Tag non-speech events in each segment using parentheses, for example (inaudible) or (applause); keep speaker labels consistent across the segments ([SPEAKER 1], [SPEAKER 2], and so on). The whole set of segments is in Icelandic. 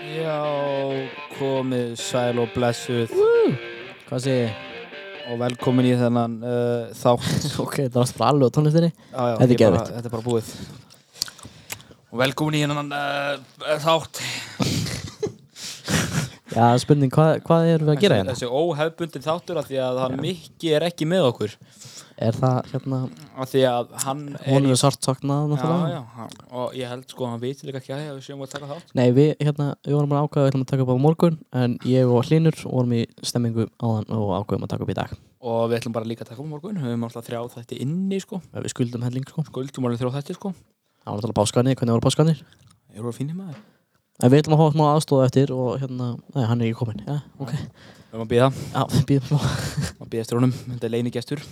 [SPEAKER 1] Já, komið sæl og blessuð
[SPEAKER 2] Hvað segir ég?
[SPEAKER 1] og velkomin í þennan uh, þátt.
[SPEAKER 2] (laughs) Ok, það var sprallu á tónlistinni
[SPEAKER 1] Já, já,
[SPEAKER 2] Þetta er
[SPEAKER 1] ég bara-
[SPEAKER 2] geðveikt.
[SPEAKER 1] Þetta er bara búið. Og velkomin í þennan uh, þátt.
[SPEAKER 2] Já, spurning, hvað, hvað erum við að gera hérna?
[SPEAKER 1] Þessi óhefbundin þáttur af því að hann Mikki er ekki með okkur.
[SPEAKER 2] Er það, hérna,
[SPEAKER 1] Af því að hann
[SPEAKER 2] hún
[SPEAKER 1] í...
[SPEAKER 2] er sárt saknað
[SPEAKER 1] Já,
[SPEAKER 2] náttúrulega?
[SPEAKER 1] já, hann- og ég held sko að hann viti líka ekki að við séum að taka þátt.
[SPEAKER 2] Nei, við, hérna, við vorum að ákvæða að við ætlum að taka upp á morgun en ég og Hlinur vorum í stemmingu áðan og ákvæðum að taka upp í dag
[SPEAKER 1] Og við ætlum bara líka að taka um morgun, við höfum alltaf þrjá þætti inni sko,
[SPEAKER 2] Við skuldum helling, sko
[SPEAKER 1] skuldum alveg þrjá þætti sko.
[SPEAKER 2] Það var náttúrulega páskanir, hvernig voru páskanir?
[SPEAKER 1] Erum við að finna maður?
[SPEAKER 2] En við ætlum að hafa smá aðstóð eftir og hérna, nei, hann er ekki kominn Já, ok,
[SPEAKER 1] Við erum að býða,
[SPEAKER 2] já, við býðum smá
[SPEAKER 1] að býða eftir honum, þetta er leinigestur.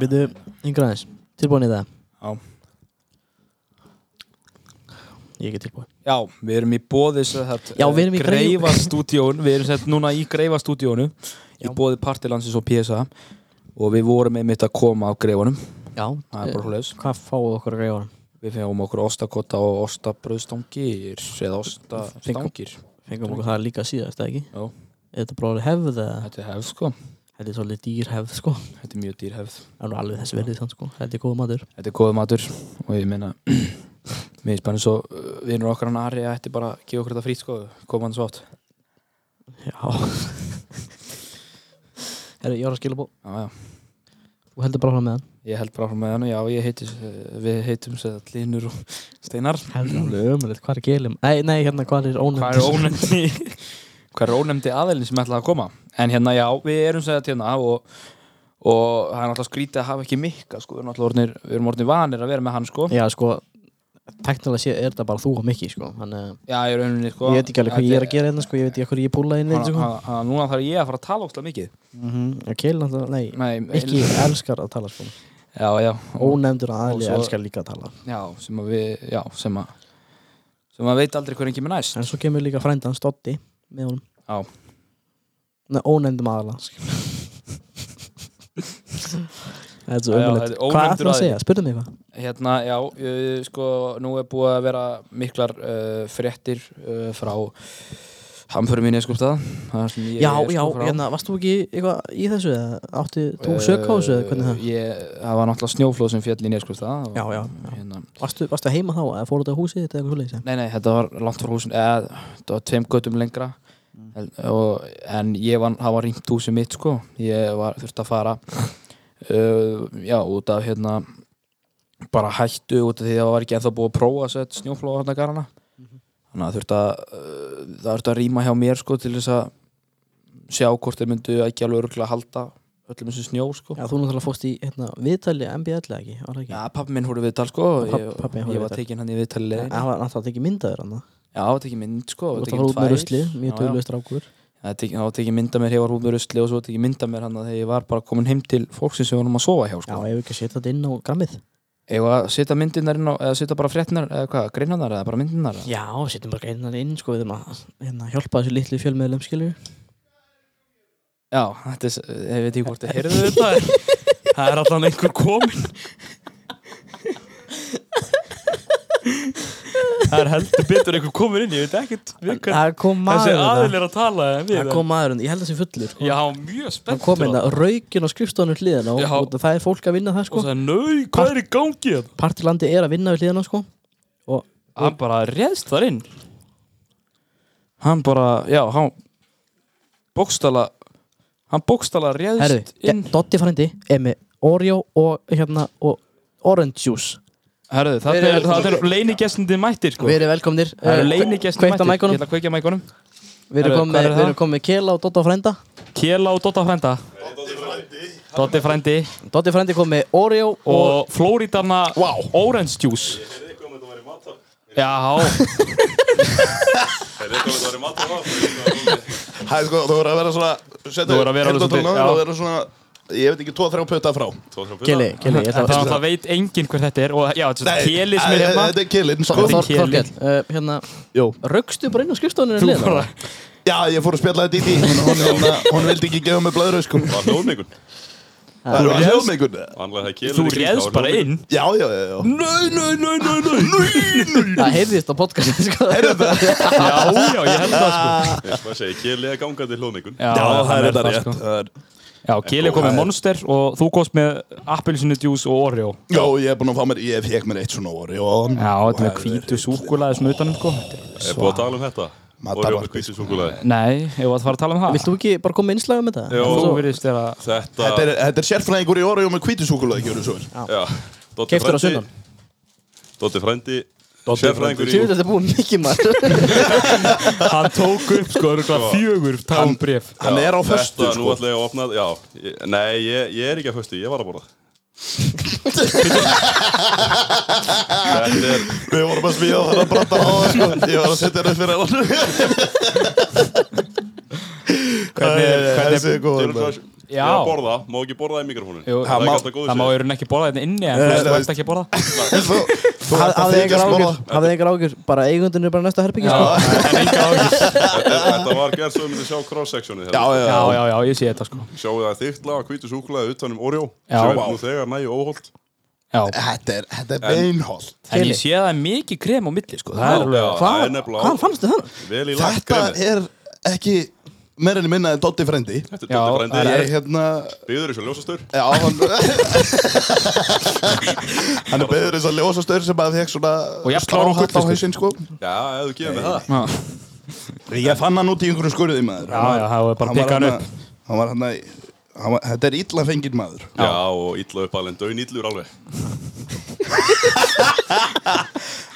[SPEAKER 2] Býðu, yngra aðeins, tilbúin í það?
[SPEAKER 1] Já.
[SPEAKER 2] Ég er ekki tilbúin
[SPEAKER 1] Já, við erum í bóði sagt,
[SPEAKER 2] Já, við erum í Greif-
[SPEAKER 1] greifastúdíón Við erum sagt, núna í greifastúdíónu Í
[SPEAKER 2] Já.
[SPEAKER 1] bóði partilansins og PSA Og við vorum einmitt að koma á greifanum
[SPEAKER 2] Já,
[SPEAKER 1] Það er bara hlæðis
[SPEAKER 2] hvað fáið okkur að greiða
[SPEAKER 1] Við fengum okkur ostakotta og ostabröðstangir Eða
[SPEAKER 2] Fengum-
[SPEAKER 1] ostastangir
[SPEAKER 2] fengum okkur það líka síðast, eða ekki?
[SPEAKER 1] Já.
[SPEAKER 2] Er þetta bara orðið hefð eða?
[SPEAKER 1] Þetta er hefð sko
[SPEAKER 2] Þetta er svolítið dýr hefð, sko.
[SPEAKER 1] Þetta er mjög dýr hefð
[SPEAKER 2] Það er nú alveg þessi verðið þann, sko. Þetta er góð matur.
[SPEAKER 1] Þetta er góð matur Og ég meina (clears throat) Mér er spennið svo uh, Vinur okkar hann Ari Þetta er bara að gefa okkur þetta frýt sko Koma hann svo átt
[SPEAKER 2] Já. (laughs) Herru, ég var að skilja bó.
[SPEAKER 1] Já, já
[SPEAKER 2] Þú heldur bara fram með hann.
[SPEAKER 1] Ég held bara frá með hann Já, ég heiti eh, Við heitum sér Linur og Steinar
[SPEAKER 2] Heldur alveg ömulegt, hvað er gælum? Nei, nei, hérna, hvað er ónefnd?
[SPEAKER 1] hvað er ónefndi
[SPEAKER 2] (laughs)
[SPEAKER 1] hvað er ónefndi aðeilin sem ætlaði að koma en hérna já, við erum segja hérna og, og það er náttúrulega skrítið að hafa ekki mikka sko, við erum náttúrulega orðnir, við erum orðnir vanir að vera með hann sko,
[SPEAKER 2] Já, sko, teknilega sé er þetta bara þú og Mikki, sko. Þannig,
[SPEAKER 1] já ég er rauninni sko
[SPEAKER 2] að ég veit ekki alveg hvað
[SPEAKER 1] Þetta
[SPEAKER 2] ég er að gera hérna, sko. Ég veit ekki hvað ég púlaði inn í þetta,
[SPEAKER 1] hann-
[SPEAKER 2] sko.
[SPEAKER 1] hann- hann- núna þarf ég að fara að tala óslega mikið
[SPEAKER 2] Mhm, Já, Kjell, náttúrulega- nei,
[SPEAKER 1] Nei,
[SPEAKER 2] Mikki
[SPEAKER 1] el-
[SPEAKER 2] elskar að tala, sko.
[SPEAKER 1] já, já, og,
[SPEAKER 2] Ónefndur aðili
[SPEAKER 1] svo-
[SPEAKER 2] elskar líka að tala.
[SPEAKER 1] já, sem að við já, sem að sem að veit aldrei hverjum kemur næst
[SPEAKER 2] En svo kemur líka frændan Stotti með honum
[SPEAKER 1] Já.
[SPEAKER 2] Nei, ónefndum aðala skilur. Þetta er svo
[SPEAKER 1] Já, já,
[SPEAKER 2] umhverlegt
[SPEAKER 1] þetta er
[SPEAKER 2] Hvað
[SPEAKER 1] ónefndur
[SPEAKER 2] ætlum að
[SPEAKER 1] aðili.
[SPEAKER 2] segja? Spurðu mig eitthvað
[SPEAKER 1] Hérna, já, uh, sko, nú er búið að vera miklar uh, fréttir uh, frá hamförum minni, sko, það sem ég
[SPEAKER 2] Já,
[SPEAKER 1] er,
[SPEAKER 2] já,
[SPEAKER 1] sko, frá.
[SPEAKER 2] hérna, varst þú ekki eitthvað í þessu eða áttu þú sök á þessu eða hvernig það?
[SPEAKER 1] Eh, Ég, það var náttúrulega snjóflóð sem fjall í Neskvöldsstað
[SPEAKER 2] Já, já, já.
[SPEAKER 1] Hérna.
[SPEAKER 2] Varstu, varstu heima þá eða fór þetta á húsið þetta eitthvað svoleiðis? eða?
[SPEAKER 1] Nei, nei, þetta var langt frá húsin eða, þetta var tveim göttum lengra en, og, en ég var, það var rímt húsið mitt, sko ég var, þurfti að fara uh, já, út af, hérna bara hættu út af því að það var ekki ennþá búið að prófa að setja snjóflóð hérna garana þannig að þurfti að uh, það þurfti að rýma hjá mér, sko, til þess að sjá hvort þeir myndu ekki alveg örgulega halda öllum þessu snjó, sko
[SPEAKER 2] Já, þú náttúrulega fórst í hérna, viðtali MBL eða ekki, var það ekki?
[SPEAKER 1] Já, pappi minn horfði viðtal sko og
[SPEAKER 2] Pabb-
[SPEAKER 1] ég,
[SPEAKER 2] pabbi horfði
[SPEAKER 1] ég var
[SPEAKER 2] viðtal.
[SPEAKER 1] tekinn hann í viðtali
[SPEAKER 2] En
[SPEAKER 1] leiðinni.
[SPEAKER 2] það var náttúrulega ekki myndaður hann
[SPEAKER 1] Já, það var tekinn mynd sko
[SPEAKER 2] Þú
[SPEAKER 1] það var
[SPEAKER 2] varst
[SPEAKER 1] tekin
[SPEAKER 2] að fara út með
[SPEAKER 1] tvær.
[SPEAKER 2] rusli,
[SPEAKER 1] Já,
[SPEAKER 2] mjög
[SPEAKER 1] já.
[SPEAKER 2] duglega strákur
[SPEAKER 1] Það var tekin- það var tekinn mynd af mér, ég var út með rusli og svo var tekinn mynd af mér hann þegar ég var bara komin heim til fólksins sem við varum að sofa hjá
[SPEAKER 2] Já,
[SPEAKER 1] sko
[SPEAKER 2] ef við ekki að setja þetta inn á grammið
[SPEAKER 1] Ég var að setja myndirnar inn á, eða setja bara fréttnar, eða hvað, greinarnar eða bara myndirnar eða?
[SPEAKER 2] Já, setjum bara greinan inn, sko, við þurfum að hérna, hjálpa þessu litlu fjölmiðlum, skilju
[SPEAKER 1] Já, þetta er, s- eh, ég veit ekki hvort þið heyrðu þetta en
[SPEAKER 2] (laughs)
[SPEAKER 1] Það er allan einhver komin Það er heldur betur einhver komin inn, ég veit ekkert við hvern
[SPEAKER 2] Það kom
[SPEAKER 1] Þessi
[SPEAKER 2] maður
[SPEAKER 1] aðil
[SPEAKER 2] hérna.
[SPEAKER 1] er að tala en við
[SPEAKER 2] Það kom maður hérna, ég held að það sé fullur sko.
[SPEAKER 1] Já, mjög
[SPEAKER 2] Það
[SPEAKER 1] spennt
[SPEAKER 2] kom hérna raukin á skrifstofunum hliðina og,
[SPEAKER 1] Já.
[SPEAKER 2] og það er fólk að vinna það
[SPEAKER 1] og
[SPEAKER 2] sko
[SPEAKER 1] sagði, nöi, hvað er í gangi þetta?
[SPEAKER 2] Partilandi er að vinna við hliðina sko Og
[SPEAKER 1] Hann bara réðst þar inn Hann bara, já, hann bókstala hann bókstala réðst
[SPEAKER 2] herru,
[SPEAKER 1] inn
[SPEAKER 2] Dotti frændi er með Oreo og hérna og Orange Juice
[SPEAKER 1] Herðu, það
[SPEAKER 2] Verið
[SPEAKER 1] er,
[SPEAKER 2] velkomin.
[SPEAKER 1] það er leinigessundi mættir sko.
[SPEAKER 2] Við erum velkomnir Eh,
[SPEAKER 1] Það eru leinigessundi
[SPEAKER 2] Kveikt á
[SPEAKER 1] mættir Ég
[SPEAKER 2] mækunum
[SPEAKER 1] ætla að kveikja mækunum
[SPEAKER 2] Við
[SPEAKER 1] Herru,
[SPEAKER 2] erum komið
[SPEAKER 1] hvað er
[SPEAKER 2] með,
[SPEAKER 1] það?
[SPEAKER 2] við erum komið með Kela og Dotta frænda
[SPEAKER 1] Kjela og Dotta frænda Dotti frændi
[SPEAKER 2] Dotti frændi kom með Oreo og,
[SPEAKER 1] og Flóritanna wow. Orange Juice
[SPEAKER 3] Heyrðu eitthvað um að þetta væri matar?
[SPEAKER 1] Já,
[SPEAKER 3] Heyrðu eitthvað um að þetta væri matar? matar?
[SPEAKER 4] Það er sko, þú verður að vera svona setja
[SPEAKER 1] Þú verður að vera alveg
[SPEAKER 4] heyrnartólin á
[SPEAKER 1] svolítið,
[SPEAKER 4] þér og
[SPEAKER 1] já.
[SPEAKER 4] vera svona Ég veit ekki, tvo, þrjá putta frá
[SPEAKER 3] Tvo, þrjá putta.
[SPEAKER 2] Keli, Keli, ég
[SPEAKER 1] en það
[SPEAKER 2] ætla að
[SPEAKER 1] náttúrulega veit enginn hver þetta er og já, þetta
[SPEAKER 4] Nei,
[SPEAKER 1] er Kjeli sem
[SPEAKER 4] eh,
[SPEAKER 1] er
[SPEAKER 4] eh,
[SPEAKER 1] hérna
[SPEAKER 4] Þetta er killin, sko
[SPEAKER 1] Þetta er Keli.
[SPEAKER 2] Þorkel, uh, hérna
[SPEAKER 4] Jú.
[SPEAKER 2] Raukstu bara inn á skrifstofunum
[SPEAKER 1] Þú
[SPEAKER 2] hliðina
[SPEAKER 1] bara- (laughs)
[SPEAKER 4] (laughs) Já, ég fór að spjalla þetta í því Hún, hún, hún, hún vildi ekki gefa mig blöðröð, sko
[SPEAKER 3] Var hljóðmengun?
[SPEAKER 4] Það eru að
[SPEAKER 1] réðst-
[SPEAKER 4] hljóðmengun
[SPEAKER 3] Vanlega það kemur
[SPEAKER 1] Þú
[SPEAKER 3] ekki
[SPEAKER 1] réðst
[SPEAKER 3] þá er
[SPEAKER 1] bara
[SPEAKER 3] hljóðið.
[SPEAKER 1] inn
[SPEAKER 4] Já, já, já, já
[SPEAKER 1] Nei, nei, nei, nei, nei, nei
[SPEAKER 2] Það heyrðist á podcastin sko
[SPEAKER 1] Já, já, ég held það sko
[SPEAKER 3] Eins og maður segir, Keli er gangandi hlóðmengun
[SPEAKER 4] Já, það er þetta
[SPEAKER 1] sko.
[SPEAKER 4] rétt það er-
[SPEAKER 1] Já, Kili kom með Monster og þú komst með appelsinu juice og Oreo
[SPEAKER 4] Já, ég er búin að fá mér, ég fekk mér eitt svona orði og
[SPEAKER 1] Já, þetta með hvítu súkulaði snutanum sko
[SPEAKER 3] Er búið að tala um þetta?
[SPEAKER 4] Matarvarpið.
[SPEAKER 3] Oreo með kvísu súkulaði
[SPEAKER 1] Nei, ef að fara að tala um það
[SPEAKER 2] Vilt þú ekki bara koma með innslag um þetta?
[SPEAKER 3] Jó.
[SPEAKER 1] Þú virðist vera
[SPEAKER 3] Þetta
[SPEAKER 4] Þetta er, þetta er sérfræðingur í orði og með hvítisúkulega, gjörðu svo vel
[SPEAKER 3] Já Doddi
[SPEAKER 2] Keyptur á
[SPEAKER 3] frændi-
[SPEAKER 2] sunnan.
[SPEAKER 3] Doddi frændi Sérfræðingur í
[SPEAKER 2] Sjöfum þetta er búin mikið maður
[SPEAKER 1] Hann tók upp sko, örgulega fjögur tánbref
[SPEAKER 4] Hann er á
[SPEAKER 3] Þetta,
[SPEAKER 4] föstu,
[SPEAKER 3] Nú
[SPEAKER 4] sko
[SPEAKER 3] ætla ég að opna Já ég- Nei, ég, ég er ekki að föstu Ég var að borða Þetta er
[SPEAKER 4] Við vorum að smíða og það að brata á það, sko Ég var að setja þetta upp fyrir hann
[SPEAKER 1] Hvernig er, hvernig
[SPEAKER 4] Þessi
[SPEAKER 1] er
[SPEAKER 4] er góður
[SPEAKER 3] Ég
[SPEAKER 4] maður.
[SPEAKER 3] var að borða, má ekki borða í mikrofónun
[SPEAKER 1] Jú,
[SPEAKER 4] Það
[SPEAKER 3] það er
[SPEAKER 4] má-
[SPEAKER 3] ekki alltaf góðu
[SPEAKER 1] Það má
[SPEAKER 3] sér
[SPEAKER 1] í rauninni ekki borða þetta inni En
[SPEAKER 4] Nei,
[SPEAKER 1] flest
[SPEAKER 4] það
[SPEAKER 1] veist ekki að borða
[SPEAKER 4] Þú þú ert að
[SPEAKER 2] Hafði
[SPEAKER 4] þykja
[SPEAKER 2] engar
[SPEAKER 4] smála
[SPEAKER 2] ágjur Hafði engar ágjur Bara eigundin er bara næsta herbyggi sko
[SPEAKER 1] En enga áhyggjur
[SPEAKER 3] Þetta
[SPEAKER 4] (laughs)
[SPEAKER 3] þetta var gert svo við myndum sjá cross-sectionið
[SPEAKER 4] Já,
[SPEAKER 3] hérna.
[SPEAKER 4] já,
[SPEAKER 1] Já,
[SPEAKER 4] já
[SPEAKER 1] já, já, ég sé þetta sko
[SPEAKER 3] Sjáu það þyrla að hvítu súkulaði utanum Oreo
[SPEAKER 1] Já.
[SPEAKER 3] sem er nú þegar næju óholt
[SPEAKER 1] Já
[SPEAKER 4] Þetta er, þetta er beinholt
[SPEAKER 1] En ég sé að það er mikið krem á milli sko Það
[SPEAKER 3] Já,
[SPEAKER 1] er alveg
[SPEAKER 3] já, það er
[SPEAKER 2] Hvað
[SPEAKER 3] nefnilega-
[SPEAKER 2] hvaðan fannstu það?
[SPEAKER 3] Vel í lagt
[SPEAKER 4] Þetta
[SPEAKER 3] kremið.
[SPEAKER 4] er ekki meirinn í minna en Doddi frendi
[SPEAKER 3] Þetta er
[SPEAKER 1] Já,
[SPEAKER 3] Doddi
[SPEAKER 4] Ég
[SPEAKER 3] frændi
[SPEAKER 4] er hérna
[SPEAKER 3] Byður þessu ljósastaur
[SPEAKER 4] Já, hann
[SPEAKER 1] (laughs)
[SPEAKER 4] Hann er beður eins að ljósa staur sem að fekk svona
[SPEAKER 1] Og jafn klár og
[SPEAKER 4] sláhatt á
[SPEAKER 1] gullfiskur.
[SPEAKER 4] hausinn sko
[SPEAKER 3] Já, ef þú gefur mig það
[SPEAKER 1] Já,
[SPEAKER 4] Ég fann hann út í einhverju skurði maður
[SPEAKER 1] já, já, það var bara að pikka hann upp
[SPEAKER 4] Hann var hann að hann var- Þetta er illa fengið maður
[SPEAKER 3] Já, og illa upp alveg, döin illur alveg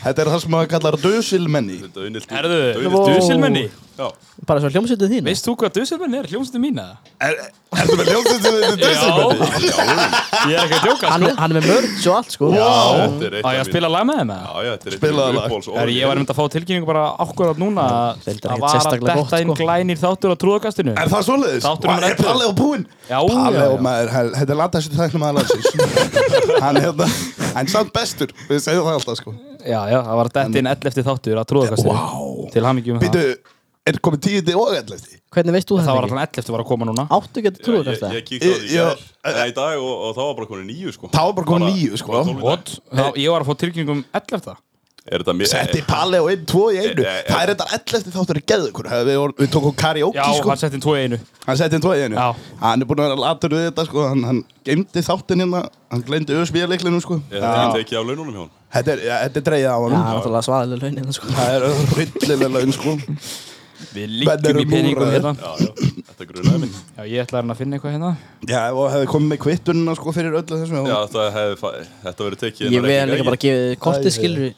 [SPEAKER 4] Þetta er það sem maður kallar dösilmenni
[SPEAKER 3] Döin illur
[SPEAKER 1] Erðu,
[SPEAKER 3] dauðin illur.
[SPEAKER 1] Dusselmenni
[SPEAKER 3] Já,
[SPEAKER 2] Bara svo hljómsveitin þín
[SPEAKER 1] Veist þú hvað Dusselmenni er, hljómsveitin mín eða?
[SPEAKER 4] Ertu með ljósið til þetta dösilmenni?
[SPEAKER 1] Já, ég er ekki að djóka
[SPEAKER 2] Hann
[SPEAKER 1] sko
[SPEAKER 2] er hann er með mörg og allt sko
[SPEAKER 3] þetta er
[SPEAKER 1] Á ég að
[SPEAKER 3] eitt
[SPEAKER 1] spila lag með þeim eða?
[SPEAKER 3] Já, já, þetta er eitt
[SPEAKER 4] Spilaðu lag.
[SPEAKER 1] Er, ég var um að fá tilkynningu bara akkurat núna að
[SPEAKER 2] reyndar
[SPEAKER 1] að var
[SPEAKER 2] ekkert
[SPEAKER 1] að
[SPEAKER 2] sérstaklega
[SPEAKER 1] detta
[SPEAKER 2] gott,
[SPEAKER 1] inn
[SPEAKER 2] sko.
[SPEAKER 1] glænir þáttur á trúðakastinu
[SPEAKER 4] Er það svoleiðis?
[SPEAKER 1] Þáttur númer
[SPEAKER 4] Vá, er
[SPEAKER 1] 11.
[SPEAKER 4] Palli á búinn?
[SPEAKER 1] Já,
[SPEAKER 4] Palli
[SPEAKER 1] já,
[SPEAKER 4] og
[SPEAKER 1] já.
[SPEAKER 4] maður, hann- þetta er landastu tæknum aðlandsins
[SPEAKER 1] (laughs)
[SPEAKER 4] Hann er hérna, hann er samt bestur Við segjum það alltaf sko
[SPEAKER 1] Já, já, það var að detta inn 11 eftir þáttur á trúðakastinu
[SPEAKER 4] Vá.
[SPEAKER 1] Til hamingjum með
[SPEAKER 4] Býtu,
[SPEAKER 1] það
[SPEAKER 4] er komið tíundi og ellefti?
[SPEAKER 2] Hvernig veist þú
[SPEAKER 1] Það var
[SPEAKER 2] þetta ekki?
[SPEAKER 1] alltaf 11 var að koma núna
[SPEAKER 2] Áttu getur trúið
[SPEAKER 3] Ég,
[SPEAKER 2] þetta?
[SPEAKER 3] ég kíkti á því í
[SPEAKER 4] Já.
[SPEAKER 3] gær, nei, í dag og, og þá var bara konið nýju sko
[SPEAKER 4] Þá var bara komið nýju sko
[SPEAKER 3] bara tólf í dag.
[SPEAKER 1] What? Já, ég var að fá um tilkynningum 11 það
[SPEAKER 3] Er þetta mér?
[SPEAKER 1] Eh.
[SPEAKER 4] Setti Palli og einn, tvo í einu
[SPEAKER 3] Eh, eh, eh.
[SPEAKER 4] Það er þetta ellefti þáttur í geðugur Við, vorum- við tókum karaoke
[SPEAKER 1] Já,
[SPEAKER 4] sko
[SPEAKER 1] hann setti inn 2 í einu
[SPEAKER 4] Hann setti inn tvo í einu
[SPEAKER 1] Já.
[SPEAKER 4] Hann er búinn að vera latur við þetta sko Hann, hann geymdi þáttin hérna Hann glemdi öðsbíjarleiklinum sko
[SPEAKER 3] Er þetta ekki tekið af laununum hjá hann?
[SPEAKER 4] Þetta er, ja, þetta er dreigða á
[SPEAKER 2] Já,
[SPEAKER 4] hann
[SPEAKER 2] náttúrulega svaðilega launin sko
[SPEAKER 4] Það er hryllilega laun sko
[SPEAKER 1] Við
[SPEAKER 4] Menn
[SPEAKER 1] liggjum
[SPEAKER 4] eru
[SPEAKER 1] í peningum
[SPEAKER 4] múraðir.
[SPEAKER 1] hérna
[SPEAKER 3] Já, já, þetta grunaði mig
[SPEAKER 1] Já, ég ætla hérna að finna eitthvað hérna
[SPEAKER 4] Já, ef það hefði komið með kvittunina sko fyrir öllu þessu
[SPEAKER 3] Já, þetta hefði, fa- þetta verið tekið
[SPEAKER 2] Ég
[SPEAKER 3] innan
[SPEAKER 2] vil
[SPEAKER 3] reikninga,
[SPEAKER 2] líka bara
[SPEAKER 3] ég-
[SPEAKER 2] gefa kortið skilur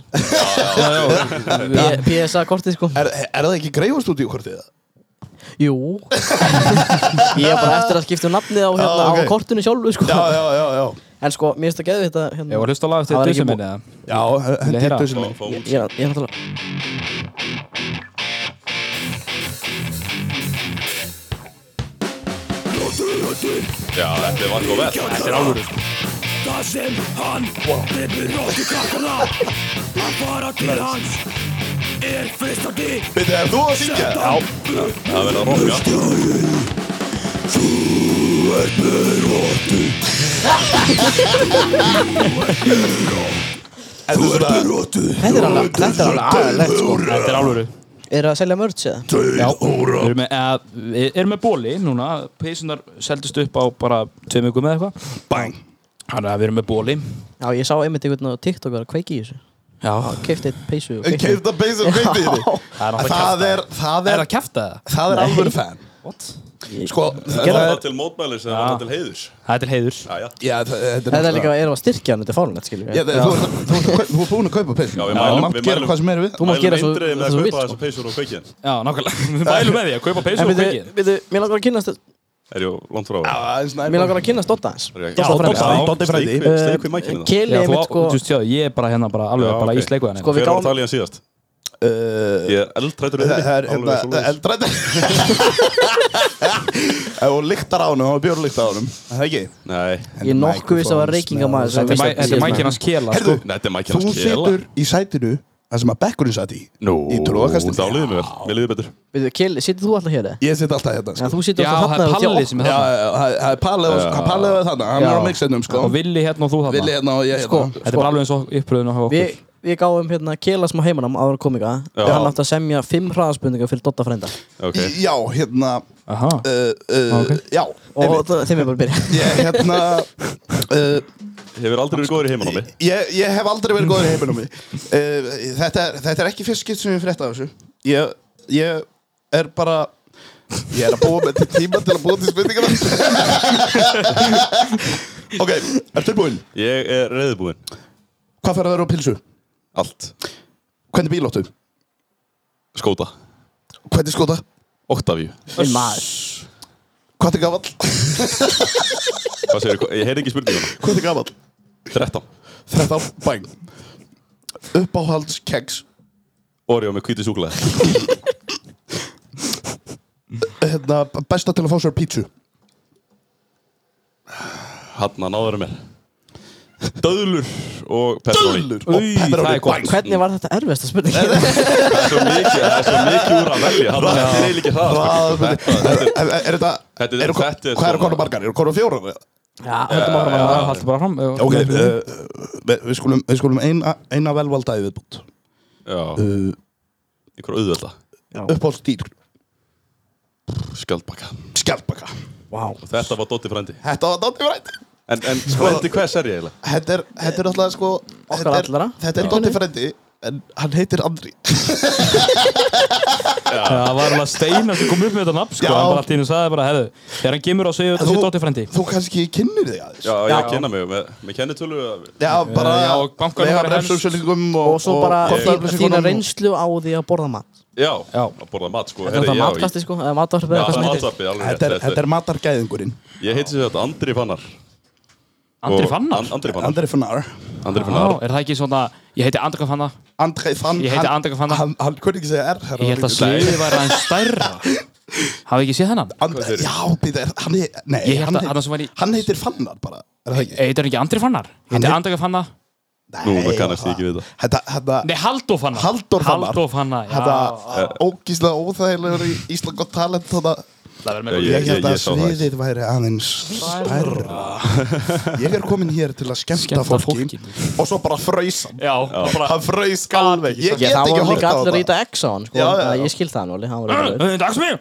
[SPEAKER 2] PSA kortið sko
[SPEAKER 4] Er, er það ekki greifastúdíukortið það?
[SPEAKER 2] Jú (laughs) Ég er bara eftir að skipta um nafnið á, hérna,
[SPEAKER 3] Ah,
[SPEAKER 4] Já, ok.
[SPEAKER 2] á kortinu sjálfu sko
[SPEAKER 4] Já, já, já, já
[SPEAKER 2] En sko, mér finnst að geða þetta hérna.
[SPEAKER 1] Ég var að hlusta á lag eftir
[SPEAKER 2] Það var ekki
[SPEAKER 1] Dusselmenni eða
[SPEAKER 4] Já, hendur
[SPEAKER 1] heyra?
[SPEAKER 4] dössin
[SPEAKER 3] Fá-
[SPEAKER 4] minn
[SPEAKER 3] fá
[SPEAKER 2] Ég,
[SPEAKER 3] út.
[SPEAKER 2] ég, er- ég er náttúrulega
[SPEAKER 3] Já, þetta var góð vett Þetta er alvöru sko
[SPEAKER 5] Það sem hann Vippur róttu krakkana Að fara til hans Er fristandi
[SPEAKER 4] Býttu, er þú að syngja? Já
[SPEAKER 3] Það verið að rokka
[SPEAKER 4] Þú ert að rótu
[SPEAKER 2] Þetta er alveg, þetta er alveg aðalegt sko
[SPEAKER 1] Þetta er alvöru
[SPEAKER 2] Er það að selja mörds eða?
[SPEAKER 1] Já, við erum með, eða, við erum með bóli núna, peysunar seldist upp á bara tveim vikum eða eitthvað
[SPEAKER 4] Bang
[SPEAKER 1] Þannig að við erum með bóli
[SPEAKER 2] Já, ég sá einmitt einhvern veginn á TikTok vera að kveiki í þessu
[SPEAKER 1] Já,
[SPEAKER 2] Keift eitt peysu og kveikti-
[SPEAKER 4] Keifta beins og kvittu þinni
[SPEAKER 1] það er náttúrulega kjafta Er
[SPEAKER 4] Það er, það er,
[SPEAKER 1] það kjafta það?
[SPEAKER 4] það er alveg fan
[SPEAKER 1] What?
[SPEAKER 4] Sko,
[SPEAKER 3] Það var
[SPEAKER 4] það
[SPEAKER 3] það
[SPEAKER 4] er
[SPEAKER 3] til mótmælis eða var það til heiðurs
[SPEAKER 1] Það er til heiður
[SPEAKER 3] Já, já
[SPEAKER 4] Já, það- þetta
[SPEAKER 2] Þetta er líka
[SPEAKER 4] náttúrulega-
[SPEAKER 2] að erum að styrkja hann, þetta er fárunlegt skilur
[SPEAKER 4] Já, það- þú ert að- þú ert að kaup- þú ert búin að kaupa peysu
[SPEAKER 3] Já, við mælum-
[SPEAKER 4] mátt
[SPEAKER 3] við
[SPEAKER 4] gera
[SPEAKER 3] mælum-
[SPEAKER 4] hvað sem er við
[SPEAKER 2] Þú mátt gera svo-
[SPEAKER 3] Mælum eindregið með
[SPEAKER 2] svo
[SPEAKER 3] að
[SPEAKER 2] vill,
[SPEAKER 3] kaupa
[SPEAKER 2] sko.
[SPEAKER 3] þessar peysur og kveikin
[SPEAKER 1] Já, nákvæmlega, (laughs) við mælum með því að kaupa peysu
[SPEAKER 2] En
[SPEAKER 1] og
[SPEAKER 2] við,
[SPEAKER 1] kveikið
[SPEAKER 2] við, mér langar að kynast
[SPEAKER 3] Er jú langt frá
[SPEAKER 4] Já, það er
[SPEAKER 2] Mér
[SPEAKER 4] snær
[SPEAKER 2] langar að kynast Dotta hans
[SPEAKER 3] Já,
[SPEAKER 2] Dotta
[SPEAKER 1] Dodda,
[SPEAKER 2] frænda.
[SPEAKER 1] já.
[SPEAKER 4] Doddi frændi.
[SPEAKER 3] Steik við- Steik við
[SPEAKER 4] hérna.
[SPEAKER 3] mækinu það
[SPEAKER 2] Keli
[SPEAKER 1] Já,
[SPEAKER 2] er
[SPEAKER 1] þú,
[SPEAKER 2] mitt sko
[SPEAKER 1] sko... þú sjáðu, ég er bara hérna bara alveg
[SPEAKER 3] Já,
[SPEAKER 1] bara
[SPEAKER 3] ok.
[SPEAKER 1] í sleikvæðan
[SPEAKER 2] Sko, við
[SPEAKER 3] Hver var
[SPEAKER 2] gáum
[SPEAKER 3] að tala í hann síðast? Ég er eldrættur í
[SPEAKER 4] Eh, Það er, hérna, eldrætt Og lyktar á honum, það var björlyktar á honum Er Það ekki?
[SPEAKER 3] Nei,
[SPEAKER 2] Ég er nokkuð viss að var reykinga maður
[SPEAKER 1] Þetta er mæ- þetta er mækin hans kela, sko
[SPEAKER 4] Herðu,
[SPEAKER 3] Nei, þetta er mækinu
[SPEAKER 4] Þú
[SPEAKER 3] hans kela
[SPEAKER 4] situr í sætinu það sem að bekkurinn satt í
[SPEAKER 3] Nú,
[SPEAKER 4] í tróðakastinu
[SPEAKER 3] þá liðum við vel, við liðum betur
[SPEAKER 2] Veitu, Kjell, situr þú alltaf hér? eða?
[SPEAKER 4] ég sitt alltaf hérna
[SPEAKER 2] Já,
[SPEAKER 4] sko.
[SPEAKER 2] þú situr
[SPEAKER 1] Já,
[SPEAKER 2] alltaf
[SPEAKER 1] það er
[SPEAKER 2] þarna hjá
[SPEAKER 1] Palli
[SPEAKER 2] okkur.
[SPEAKER 1] sem er
[SPEAKER 4] já,
[SPEAKER 1] það
[SPEAKER 4] já, það það er palið hann palið var þarna, hann
[SPEAKER 2] Já.
[SPEAKER 4] var á mixinum sko
[SPEAKER 1] Og Villi hérna og þú þarna
[SPEAKER 4] Villi hérna og ég
[SPEAKER 2] Sko,
[SPEAKER 4] hérna
[SPEAKER 1] Þetta er bara alveg eins og uppröðun á okkur
[SPEAKER 2] Við, við gáum hérna Kjela smá heimanam áður að komika
[SPEAKER 3] Já.
[SPEAKER 2] og hann átti að semja fimm hraðaspurningar fyrir Dotta frænda
[SPEAKER 3] Ok,
[SPEAKER 4] já, hérna
[SPEAKER 1] Aha.
[SPEAKER 4] uh, uh, já,
[SPEAKER 2] og
[SPEAKER 4] einmitt.
[SPEAKER 2] það- þeim er bara að byrja
[SPEAKER 4] ég hérna uh,
[SPEAKER 3] hefur aldrei verið góður í heimanámi
[SPEAKER 4] ég, ég hef aldrei verið góður í heiminum uh, þetta, er- þetta er ekki fyrst skipt sem ég frétta af þessu ég, ég er bara ég er að búa með tíma til að búa til spurningar ok, er tilbúin
[SPEAKER 3] Ég er reyðbúinn
[SPEAKER 4] hvað fær að vera á pilsu?
[SPEAKER 3] Allt
[SPEAKER 4] hvernig bíl áttu?
[SPEAKER 3] Skóta
[SPEAKER 4] hvernig skota?
[SPEAKER 3] Octavíu
[SPEAKER 2] Minn maður
[SPEAKER 4] hvað er gafall?
[SPEAKER 3] Hvað segir þú? Ég heyr ekki spurninguna
[SPEAKER 4] hvað er gafall?
[SPEAKER 3] 13
[SPEAKER 4] 13 bæn uppáhalds keks
[SPEAKER 3] Oreo með hvíti súkulega
[SPEAKER 4] hérna, besta til að fá sér pítsu
[SPEAKER 3] Hanna náður mér Döðlur og pepperoni
[SPEAKER 4] Döðlur og
[SPEAKER 1] Új, það
[SPEAKER 4] pepperoni
[SPEAKER 1] er gott.
[SPEAKER 4] bang.
[SPEAKER 2] Hvernig var þetta erfiðasta spurning?
[SPEAKER 3] Það er svo mikið, það er svo mikið úr að velja Hanna, þetta er eiginlega ekki
[SPEAKER 4] Hraðar
[SPEAKER 3] hraðar
[SPEAKER 4] spurning. Er er- er þetta
[SPEAKER 3] Þetta er-
[SPEAKER 4] eru kon-
[SPEAKER 3] þetta er
[SPEAKER 4] Hvað eru
[SPEAKER 3] svona-
[SPEAKER 4] konum margar? Eru konum fjórar? eða?
[SPEAKER 2] Já, höldum áfram að
[SPEAKER 1] Já, haldur bara fram
[SPEAKER 4] Ok, uh, við við skulum, við skulum eina, eina velvalda í viðbútt
[SPEAKER 3] Já,
[SPEAKER 1] Uh.
[SPEAKER 3] einhver auðvelda
[SPEAKER 4] Uppáhalds dýr
[SPEAKER 3] Skjaldbaka
[SPEAKER 4] Skjaldbaka
[SPEAKER 2] Vá
[SPEAKER 3] Og þetta var Dotti frændi
[SPEAKER 4] Þetta var Dótti frændi
[SPEAKER 3] En, en
[SPEAKER 1] Sko-
[SPEAKER 3] frændi hvers er ég eiginlega?
[SPEAKER 4] Þetta er, þetta er alltaf sko
[SPEAKER 2] Okkar
[SPEAKER 4] þetta er-
[SPEAKER 2] allra.
[SPEAKER 4] Þetta er Dótti frændi En hann heitir Andri
[SPEAKER 1] Það var alveg steinar sem kom upp með þetta nafn sko,
[SPEAKER 4] Já.
[SPEAKER 1] hann bara allt í hennu sagði bara, heðu, þegar hann gemur á sig þetta
[SPEAKER 4] Þú-
[SPEAKER 1] sé Dóti frendi
[SPEAKER 4] Þú kannski kynnir þig aðeins
[SPEAKER 3] Já, ég að kynna mig með, með kennitölu
[SPEAKER 4] Já, bara
[SPEAKER 1] Já, og bankanum
[SPEAKER 4] vega
[SPEAKER 1] var helst.
[SPEAKER 4] refsauðsýningum
[SPEAKER 2] Og svo bara
[SPEAKER 4] og
[SPEAKER 2] þín-
[SPEAKER 4] kostnaðarupplýsingum
[SPEAKER 2] þína
[SPEAKER 4] og-
[SPEAKER 2] reynslu á því að borða mat
[SPEAKER 3] Já,
[SPEAKER 1] Já.
[SPEAKER 3] að borða mat sko
[SPEAKER 2] Þetta er
[SPEAKER 3] Herri,
[SPEAKER 2] það
[SPEAKER 3] já,
[SPEAKER 2] matkasti sko, eða matvarpið
[SPEAKER 3] Já,
[SPEAKER 2] eða hvað sem heitir
[SPEAKER 3] matvarpið, alveg rétt,
[SPEAKER 4] Þetta er, þetta er matargæðingurinn
[SPEAKER 3] Ég heiti sér þetta Andri Fannar
[SPEAKER 1] Andri
[SPEAKER 3] Og-
[SPEAKER 1] Fannar?
[SPEAKER 3] An- Andri Fannar
[SPEAKER 4] Andri Fannar
[SPEAKER 3] Andri
[SPEAKER 1] Já,
[SPEAKER 3] Fannar
[SPEAKER 1] er það ekki svona, ég heiti Andri Fannar
[SPEAKER 4] Andri Fannar
[SPEAKER 1] Ég heiti Andri Fannar.
[SPEAKER 4] Hann, hann kunni ekki segja R herra,
[SPEAKER 1] Ég held að
[SPEAKER 4] líka.
[SPEAKER 1] sviðið væri aðeins stærra Hafið ekki séð hennan?
[SPEAKER 4] Andri, já, býða, hann, er- nei,
[SPEAKER 1] Ég held
[SPEAKER 4] hann,
[SPEAKER 1] að
[SPEAKER 4] heit-
[SPEAKER 1] hann sem var í-
[SPEAKER 4] hann heitir Fannar bara Er það ekki?
[SPEAKER 1] Eitir Eh, hann ekki Andri Fannar? Ég heiti
[SPEAKER 4] heit-
[SPEAKER 1] Andri Fannar
[SPEAKER 4] Nei,
[SPEAKER 3] Nú, maður kannast
[SPEAKER 4] það-
[SPEAKER 3] ekki við það.
[SPEAKER 4] Þetta, þetta,
[SPEAKER 1] Nei, Halldór Fannar
[SPEAKER 4] Halldór Fannar.
[SPEAKER 1] Halldór Fannar, já
[SPEAKER 4] þetta ógíslega óþægilegur í Ísland gott talent þarna.
[SPEAKER 1] Það verður með
[SPEAKER 3] Já, ég-
[SPEAKER 4] Ég held að
[SPEAKER 3] ég sá það.
[SPEAKER 4] sviðið væri aðeins stærra
[SPEAKER 3] (laughs)
[SPEAKER 4] Ég er komin hér til að skemmta
[SPEAKER 1] Skemmta
[SPEAKER 4] fólki
[SPEAKER 1] fólki.
[SPEAKER 4] Og svo bara fröysan
[SPEAKER 1] hérna Já, og bara
[SPEAKER 4] Hann fraus alveg Ég get
[SPEAKER 2] Ég það
[SPEAKER 4] ekki
[SPEAKER 2] voru
[SPEAKER 4] horta
[SPEAKER 2] líka
[SPEAKER 4] á
[SPEAKER 2] allir að
[SPEAKER 4] þetta
[SPEAKER 2] rýta X á hann sko
[SPEAKER 4] Já, já,
[SPEAKER 2] þannig að
[SPEAKER 4] já.
[SPEAKER 2] Ég skil það nú alveg, hann var alveg
[SPEAKER 1] Þetta er dags mig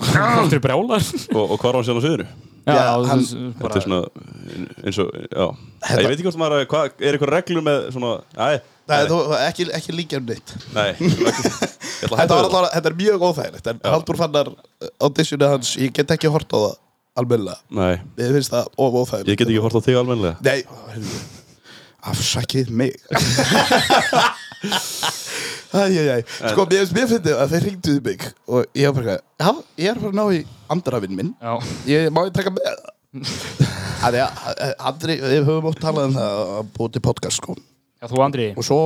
[SPEAKER 1] Þetta er brjálar
[SPEAKER 3] Og, og hvað var hann sér á sviðinu?
[SPEAKER 1] Já,
[SPEAKER 4] Já, hann-
[SPEAKER 1] þú-
[SPEAKER 3] Þetta er
[SPEAKER 1] bara
[SPEAKER 3] svona eins og, já Ég veit ekki hvort maður, hvað, er eitthvað reglur með svona Æ,
[SPEAKER 4] Nei, þú, ekki, ekki líka um neitt
[SPEAKER 3] nei
[SPEAKER 4] (laughs)
[SPEAKER 3] Ég ætla að
[SPEAKER 4] Þetta,
[SPEAKER 3] hætta
[SPEAKER 4] var
[SPEAKER 3] við það
[SPEAKER 4] allavega, þetta er mjög óþægilegt En Haldur fannar auditionu hans Ég get ekki hort á það almennilega
[SPEAKER 3] Nei,
[SPEAKER 4] Ég finnst það of óþægilegt
[SPEAKER 3] ég get ekki hort á þig almenlega
[SPEAKER 4] Nei, heyrðu, afsakið (laughs) mig Æjæjæj Sko, mér finnst mér fyndið að þeir ringduðu mig Og ég var bara, eitthvað, já, ég er að fara að ná í andrafinn minn
[SPEAKER 1] Já,
[SPEAKER 4] Ég má ég (laughs) taka með Það er að, Andri, við höfum ótt talað um það að búið til podcast, sko
[SPEAKER 1] Já, þú Andri
[SPEAKER 4] Og svo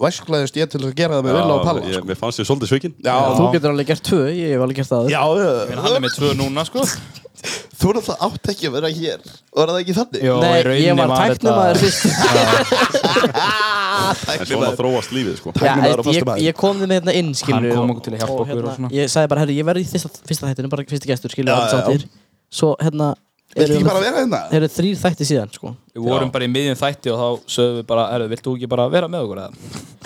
[SPEAKER 4] væsklaðist ég til að gera það með Villa og Palla,
[SPEAKER 3] ég,
[SPEAKER 4] sko
[SPEAKER 3] Mér fannst ég svolítið svikinn
[SPEAKER 4] Já,
[SPEAKER 2] Þú getur alveg gert tvö, ég hef alveg gert það áður.
[SPEAKER 4] Já,
[SPEAKER 1] En hann er með tvö núna, sko
[SPEAKER 4] þú er alltaf átt ekki að vera hér Var það ekki þannig?
[SPEAKER 1] Jó, í
[SPEAKER 2] Nei,
[SPEAKER 1] rauninni
[SPEAKER 2] ég var
[SPEAKER 1] þetta-
[SPEAKER 2] tæknumæður fyrst
[SPEAKER 3] En svona þróast lífið,
[SPEAKER 2] Já,
[SPEAKER 3] sko
[SPEAKER 4] Tæknimaður og
[SPEAKER 2] ég,
[SPEAKER 4] fastamaður.
[SPEAKER 2] ég kom þið með hérna inn skilur
[SPEAKER 1] Hann kom okkur til að hjálpa okkur
[SPEAKER 2] hérna,
[SPEAKER 1] og svona.
[SPEAKER 2] Ég sagði bara, herri, ég verði í fyrsta, fyrsta þættinu bara fyrsti gestur skilur
[SPEAKER 4] Já,
[SPEAKER 2] allt
[SPEAKER 4] já, já.
[SPEAKER 2] sáttir Svo hérna
[SPEAKER 4] Viltu
[SPEAKER 2] eru-
[SPEAKER 4] ekki bara vera hérna?
[SPEAKER 2] eru þrýr þætti síðan sko
[SPEAKER 1] Við vorum bara í miðjum þætti og þá sögum við bara, herru, vilt þú ekki bara vera með okkur eða?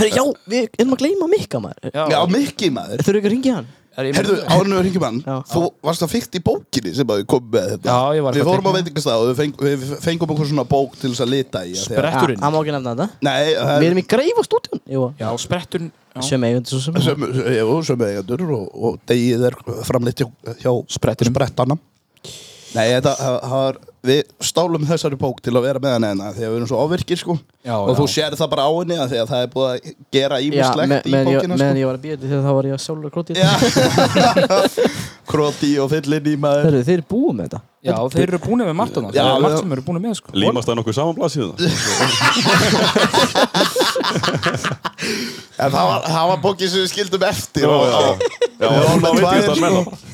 [SPEAKER 2] Herri, já, við erum að gleyma mikka maður
[SPEAKER 4] Já, mikki maður
[SPEAKER 2] Þurfum ekki að ringja hann
[SPEAKER 1] Er ég-
[SPEAKER 4] Herðu, ánum við ringjum hann
[SPEAKER 2] Já.
[SPEAKER 4] Þú varst að fyrst í bókinni sem að við komum með þetta
[SPEAKER 1] Já, ég var
[SPEAKER 4] Við
[SPEAKER 1] eitthvað
[SPEAKER 4] fórum á
[SPEAKER 1] að
[SPEAKER 4] veitingastað og við, feng, við fengum okkur svona bók til þess að lita í af því að-
[SPEAKER 1] Sprett- Þátturinn.
[SPEAKER 2] Ja, Hann má ekki nefna þetta
[SPEAKER 4] Nei,
[SPEAKER 2] Við
[SPEAKER 4] það er
[SPEAKER 2] erum í greif á stúdíun Jú,
[SPEAKER 1] Já, sprettur já.
[SPEAKER 2] sem eigundu svo sem
[SPEAKER 4] sem, jú, sem eigendur og, og degið er framleitt hjá, hjá
[SPEAKER 1] Sprettinum.
[SPEAKER 4] sprettanum Nei, þetta það- það var Við stálum þessari bók til að vera með hann hérna því að við erum svo ofvirkir sko
[SPEAKER 1] Já,
[SPEAKER 4] og þú
[SPEAKER 1] já.
[SPEAKER 4] sér það bara á henni af því að það er búið að gera
[SPEAKER 2] Já,
[SPEAKER 4] ímislegt í
[SPEAKER 2] meðan ég,
[SPEAKER 4] bókina
[SPEAKER 2] meðan ég var að býja þegar þá var ég að sjálfur að króti þetta
[SPEAKER 4] sko (laughs) Kroti og fyllin í maður
[SPEAKER 2] Herri, þeir eru búið með þetta
[SPEAKER 1] já, þeir eru búin með margt annars
[SPEAKER 4] Já,
[SPEAKER 1] Það er
[SPEAKER 4] já.
[SPEAKER 1] margt sem eru búin með, sko
[SPEAKER 3] Límast það nokkuð saman blaðsíðu það?
[SPEAKER 4] En það var, það var bókin sem við skildum eftir
[SPEAKER 3] Já,
[SPEAKER 4] og-
[SPEAKER 3] já Já,
[SPEAKER 4] Við
[SPEAKER 3] það
[SPEAKER 4] vorum með
[SPEAKER 3] veit ég
[SPEAKER 4] tvær,
[SPEAKER 3] það menna
[SPEAKER 4] sko. (laughs)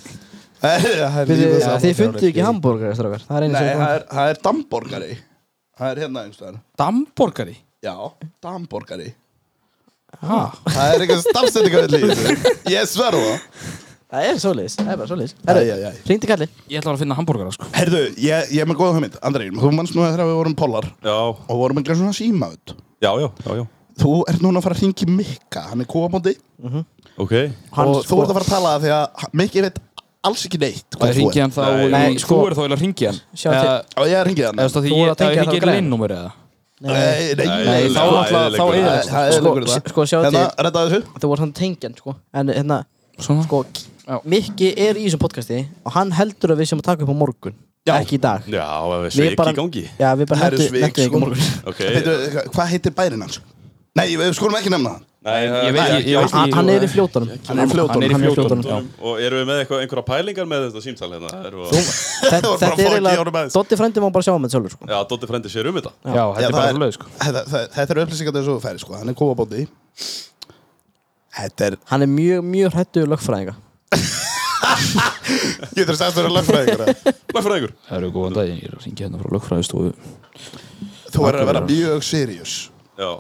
[SPEAKER 4] Það er- það er
[SPEAKER 2] Við-
[SPEAKER 4] lífið saman.
[SPEAKER 2] Þið fundu ekki hambúrgar, strákar Það er einu
[SPEAKER 4] Nei,
[SPEAKER 2] sem
[SPEAKER 4] það er, það er damborgari Það er hérna einhvers vegar
[SPEAKER 1] Damborgari?
[SPEAKER 4] Já, damborgari Það er eitthvað stafsendingavill í þessu Ég sverðu það
[SPEAKER 2] Það er svoleiðis, það er bara svoleiðis
[SPEAKER 4] Æ, æ, æ.
[SPEAKER 2] Herru, hringdu kalli
[SPEAKER 1] Ég ætla að finna hambúrgara sko
[SPEAKER 4] Herðu, ég, ég er með góða hugmynd Andrei, þú manns nú þegar við vorum pollar
[SPEAKER 3] Já,
[SPEAKER 4] Og vorum eitthvað svona síma út
[SPEAKER 3] já, já, já, já.
[SPEAKER 4] Þú ert núna að fara að ringi Mikka Hann er kóabóndi
[SPEAKER 3] Ok
[SPEAKER 2] Hann
[SPEAKER 4] Og þú
[SPEAKER 2] sko-
[SPEAKER 4] ert að fara að tala af því að Mikki veit alls ekki
[SPEAKER 1] Það
[SPEAKER 4] neitt hvað þú
[SPEAKER 1] ringi
[SPEAKER 4] ert
[SPEAKER 1] hann þá
[SPEAKER 3] Nei,
[SPEAKER 1] Nei,
[SPEAKER 2] nei,
[SPEAKER 1] sko
[SPEAKER 2] sko-
[SPEAKER 1] er þá eiginlega ringi hann
[SPEAKER 2] Sjá
[SPEAKER 1] Eða-
[SPEAKER 2] til-
[SPEAKER 4] Og ég ringi hann
[SPEAKER 1] eða þú veist að því
[SPEAKER 2] Þú voru
[SPEAKER 1] ég
[SPEAKER 2] að tengja
[SPEAKER 1] ringi
[SPEAKER 2] þá
[SPEAKER 1] ekki
[SPEAKER 2] græn.
[SPEAKER 1] linnúmer eða
[SPEAKER 4] Nei, nei,
[SPEAKER 3] Nei,
[SPEAKER 1] Nei, þá
[SPEAKER 3] það
[SPEAKER 1] náttúrulega, þá eða
[SPEAKER 3] eyðileggur það.
[SPEAKER 4] Það er leikur
[SPEAKER 2] Sko,
[SPEAKER 4] þetta
[SPEAKER 2] sko sjá
[SPEAKER 4] Hérna,
[SPEAKER 2] til
[SPEAKER 4] redda þessu
[SPEAKER 2] Þú voru hann tengjan, sko En hérna,
[SPEAKER 1] Svona
[SPEAKER 2] sko Mikki er í þessum podcasti Og hann heldur að við séum að taka upp á morgun Ekki í dag
[SPEAKER 3] Já, það er
[SPEAKER 2] Við
[SPEAKER 3] sveik
[SPEAKER 2] bara-
[SPEAKER 3] í gangi
[SPEAKER 2] Já, við bara
[SPEAKER 4] Það eru
[SPEAKER 2] hendur
[SPEAKER 4] svik,
[SPEAKER 2] Hendur ekki á
[SPEAKER 4] sko.
[SPEAKER 2] morgun
[SPEAKER 3] Ok
[SPEAKER 4] (laughs) Veitu, hva- Hvað heitir bærin hans? Nei, við skulum ekki nefna það
[SPEAKER 3] Nei,
[SPEAKER 1] Ég veit, ég, ég
[SPEAKER 2] Hann-
[SPEAKER 1] veist
[SPEAKER 2] Hann hann er í fljótanum
[SPEAKER 4] eh? Hann er í fljótunum.
[SPEAKER 1] Hann er í fljótunum,
[SPEAKER 2] já.
[SPEAKER 3] Og eru við með eitthvað, einhverja pælingar með þetta símtal hérna? Erum við að-
[SPEAKER 2] Þetta
[SPEAKER 4] voru bara
[SPEAKER 2] þetta er
[SPEAKER 4] að fá að gefa honum
[SPEAKER 2] eiginlega
[SPEAKER 4] aðeins.
[SPEAKER 2] Dotti frændi má bara sjá um þetta sjálfur, sko
[SPEAKER 3] Já, Dóttir frendi sér um þetta
[SPEAKER 1] Já, þetta
[SPEAKER 4] Já,
[SPEAKER 1] er
[SPEAKER 4] það
[SPEAKER 1] bara
[SPEAKER 4] er-
[SPEAKER 1] svo leið sko
[SPEAKER 4] Þetta það- þetta eru upplýsingar þessu þú færi sko Hann er kóabóndi Þetta er
[SPEAKER 2] Hann er mjög, mjög hrættu lögfræðinga
[SPEAKER 4] Ég þarf að segja þetta er lögfræðingur
[SPEAKER 3] Lægfræðingur
[SPEAKER 1] Það eru góðan daginn, ég er að ringi hérna frá lögfræðistofu
[SPEAKER 4] Þú verður að vera mjög serious
[SPEAKER 3] Já,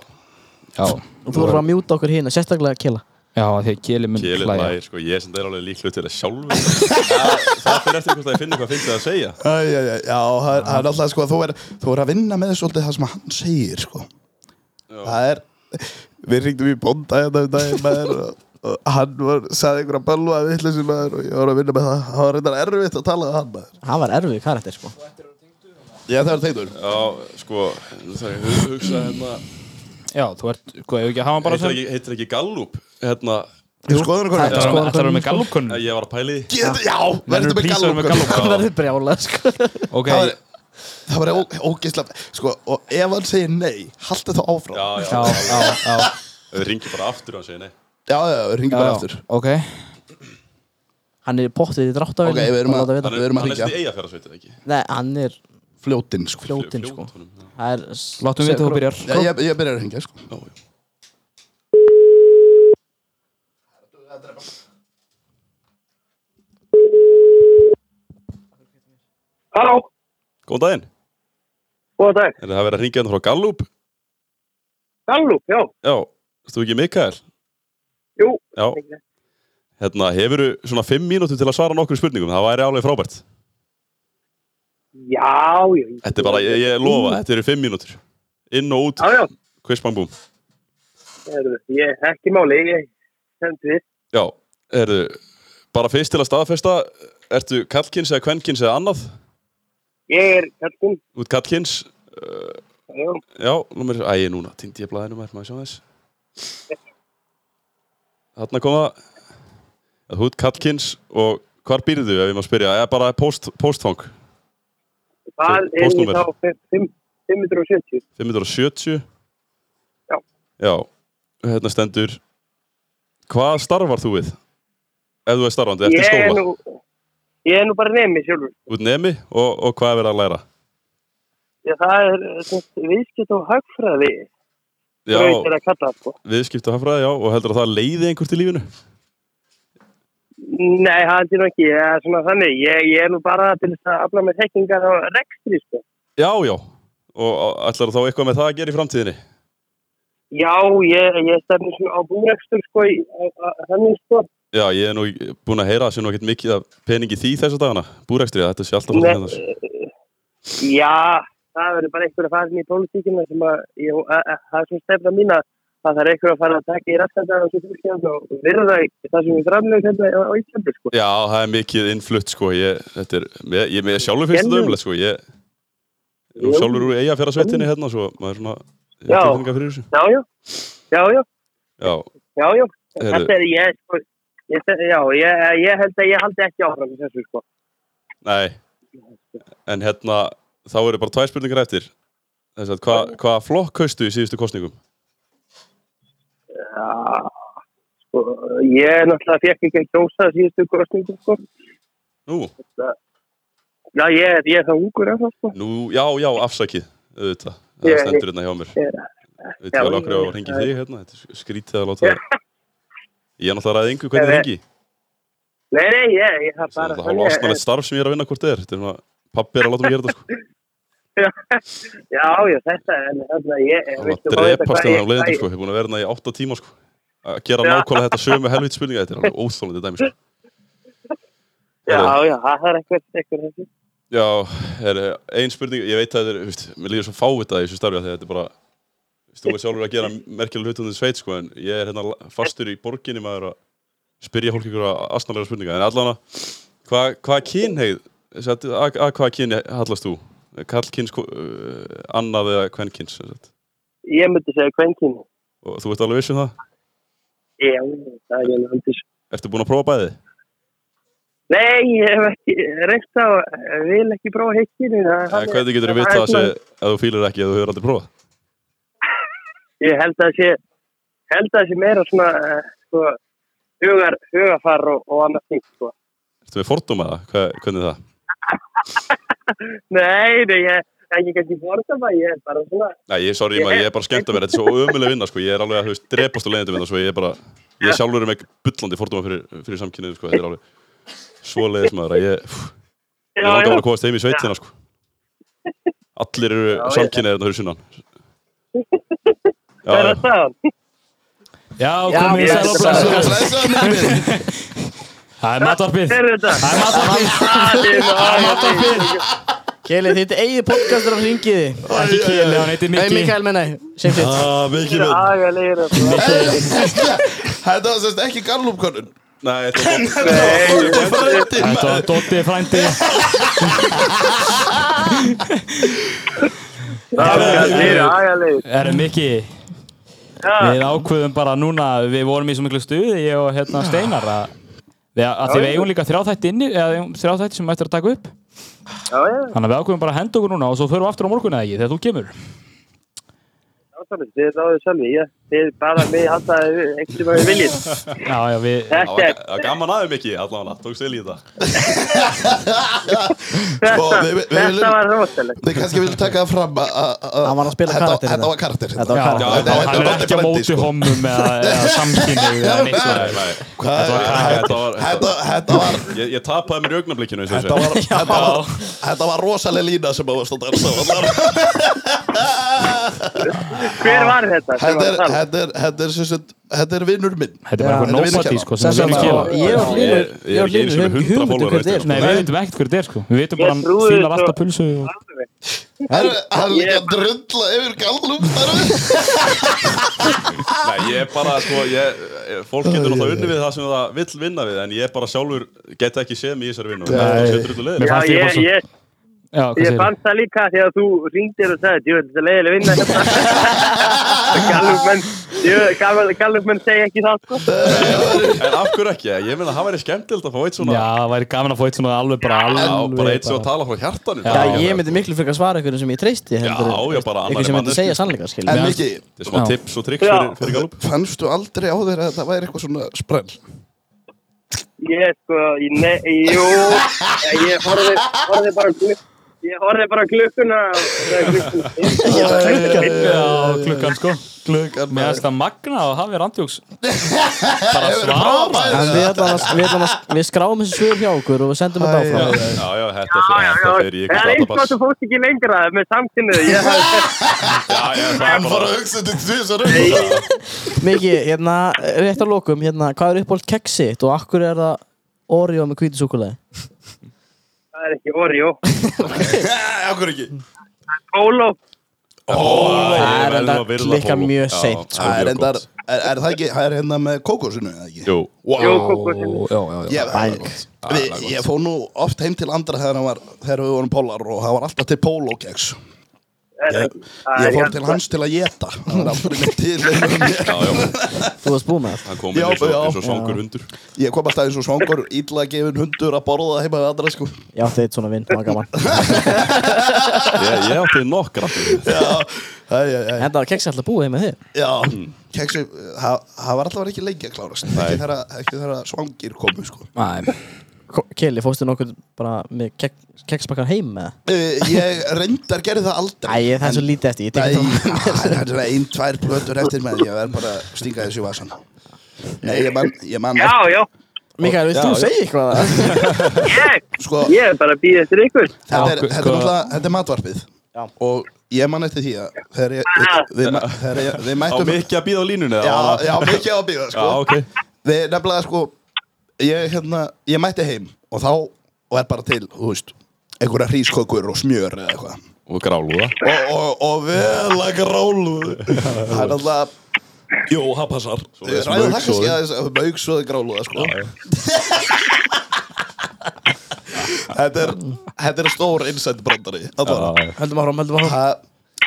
[SPEAKER 1] Já,
[SPEAKER 2] Og þú voru að mjúta okkur hérna, sérstaklega Kela
[SPEAKER 1] já, af því að keli minn
[SPEAKER 3] kélið
[SPEAKER 1] hlæja
[SPEAKER 3] lægir sko Ég er sem það er alveg líklu til það sjálfur (laughs) Það- Það fyrir eftir hvort að ég finna hvað finnst það að segja
[SPEAKER 4] Æ, æ, æ, Já, það er- það er alltaf sko Þú verður þú verður að vinna með svolítið það sem hann segir sko Það er Við ringdum í bónda hérna um daginn maður og, og hann var, sagði einhverja bölva vittleysi maður og ég var að vinna með það Það var reyndar erfitt að tala við hann maður
[SPEAKER 2] Hann var erfið karakter, sko
[SPEAKER 4] Já, það var tegnur
[SPEAKER 3] Já, sko, það er að hugsa hérna
[SPEAKER 1] Já, þú ert, hvað, hefur ekki að hafa hann bara
[SPEAKER 3] Heitir
[SPEAKER 1] sem
[SPEAKER 3] ekki, heitir ekki Gallup Hérna,
[SPEAKER 4] Ég skoður hann
[SPEAKER 1] Þetta
[SPEAKER 4] hvernig
[SPEAKER 1] er að vera með gallupkunn
[SPEAKER 3] ég var að pæli því
[SPEAKER 4] Get- Já, verður með
[SPEAKER 1] please, verður með
[SPEAKER 4] gallup
[SPEAKER 2] Hann verður brjálað, sko
[SPEAKER 1] Ok,
[SPEAKER 4] Það var, það var ó- ógeðslega Sko, og ef hann segir nei Haltu þá áfram
[SPEAKER 3] Já,
[SPEAKER 4] Já,
[SPEAKER 3] já,
[SPEAKER 1] já, já, já
[SPEAKER 3] Þau ringi bara aftur og hann segir nei
[SPEAKER 4] já, já ringi
[SPEAKER 1] Já,
[SPEAKER 4] bara
[SPEAKER 1] já,
[SPEAKER 4] aftur
[SPEAKER 1] Ok,
[SPEAKER 2] Hann er pottið í dráttavíl
[SPEAKER 4] Ok, við erum að-
[SPEAKER 2] að
[SPEAKER 4] Við erum að
[SPEAKER 3] Hann er
[SPEAKER 4] hringja.
[SPEAKER 3] sem í Eyjafjörðarsveitin, ekki?
[SPEAKER 2] Nei, hann er
[SPEAKER 4] Fljótin, sko
[SPEAKER 2] fljótinn, sko
[SPEAKER 3] Fljótunum, já.
[SPEAKER 2] Það er
[SPEAKER 1] láttum við
[SPEAKER 2] Segðu
[SPEAKER 1] þetta þú byrjar
[SPEAKER 4] Já, ég, ég byrjar að hringja, sko
[SPEAKER 3] Já, já.
[SPEAKER 6] Halló,
[SPEAKER 3] Góðan daginn,
[SPEAKER 6] góðan dag.
[SPEAKER 3] er það verið að ringja hann frá Gallup?
[SPEAKER 6] Gallup, já.
[SPEAKER 3] Já, þú ekki Mikael?
[SPEAKER 6] Jú.
[SPEAKER 3] Já, hérna, hefurðu svona fimm mínútur til að svara nokkur spurningum, það væri alveg frábært
[SPEAKER 6] Já, já.
[SPEAKER 3] Þetta er bara, ég, ég lofa, þetta eru fimm mínútur Inn og út,
[SPEAKER 6] Já, já.
[SPEAKER 3] kvistbangbúm
[SPEAKER 6] Heyrðu, Ég ekki máli, ég sendi þið.
[SPEAKER 3] Já, erðu, bara fyrst til að staðfesta Ertu kallkins eða kvenkins eða annað?
[SPEAKER 6] Ég er kallinn.
[SPEAKER 3] Út kallkins,
[SPEAKER 6] Já,
[SPEAKER 3] já, númer, æ, núna, týndi ég blæðinu maður, maður sjá þess Þarna koma að hút kallkins og hvar býrðu ef ég má spyrja, eða bara post, postfang
[SPEAKER 6] það er ég
[SPEAKER 3] póstnúmer.
[SPEAKER 6] þá fimm- fimm- 570.
[SPEAKER 3] 570
[SPEAKER 6] Já.
[SPEAKER 3] Já, hérna stendur Hvað starfar þú við? Ef þú er starfandi, eftir
[SPEAKER 6] Ég er
[SPEAKER 3] skóla
[SPEAKER 6] nú, ég er nú bara nemi sjálfur.
[SPEAKER 3] Út nemi og, og hvað er verið að læra?
[SPEAKER 6] Ég, það er þetta viðskipt og hagfræði.
[SPEAKER 3] Já,
[SPEAKER 6] Braut er að kalla það, sko.
[SPEAKER 3] viðskipt og hafræði, já, og heldur að það leiði einhvert í lífinu
[SPEAKER 6] Nei, það er nú ekki. Ég er svona þannig. Ég, ég er nú bara til þess að afla með þekkingar á rekstri, sko.
[SPEAKER 3] Já, já, og ætlar þá eitthvað með það að gera í framtíðinni
[SPEAKER 6] Já, ég, ég stefnir svona á búrekstur, sko, í- á- á- þannig, sko.
[SPEAKER 3] Já, ég er nú búin að heyra að sé nú ekkert mikið af peningi í því þessu dagana Búrekstri, þetta sé alltaf
[SPEAKER 6] Nei,
[SPEAKER 3] svona hérna
[SPEAKER 6] Já, það verður bara einhver að fara inn í pólitíkina sem að, ég, að, að, það er svona stefna mín að það þarf einhver að fara að taka í rættandar og svo fyrst hérna og virða það sem við framlegum hérna á- á Íslandi, sko.
[SPEAKER 3] Já, það er mikið innflutt, sko Ég, þetta er, ég, ég, ég sjálfur finnst þetta
[SPEAKER 6] Gerðu.
[SPEAKER 3] umlega, sko Ég er nú
[SPEAKER 6] Jú.
[SPEAKER 3] sjálfur úr eiga fyrir hérna, svo maður er svona ég
[SPEAKER 6] Já.
[SPEAKER 3] er tilfinningar fyrir þessu.
[SPEAKER 6] Já, já, já, já,
[SPEAKER 3] Já,
[SPEAKER 6] já, já,
[SPEAKER 3] Heyrðu.
[SPEAKER 6] þetta er ég, sko, ég, ste- já, ég, ég held að ég haldi ekki áfram með þessu, sko.
[SPEAKER 3] nei En hérna, þá eru bara tvær spurningar eftir Þess að, hva, hvaða flokk kaustu í síðustu kostningum?
[SPEAKER 6] Já, sko, ég náttúrulega fekk ekki að kjósa síðustu kostningu, sko.
[SPEAKER 3] Nú,
[SPEAKER 6] Já, ég, ég er það ungur af það, sko.
[SPEAKER 3] nú, já, já, afsakið auðvitað, það
[SPEAKER 6] Ég-
[SPEAKER 3] stendur hérna hjá mér
[SPEAKER 6] Ég,
[SPEAKER 3] Veit
[SPEAKER 6] Já,
[SPEAKER 3] ég alveg okkur á
[SPEAKER 6] ég-
[SPEAKER 3] að ringi þig hérna Þetta er skrítið að láta það Ég er náttúrulega að yngu
[SPEAKER 6] Ég-
[SPEAKER 3] hvernig ringi
[SPEAKER 6] nei, nei, ég, ég það
[SPEAKER 3] Það er
[SPEAKER 6] bara...
[SPEAKER 3] náttúrulega hálfa astanlegt starf sem ég er að vinna hvort þið er Þetta er svona, pappi er að láta mig gera þetta sko
[SPEAKER 6] Já, já, þetta er, þarna, ég,
[SPEAKER 3] um Það er að drepast hérna á leiðinu sko Ég er búin að vera hérna í 8 tíma sko að gera
[SPEAKER 6] Já.
[SPEAKER 3] nákvæmlega þetta sömu helvit spurninga þetta er alveg sko. óþólandi dæmis
[SPEAKER 6] Já, já, það er eitthvað, eitthvað þessi.
[SPEAKER 3] já, er eh, ein spurning ég veit að þetta er, þú veist, mér líður svo fávitað í þessu starfi af því að þetta er bara þú veist, þú er sjálfur að gera merkilega hlutum þess veit sko en ég er hérna fastur í borginni maður að spyrja fólk ykkur að asnalega spurninga en allan að hvað hva kynheið að, að, að hvað kyni hallast þú? Kallkyns, uh, annað eða kvenkyns sem sagt.
[SPEAKER 6] Ég myndi segja kvenkynu.
[SPEAKER 3] og þú ert alveg viss um það?
[SPEAKER 6] Já, það er ég náttúrulega.
[SPEAKER 3] Ertu búin að prófa bæði?
[SPEAKER 6] Nei, ég hef ekki reynt á, vil ekki prófa heitt kynu.
[SPEAKER 3] En Eh, hvernig getur þú vita að, sé, að þú fýlar ekki að þú hefur aldrei prófað?
[SPEAKER 6] Ég held að það sé, held að það sé meira svona, eh, sko, hugar, hugarfar og, og annað því, sko.
[SPEAKER 3] Ertu með fordóma það? Hva, hvernig er það?
[SPEAKER 6] Nei, nei, ég, en ég get ekki borða það, ég er bara svona,
[SPEAKER 3] Nei, ég, sorry, maður, ég er bara skemmt að vera, þetta er svo ömuleg vinna, sko, ég er alveg að, þú veist, drepast á leiðandi vinna, svo ég er bara, ég sjálfur er með bullandi fordóma fyrir, fyrir samkynnið, sko, þetta er alveg svo leiðis maður að ég, pff, ég
[SPEAKER 6] Já,
[SPEAKER 3] langar
[SPEAKER 6] já.
[SPEAKER 3] bara að komast heim í sveitina, sko. Allir eru
[SPEAKER 6] Já, ég-
[SPEAKER 3] samkynnið þarna fyrir sunnan. Já,
[SPEAKER 6] það er
[SPEAKER 3] já,
[SPEAKER 6] að staðan.
[SPEAKER 1] Já, komið í
[SPEAKER 6] ég-
[SPEAKER 1] sæl og
[SPEAKER 4] Blessaður,
[SPEAKER 1] blessaður.
[SPEAKER 4] blessaður, minn minn.
[SPEAKER 1] Það er matvarpið
[SPEAKER 6] Hver er þetta?
[SPEAKER 1] Það er matvarpið
[SPEAKER 6] Það er matafyr.
[SPEAKER 2] Keli, þitt eigið podcastur af ringiði
[SPEAKER 1] Ekki kýli, hann heitir
[SPEAKER 2] Nei,
[SPEAKER 1] Mikki
[SPEAKER 2] Mikael menna, sem þitt
[SPEAKER 3] Ah, mikið minn.
[SPEAKER 6] Agalegir að
[SPEAKER 4] Þetta var sérst ekki gallupkonun
[SPEAKER 3] Nei, þetta er
[SPEAKER 6] (laughs)
[SPEAKER 3] bara-
[SPEAKER 1] Þetta var Dótti frændi
[SPEAKER 6] Agalegir, agalegir.
[SPEAKER 1] Erum Mikki Við ákveðum bara núna Við vorum í svo miklu stuði Ég og hérna Steinar að Við, að því við eigum líka þrjáþætti inni eða við eigum þrjáþætti sem við ættum að taka upp
[SPEAKER 6] Já, já,
[SPEAKER 1] þannig að við ákveðum bara að henda okkur núna og svo förum við aftur á morgun eða ekki þegar þú kemur
[SPEAKER 6] ástæðan, þið ráðu sjálfi, ég, þið bara mig haldaði ekki sem að við viljið.
[SPEAKER 1] já, já, við,
[SPEAKER 3] Það
[SPEAKER 6] Þetta
[SPEAKER 3] var-
[SPEAKER 6] er,
[SPEAKER 3] það var gaman aðeins mikið, allavega, tókst vel í þetta.
[SPEAKER 4] Og við-
[SPEAKER 6] þetta,
[SPEAKER 4] við- við
[SPEAKER 6] þetta
[SPEAKER 4] viljum-
[SPEAKER 6] var rosalegt.
[SPEAKER 4] Þið kannski vil taka það fram að
[SPEAKER 2] Hann var að spila karakter
[SPEAKER 4] Þetta
[SPEAKER 2] hérna.
[SPEAKER 4] var karakter
[SPEAKER 2] Þetta var
[SPEAKER 1] já,
[SPEAKER 2] karakter.
[SPEAKER 1] já,
[SPEAKER 4] þetta-
[SPEAKER 1] hann er
[SPEAKER 4] þetta-
[SPEAKER 1] ekki á
[SPEAKER 4] þetta-
[SPEAKER 1] móti
[SPEAKER 4] sko.
[SPEAKER 1] homum eða, eða samkynni eða neitt svo
[SPEAKER 3] Nei, nei,
[SPEAKER 4] Hvað-
[SPEAKER 3] þetta var-
[SPEAKER 4] þetta- Þetta þetta var
[SPEAKER 3] ég, ég tapaði mér í augnablikinu, eins og
[SPEAKER 4] Þetta
[SPEAKER 3] þessu.
[SPEAKER 4] (laughs) var, þetta var, þetta var rosalega lína sem að varst að dansa á þarna.
[SPEAKER 6] Hver var þetta? sem
[SPEAKER 4] Þetta er,
[SPEAKER 6] var að tala?
[SPEAKER 4] þetta er, þetta er, sem sagt- þetta er vinnur minn
[SPEAKER 1] þetta er bara eitthvað
[SPEAKER 2] Já.
[SPEAKER 4] Þetta er
[SPEAKER 1] nobody
[SPEAKER 4] vinnukennar.
[SPEAKER 1] sko sem
[SPEAKER 2] Sem
[SPEAKER 1] við
[SPEAKER 2] sem
[SPEAKER 1] viljum
[SPEAKER 2] sko,
[SPEAKER 1] skilja
[SPEAKER 2] ég og
[SPEAKER 3] Ég-
[SPEAKER 2] Hlynur
[SPEAKER 3] ég
[SPEAKER 2] Ég
[SPEAKER 3] er
[SPEAKER 2] og
[SPEAKER 3] ekki einu
[SPEAKER 2] Hlynur
[SPEAKER 3] sinni
[SPEAKER 2] höfum
[SPEAKER 3] með
[SPEAKER 2] ekki
[SPEAKER 3] 100
[SPEAKER 2] hugmynd um
[SPEAKER 3] follower á
[SPEAKER 2] hvert er
[SPEAKER 3] Instagram.
[SPEAKER 2] sko.
[SPEAKER 1] Nei, við veitum ekkert hver þetta er sko Við veitum bara
[SPEAKER 6] Ég
[SPEAKER 1] hann
[SPEAKER 6] trúi
[SPEAKER 1] fílar
[SPEAKER 6] svo-
[SPEAKER 1] alltaf pulsu og...
[SPEAKER 4] Hann er hann er líka að drulla yfir gallum þar
[SPEAKER 3] Nei, ég er bara, sko, ég, fólk getur náttúrulega unni við það sem það vill vinna við, en ég er bara sjálfur get ekki séð mig í þessari vinnu. Það er sér drullu
[SPEAKER 1] Mér
[SPEAKER 3] leiðir.
[SPEAKER 1] fannst
[SPEAKER 6] Já,
[SPEAKER 1] ég bara
[SPEAKER 6] ég,
[SPEAKER 1] svo
[SPEAKER 6] ég,
[SPEAKER 1] Já, hvað
[SPEAKER 6] ég
[SPEAKER 1] segir
[SPEAKER 6] fann það líka því að þú ringdir og sagði, jú, þetta er leiðileg vinna hérna." Gallup menn, jú, Gallup- Gallup menn segja ekki það, sko.
[SPEAKER 3] En af hverju ekki? Ég meina, það væri skemmtilegt að fá eitt svona,
[SPEAKER 1] Já, það væri gaman að fá eitt svona alveg bara
[SPEAKER 3] já,
[SPEAKER 1] alveg
[SPEAKER 3] bara eitt sem að tala frá hjartanum.
[SPEAKER 2] Já, ég myndi miklu frekar svara einhverjum sem ég treysti heldur en
[SPEAKER 3] Já, já, bara
[SPEAKER 2] einhverjum
[SPEAKER 3] annarri
[SPEAKER 2] sem myndi
[SPEAKER 3] manneskju.
[SPEAKER 2] segja sannleika skil
[SPEAKER 4] En Miki,
[SPEAKER 3] Þetta er smá
[SPEAKER 1] Já.
[SPEAKER 3] tips og trikk fyrir,
[SPEAKER 6] Já.
[SPEAKER 3] fyrir galup.
[SPEAKER 4] fannstu aldrei á þér að það væri eitthvað svona sprell?
[SPEAKER 6] Ég, sko, ég, ne, jú, ég horfði, horfði bara á glukk. Ég horfði bara á klukkuna og það er klukkun.
[SPEAKER 1] Já, klukkan sko Mér
[SPEAKER 4] Klukkan maður.
[SPEAKER 1] finnst það magna og hafi randjóks Bara
[SPEAKER 4] Prófa
[SPEAKER 1] svara
[SPEAKER 4] bæði.
[SPEAKER 2] En við allan að- við allan að- við skráum þessi svör hjá okkur og við sendum þetta
[SPEAKER 4] Æ,
[SPEAKER 2] áfram
[SPEAKER 3] Já, já, þetta
[SPEAKER 6] Já, já,
[SPEAKER 3] fer-
[SPEAKER 6] já,
[SPEAKER 3] þetta fer í
[SPEAKER 6] það
[SPEAKER 3] ykkur
[SPEAKER 6] er eins og
[SPEAKER 3] databass.
[SPEAKER 6] þú fórst ekki lengra með samkynnið. Ég hafði
[SPEAKER 3] Já, já, það er
[SPEAKER 4] Hann fór
[SPEAKER 3] bara,
[SPEAKER 4] að
[SPEAKER 3] (laughs)
[SPEAKER 4] hugsa til því þessar auðvitað
[SPEAKER 2] Miki, hérna, rétt að lokum hérna, Hvað er uppáhald keksitt og akkur er það Oreo með kvítisúkulega?
[SPEAKER 6] það er ekki Oreo.
[SPEAKER 4] Akkur ekki
[SPEAKER 6] Ólof,
[SPEAKER 2] Það er
[SPEAKER 3] verðum
[SPEAKER 2] enda
[SPEAKER 3] að virða
[SPEAKER 2] klikka
[SPEAKER 3] Póló.
[SPEAKER 2] mjög
[SPEAKER 3] Já,
[SPEAKER 2] seint,
[SPEAKER 3] það
[SPEAKER 2] sko.
[SPEAKER 4] Það
[SPEAKER 3] mjög
[SPEAKER 4] er endar,
[SPEAKER 3] gott.
[SPEAKER 4] er, er það ekki, það er hérna með kókosinu eða ekki?
[SPEAKER 3] Jú,
[SPEAKER 6] jú, kókosinn.
[SPEAKER 7] já, já, já.
[SPEAKER 4] Ég,
[SPEAKER 2] Bæk.
[SPEAKER 4] við, ég fó nú oft heim til andra þegar, hann var, þegar við vorum pólar og það var alltaf til pólókeks
[SPEAKER 6] Það er- það er
[SPEAKER 4] Eh, Ég fór
[SPEAKER 6] jafn-
[SPEAKER 4] til hans til að geta Það var aldrei neitt til nema mér.
[SPEAKER 3] já, já,
[SPEAKER 2] Þú varst búið með allt.
[SPEAKER 3] hann kom
[SPEAKER 4] Já,
[SPEAKER 3] inn eins og-
[SPEAKER 4] já.
[SPEAKER 3] eins og svangur hundur.
[SPEAKER 4] Ég kom alltaf eins og svangur, illa gefin hundur að borða heima við andra sko
[SPEAKER 2] Ég átti eitt svona vind, það var (laughs) gaman.
[SPEAKER 3] Ég ég átti nokkra.
[SPEAKER 4] Já, æ, æ, æ.
[SPEAKER 2] En það var keksi alltaf búið heim með þig.
[SPEAKER 4] já Keksi, það það var alltaf ekki lengi að klárast Ekki þegar, að- ekki þegar að svangir komu sko
[SPEAKER 7] Nei,
[SPEAKER 2] Ko- Keli, fórstu nokkuð bara með kekspakkar heim með það?
[SPEAKER 4] Eh, Ég reyndar gerði það aldrei
[SPEAKER 2] Æ, ég- það er svo lítið eftir, ég
[SPEAKER 4] Nei,
[SPEAKER 2] tekið það.
[SPEAKER 4] (laughs) það er svona ein, tvær plötur eftir með ég verð bara að stinga þessu í vasan Nei, ég man, ég man
[SPEAKER 6] Já, já,
[SPEAKER 2] Mikael, vilt
[SPEAKER 4] Já,
[SPEAKER 2] þú
[SPEAKER 4] já.
[SPEAKER 2] segja (laughs) eitthvað?
[SPEAKER 6] ég,
[SPEAKER 4] Sko,
[SPEAKER 6] ég er bara að býða eftir ykkur.
[SPEAKER 1] Já,
[SPEAKER 4] þetta er, þetta er
[SPEAKER 1] sko-
[SPEAKER 4] náttúrulega, þetta er matvarpið
[SPEAKER 2] Já,
[SPEAKER 4] og ég man eftir því að þegar ég, við, ma- þegar ég, við
[SPEAKER 3] Á
[SPEAKER 4] mættum
[SPEAKER 3] mikið að býða á línunni
[SPEAKER 4] já, já, mikið á að
[SPEAKER 3] já,
[SPEAKER 4] bíða sko.
[SPEAKER 3] ok
[SPEAKER 4] við nefnilega sko ég, hérna, ég mætti heim og þá og er bara til, þú veist einhverja hrískokur og smjör eða eitthvað
[SPEAKER 3] Og gráluða
[SPEAKER 4] og, og, og vel að gráluðu það er alltaf Jó, það passar
[SPEAKER 3] Svoleiðis
[SPEAKER 4] Ræðu það kannski
[SPEAKER 3] mauksoðið.
[SPEAKER 4] aðeins að Mauksóði gráluða, sko Þetta er Þetta er stór insight brandari allavega.
[SPEAKER 2] Höldum áfram, höldum áfram
[SPEAKER 4] Það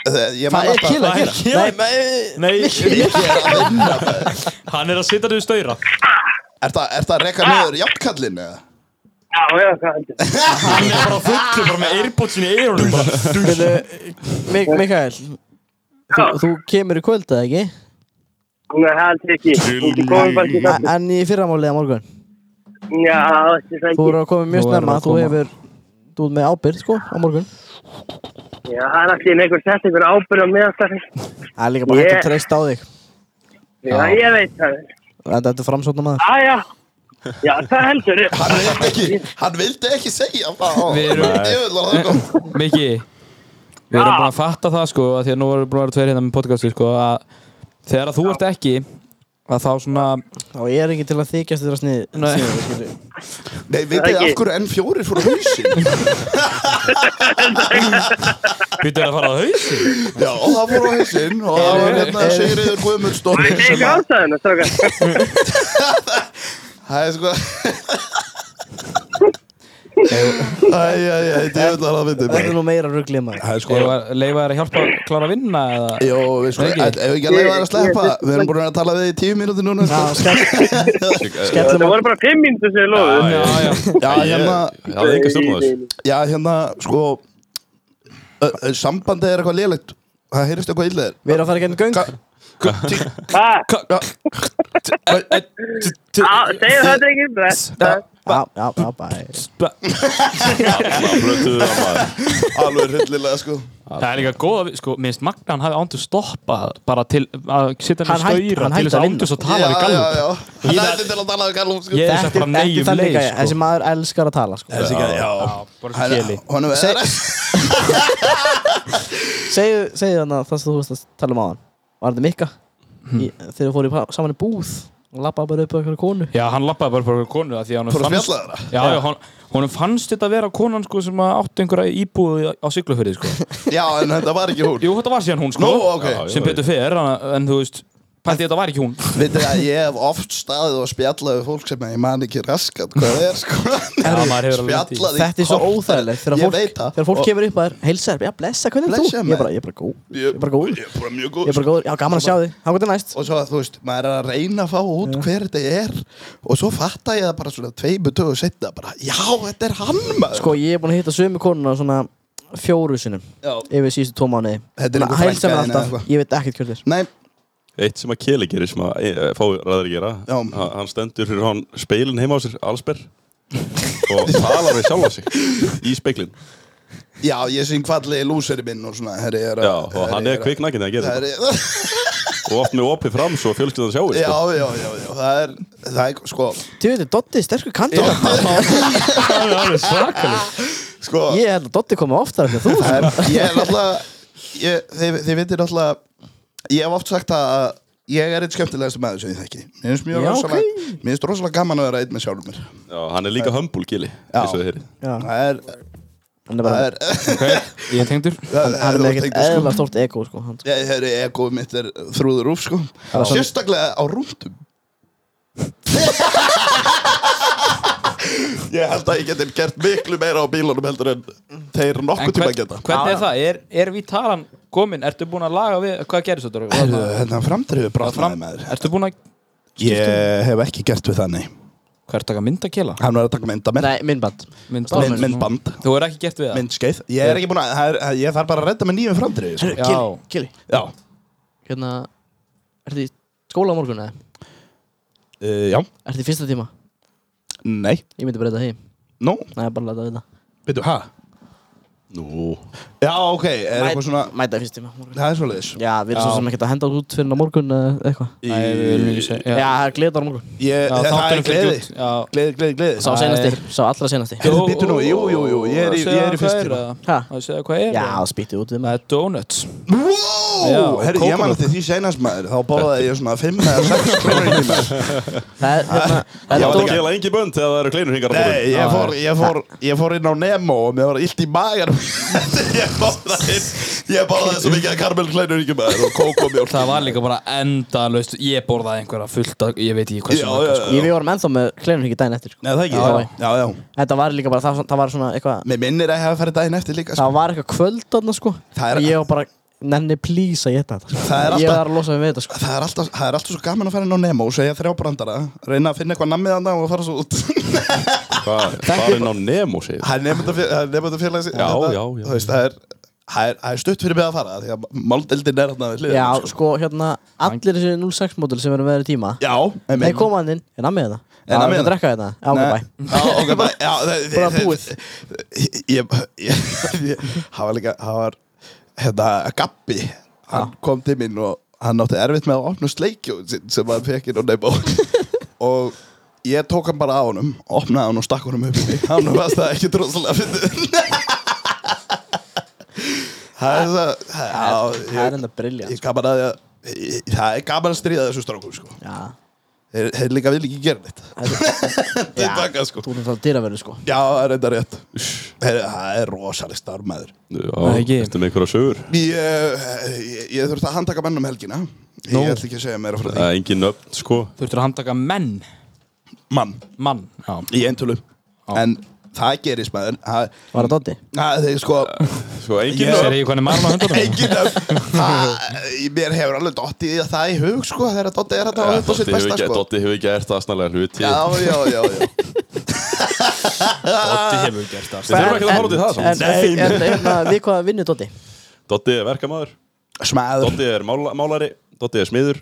[SPEAKER 4] það- ég man
[SPEAKER 2] Það er
[SPEAKER 4] alltaf-
[SPEAKER 2] kila, kila
[SPEAKER 1] Nei,
[SPEAKER 4] Ég er að vinna með.
[SPEAKER 1] hann er að sitja niður stöyra
[SPEAKER 4] Er það er það að reka niður jafnkallin eða?
[SPEAKER 6] Já, já, hvað heldur
[SPEAKER 1] Hann er bara fullur bara með eirbottsin í eirunum bara
[SPEAKER 2] Mik Mikael þú, þú kemur í kvöld eða ekki?
[SPEAKER 6] Hún er heldur ekki Hún komið bara ekki
[SPEAKER 2] A- En í fyrramálið að morgun
[SPEAKER 6] þáttur Já, ekki
[SPEAKER 2] Þú
[SPEAKER 6] það ekki
[SPEAKER 2] eru að koma mjög
[SPEAKER 7] Nú erum við
[SPEAKER 2] snemma Þú
[SPEAKER 7] að koma.
[SPEAKER 2] hefur Þú ert með ábyrð sko á morgun
[SPEAKER 6] Já, það er allir einhver sett einhver ábyrð á meðalstafn
[SPEAKER 2] Það er líka bara hægt
[SPEAKER 6] Ég-
[SPEAKER 2] að treysta á þig
[SPEAKER 6] Já, ég veit það
[SPEAKER 2] Þetta þetta er framsóknar maður
[SPEAKER 6] Já, já Já, það heldur
[SPEAKER 4] Hann vildi ekki, hann vildi ekki segja það.
[SPEAKER 7] Við erum-
[SPEAKER 4] Djöfull var það kom.
[SPEAKER 7] Miki Við erum búin að fatta það sko að Því að nú erum búin að vera tveir hérna með podcasti sko að Þegar að þú ert ekki að þá svona
[SPEAKER 2] Þá er ekki til að þykjast þér að snið
[SPEAKER 7] Nei.
[SPEAKER 2] sniðu, skilurðu.
[SPEAKER 4] Nei, vitið þið af hverju N4 fór á húsin?
[SPEAKER 1] Býttu að fara á hausin
[SPEAKER 4] (laughs) Já, það fór á húsin og það var hérna Sigriður Guðmundsdóttir
[SPEAKER 6] Það er
[SPEAKER 4] sem
[SPEAKER 6] ekki
[SPEAKER 4] að
[SPEAKER 6] ástæðan að stráka
[SPEAKER 4] Það er sko Æj, æj, æj, djöfull var það myndið
[SPEAKER 2] Þetta er nú meira ruglið maður
[SPEAKER 4] Það er sko
[SPEAKER 7] leifa þér að hjálpa að klára að vinna eða
[SPEAKER 4] Jó, við sko,
[SPEAKER 7] Ekki?
[SPEAKER 4] ef ekki að leiða það að sleppa Við erum búin að tala við í tíu mínúti núna
[SPEAKER 2] Já,
[SPEAKER 4] sko.
[SPEAKER 2] skell-
[SPEAKER 6] Það
[SPEAKER 2] Skellum á
[SPEAKER 6] voru bara fimm mínútur sem ég lofuð
[SPEAKER 3] já, Eh, já
[SPEAKER 4] (laughs)
[SPEAKER 7] (laughs)
[SPEAKER 4] Já, hérna,
[SPEAKER 3] Ég hafði enga stjórn á þessu
[SPEAKER 4] já, hérna, sko ö- ö, Sambandið er eitthvað lélegt Það heyrist eitthvað illa
[SPEAKER 2] Við erum að fara í gegn göng
[SPEAKER 4] Ka-
[SPEAKER 6] Hvað?
[SPEAKER 4] þér
[SPEAKER 6] Segðu það ekki Það
[SPEAKER 2] Já, já, já, bæ
[SPEAKER 3] Plötuðu það maður
[SPEAKER 4] Alveg hryllilega, sko
[SPEAKER 1] Það er líka góð að, sko, minnst Magna hann hafi ándur stoppað bara til að sitja
[SPEAKER 2] Hann
[SPEAKER 1] niður
[SPEAKER 2] hætt-
[SPEAKER 1] stöyra til
[SPEAKER 2] hann hætti
[SPEAKER 1] þess
[SPEAKER 2] að
[SPEAKER 1] að
[SPEAKER 2] vinna.
[SPEAKER 1] ándur svo
[SPEAKER 4] Já,
[SPEAKER 1] tala við
[SPEAKER 4] já,
[SPEAKER 1] gallum
[SPEAKER 4] já Það er til að tala við gallum, sko
[SPEAKER 1] Ég er þess
[SPEAKER 2] Þetta
[SPEAKER 1] að bara
[SPEAKER 2] er ekki
[SPEAKER 1] neyjum
[SPEAKER 2] þannig
[SPEAKER 1] leið,
[SPEAKER 2] að þessi
[SPEAKER 1] sko
[SPEAKER 2] maður elskar að tala sko.
[SPEAKER 4] Þessi gæði, já
[SPEAKER 1] Bara svo
[SPEAKER 4] Hann-
[SPEAKER 1] keli
[SPEAKER 4] Honum er
[SPEAKER 2] Segðu segðu þannig að það sem þú veist að tala um á hann Var þetta Mikka? Í, þegar þú fóru í, pa- saman í búð og lappaði bara upp á einhverju konu
[SPEAKER 1] Já, hann lappaði bara fyrir konu það því að
[SPEAKER 4] Fór
[SPEAKER 1] honum
[SPEAKER 4] að
[SPEAKER 1] fannst
[SPEAKER 4] spjalla þeirra
[SPEAKER 1] Já, já, hon, honum fannst þetta að vera konan sko sem að átti einhverja íbúð á syklufyrði
[SPEAKER 4] (laughs)
[SPEAKER 1] sko
[SPEAKER 4] (laughs) Já, en þetta var ekki hún
[SPEAKER 1] Jú, þetta var síðan hún sko
[SPEAKER 4] Nú, ok
[SPEAKER 1] sem betur fer, en, en þú veist pæti þetta var ekki
[SPEAKER 4] (laughs)
[SPEAKER 1] hún
[SPEAKER 4] Vitið að ég hef oft staðið og spjallað við fólk sem ég man ekki raskat hvað það er
[SPEAKER 2] (laughs)
[SPEAKER 4] sko
[SPEAKER 1] Já, maður hefur alveg lent í því.
[SPEAKER 4] Spjallað í
[SPEAKER 2] Þetta er svo
[SPEAKER 4] korter.
[SPEAKER 2] óþægilegt þegar
[SPEAKER 4] Ég
[SPEAKER 2] fólk,
[SPEAKER 4] veit það.
[SPEAKER 2] þegar fólk
[SPEAKER 4] Og-
[SPEAKER 2] kemur upp að þér Heilsar, já blessa, hvernig er þú? Ég
[SPEAKER 4] Blessa,
[SPEAKER 2] er bara,
[SPEAKER 4] maður.
[SPEAKER 2] ég er bara góð Ég
[SPEAKER 4] Ég-
[SPEAKER 2] er bara góð
[SPEAKER 4] Ég er bara mjög góð
[SPEAKER 2] Ég er bara góður, já gaman að sjá þig, þá gott er næst
[SPEAKER 4] Og svo þú veist, maður er að reyna að fá út hver þetta er Og svo fatta ég það bara svona tveimu tögu setna bara Já, þetta er hann maður
[SPEAKER 2] Sko ég er búin að hitta sömu konuna svona fjóru sinum
[SPEAKER 4] Já.
[SPEAKER 2] Yfir síðustu tvo mánuði
[SPEAKER 4] Þetta
[SPEAKER 2] Hún
[SPEAKER 4] er einhver
[SPEAKER 2] Heilsar mér
[SPEAKER 4] frænka þín eða
[SPEAKER 2] alltaf,
[SPEAKER 4] eitthvað.
[SPEAKER 2] ég veit ekkert hver þér
[SPEAKER 4] Nei,
[SPEAKER 3] Eitt sem að Keli gerir sem að e, fá ræðar að gera
[SPEAKER 4] Já.
[SPEAKER 3] Hann- Hann stendur fyrir hann speilin heima á sér, allsber Og talar við sjálfa sig Í speiklin
[SPEAKER 4] já, ég syng fallegi lúseri minn og svona herri, ég er, að-
[SPEAKER 3] Já, og
[SPEAKER 4] herri,
[SPEAKER 3] hann
[SPEAKER 4] ég
[SPEAKER 3] er kviknakinn að gera þetta
[SPEAKER 4] herri, (laughs) já,
[SPEAKER 3] Og oft með opið fram svo fjölskyldan sjáir sko.
[SPEAKER 4] já, já, já, það er, það er, sko
[SPEAKER 2] Þú veit, Dotti, sterkur kandidat
[SPEAKER 1] Það er alveg svakalig
[SPEAKER 4] Sko,
[SPEAKER 2] Ég held að Dotti komi oftar en þú
[SPEAKER 4] Það er, ég er náttúrulega ég- þið, þið veitir náttúrulega ég hef oft sagt að ég er eitt skemmtilegast maður sem ég þekki mér finnst mjög
[SPEAKER 2] Já,
[SPEAKER 4] rosalega mér finnst rosalega gaman að vera einn með sjálfur mér
[SPEAKER 3] Já, hann er líka humble Keli
[SPEAKER 4] Já.
[SPEAKER 3] eins og þið heyrið.
[SPEAKER 2] Já,
[SPEAKER 4] það er,
[SPEAKER 2] hann er
[SPEAKER 4] það
[SPEAKER 2] bara
[SPEAKER 4] er,
[SPEAKER 7] Ok, ég er tengdur
[SPEAKER 4] það (laughs)
[SPEAKER 2] hann er með
[SPEAKER 4] tengt,
[SPEAKER 2] ekkert
[SPEAKER 4] sko.
[SPEAKER 2] eðla stórt ego sko. hann,
[SPEAKER 4] Ég- það er egoið mitt er þrúður úf sko sérstaklega á rúndum (laughs) ég held að ég geti gert miklu meira á bílunum heldur en þeir
[SPEAKER 7] En
[SPEAKER 4] nokkuð tíma
[SPEAKER 7] hvern,
[SPEAKER 4] geta
[SPEAKER 7] hvernig er það? Er, er við talan komin? Ertu búin að laga við? Hvað gerist þetta?
[SPEAKER 4] hérna framdrifu brátnaði maður
[SPEAKER 7] Ertu búin að
[SPEAKER 4] ég hef ekki gert við þannig
[SPEAKER 7] Hvað er taka mynd að kela?
[SPEAKER 4] hann var að taka mynda mér
[SPEAKER 2] Nei, minnband
[SPEAKER 7] Mynd,
[SPEAKER 4] Mynd- myndband.
[SPEAKER 7] Þú er ekki gert við það?
[SPEAKER 4] myndskeið ég er ekki búin að, það er, ég þarf bara að redda með nýjum framdrið sko.
[SPEAKER 7] Já.
[SPEAKER 2] Kili, Kili
[SPEAKER 4] já,
[SPEAKER 2] Hérna, ertu í skóla á morgun eða?
[SPEAKER 4] uh, já,
[SPEAKER 2] Ertu í fyrsta tíma?
[SPEAKER 4] nei
[SPEAKER 2] Ég myndi breyta því
[SPEAKER 4] nú,
[SPEAKER 2] Nei, bara láta við það
[SPEAKER 4] veitu, hæ?
[SPEAKER 3] Nú,
[SPEAKER 4] Já, ok, er eitthvað svona
[SPEAKER 2] Mæta fyrst tíma
[SPEAKER 4] Það er svoleiðis
[SPEAKER 2] Já, við erum svo sem ekkert að henda út fyrir en á morgun eh, eitthvað
[SPEAKER 4] Í-
[SPEAKER 7] Nei, við viljum ekki segja-
[SPEAKER 2] Já,
[SPEAKER 7] já.
[SPEAKER 2] það er gleðar á morgun
[SPEAKER 4] Ég,
[SPEAKER 7] Já,
[SPEAKER 4] það er
[SPEAKER 7] þátturinn fyrir
[SPEAKER 4] gleði
[SPEAKER 7] djúpt, já.
[SPEAKER 4] Gleði, gleði, gleði
[SPEAKER 2] Sá
[SPEAKER 7] Það
[SPEAKER 2] senasti, sá allra senasti
[SPEAKER 4] Jú, bíddu nú, jú, jú, jú, ég er í-
[SPEAKER 7] Segðu
[SPEAKER 4] ég er í
[SPEAKER 7] hvað
[SPEAKER 4] fyrst tíma.
[SPEAKER 7] eða?
[SPEAKER 2] Ha?
[SPEAKER 7] Má ég segja hvað er
[SPEAKER 2] Já,
[SPEAKER 7] eða?
[SPEAKER 2] spýttu út við
[SPEAKER 7] Það
[SPEAKER 2] mig
[SPEAKER 7] er donuts Já,
[SPEAKER 4] Wow,
[SPEAKER 7] og
[SPEAKER 4] herri, ég man
[SPEAKER 7] kókómjólk.
[SPEAKER 4] eftir því seinast maður Þá borðaði ég svona 5 eða 6
[SPEAKER 7] (laughs)
[SPEAKER 4] kleinur í maður
[SPEAKER 2] Það er, hérna, það er
[SPEAKER 3] ég átt að
[SPEAKER 2] dónat
[SPEAKER 3] gela engi bönd þegar það eru kleinur hingar á
[SPEAKER 4] Nei,
[SPEAKER 3] borðinu.
[SPEAKER 4] ég fór, ég, fór, ég fór inn á Nemo og mér var illt í magar (laughs) Ég borðaði Ég borðaði svo mikið að karmelklænur í maður og kókomjólk
[SPEAKER 7] Það var líka bara endalaust Ég borðaði einhverja fullt af, Ég veit ekki hvað
[SPEAKER 4] Já,
[SPEAKER 7] sem
[SPEAKER 4] já, já.
[SPEAKER 2] Ég við vorum ennþá með kleinurhyggi daginn eftir sko.
[SPEAKER 4] Nei, það ekki
[SPEAKER 2] Já, já.
[SPEAKER 4] Já, já
[SPEAKER 2] Þetta var líka bara, það, það var svona eitthvað
[SPEAKER 4] Mér minnir að ég hafa farið daginn eftir líka sko.
[SPEAKER 2] Það var eitthvað kvöld þarna sko
[SPEAKER 4] Það er-
[SPEAKER 2] Ég var bara, nenni please að geta þetta sko.
[SPEAKER 4] Það
[SPEAKER 2] Ég
[SPEAKER 4] er alltaf-
[SPEAKER 2] var að losa mig við þetta sko
[SPEAKER 4] Það er, alltaf, það er alltaf svo gaman að fara inn á Nemo og segja þrjá brandara, reyna að finna eitthvað nammið hann og fara svo út (laughs)
[SPEAKER 3] Hvað, farin á Nemo, segir
[SPEAKER 4] Það er nefndafélags
[SPEAKER 3] Já, já, já.
[SPEAKER 4] Það er, það er, það er stutt fyrir mig að fara því að máldeldin er hérna við hliðina,
[SPEAKER 2] Já,
[SPEAKER 4] sko.
[SPEAKER 2] sko, hérna, allir þessi 06 módul sem erum verið í tíma
[SPEAKER 4] Já, en
[SPEAKER 2] Þeir koma hann inn, er hann með þetta?
[SPEAKER 4] Er hann
[SPEAKER 2] að
[SPEAKER 4] með þetta?
[SPEAKER 2] drekka þetta? Já, ok, bæ
[SPEAKER 4] Já, ok, bæ Já, það
[SPEAKER 2] Bara
[SPEAKER 4] það-
[SPEAKER 2] búið.
[SPEAKER 4] Ég, ég, ég (laughs) Það var líka, það var hérna, Gabbi, hann kom til mín og hann átti erfitt með að opna sleikjón sinn sem hann fekk inn á
[SPEAKER 2] (laughs)
[SPEAKER 4] Nemo og ég tók hann bara á honum opnaði hann og stakk honum upp í mig hann varst það ekki droslega fyndið (laughs) Það er það já,
[SPEAKER 2] Það er
[SPEAKER 4] ég-
[SPEAKER 2] enda briljant sko.
[SPEAKER 4] Ég er gaman að ég- ég- Það er gaman að stríða þessu strákum sko.
[SPEAKER 2] Já,
[SPEAKER 4] Þeir þeir líka vil ekki gera neitt (laughs) Þeir taka sko
[SPEAKER 2] þú erum það dýraverður sko
[SPEAKER 4] Já, það er þetta rétt Her, Það er rosalega starfmaður
[SPEAKER 3] Já,
[SPEAKER 7] ekki.
[SPEAKER 3] ertu með einhverja sögur?
[SPEAKER 4] Ég, ég, ég þurfti að handtaka mennum helgina Ég
[SPEAKER 7] Nú.
[SPEAKER 4] ætla ekki að segja meira frá
[SPEAKER 3] Það
[SPEAKER 4] því
[SPEAKER 3] er engin nöfn, sko.
[SPEAKER 7] Þurftur að handtaka menn
[SPEAKER 4] Mann,
[SPEAKER 7] Mann Já
[SPEAKER 4] í eintölu En það gerist maður Það
[SPEAKER 2] Var það Doddi?
[SPEAKER 4] það er sko
[SPEAKER 3] Sko, engin
[SPEAKER 4] Ég-
[SPEAKER 3] nöfn.
[SPEAKER 7] Þegar ég hvernig maður á hundunum
[SPEAKER 4] (laughs) Engin af það- Mér hefur alveg dottið í það í hug sko Þegar dottið er þetta á þetta sitt
[SPEAKER 3] Dotti hefur
[SPEAKER 4] besta
[SPEAKER 3] ekki-
[SPEAKER 4] sko
[SPEAKER 3] Doddi hefur gert aðsnalega hluti.
[SPEAKER 4] Já, já, já, já
[SPEAKER 7] Doddi hefur gert
[SPEAKER 3] Við
[SPEAKER 7] það
[SPEAKER 3] þurfum ekki að fara út í
[SPEAKER 2] En,
[SPEAKER 3] það samt.
[SPEAKER 2] en, en, hérna, við hvað vinnur Doddi?
[SPEAKER 3] Dotti er verkamaður,
[SPEAKER 4] Smaður
[SPEAKER 3] Dotti er mála- málari, Dotti er smiður,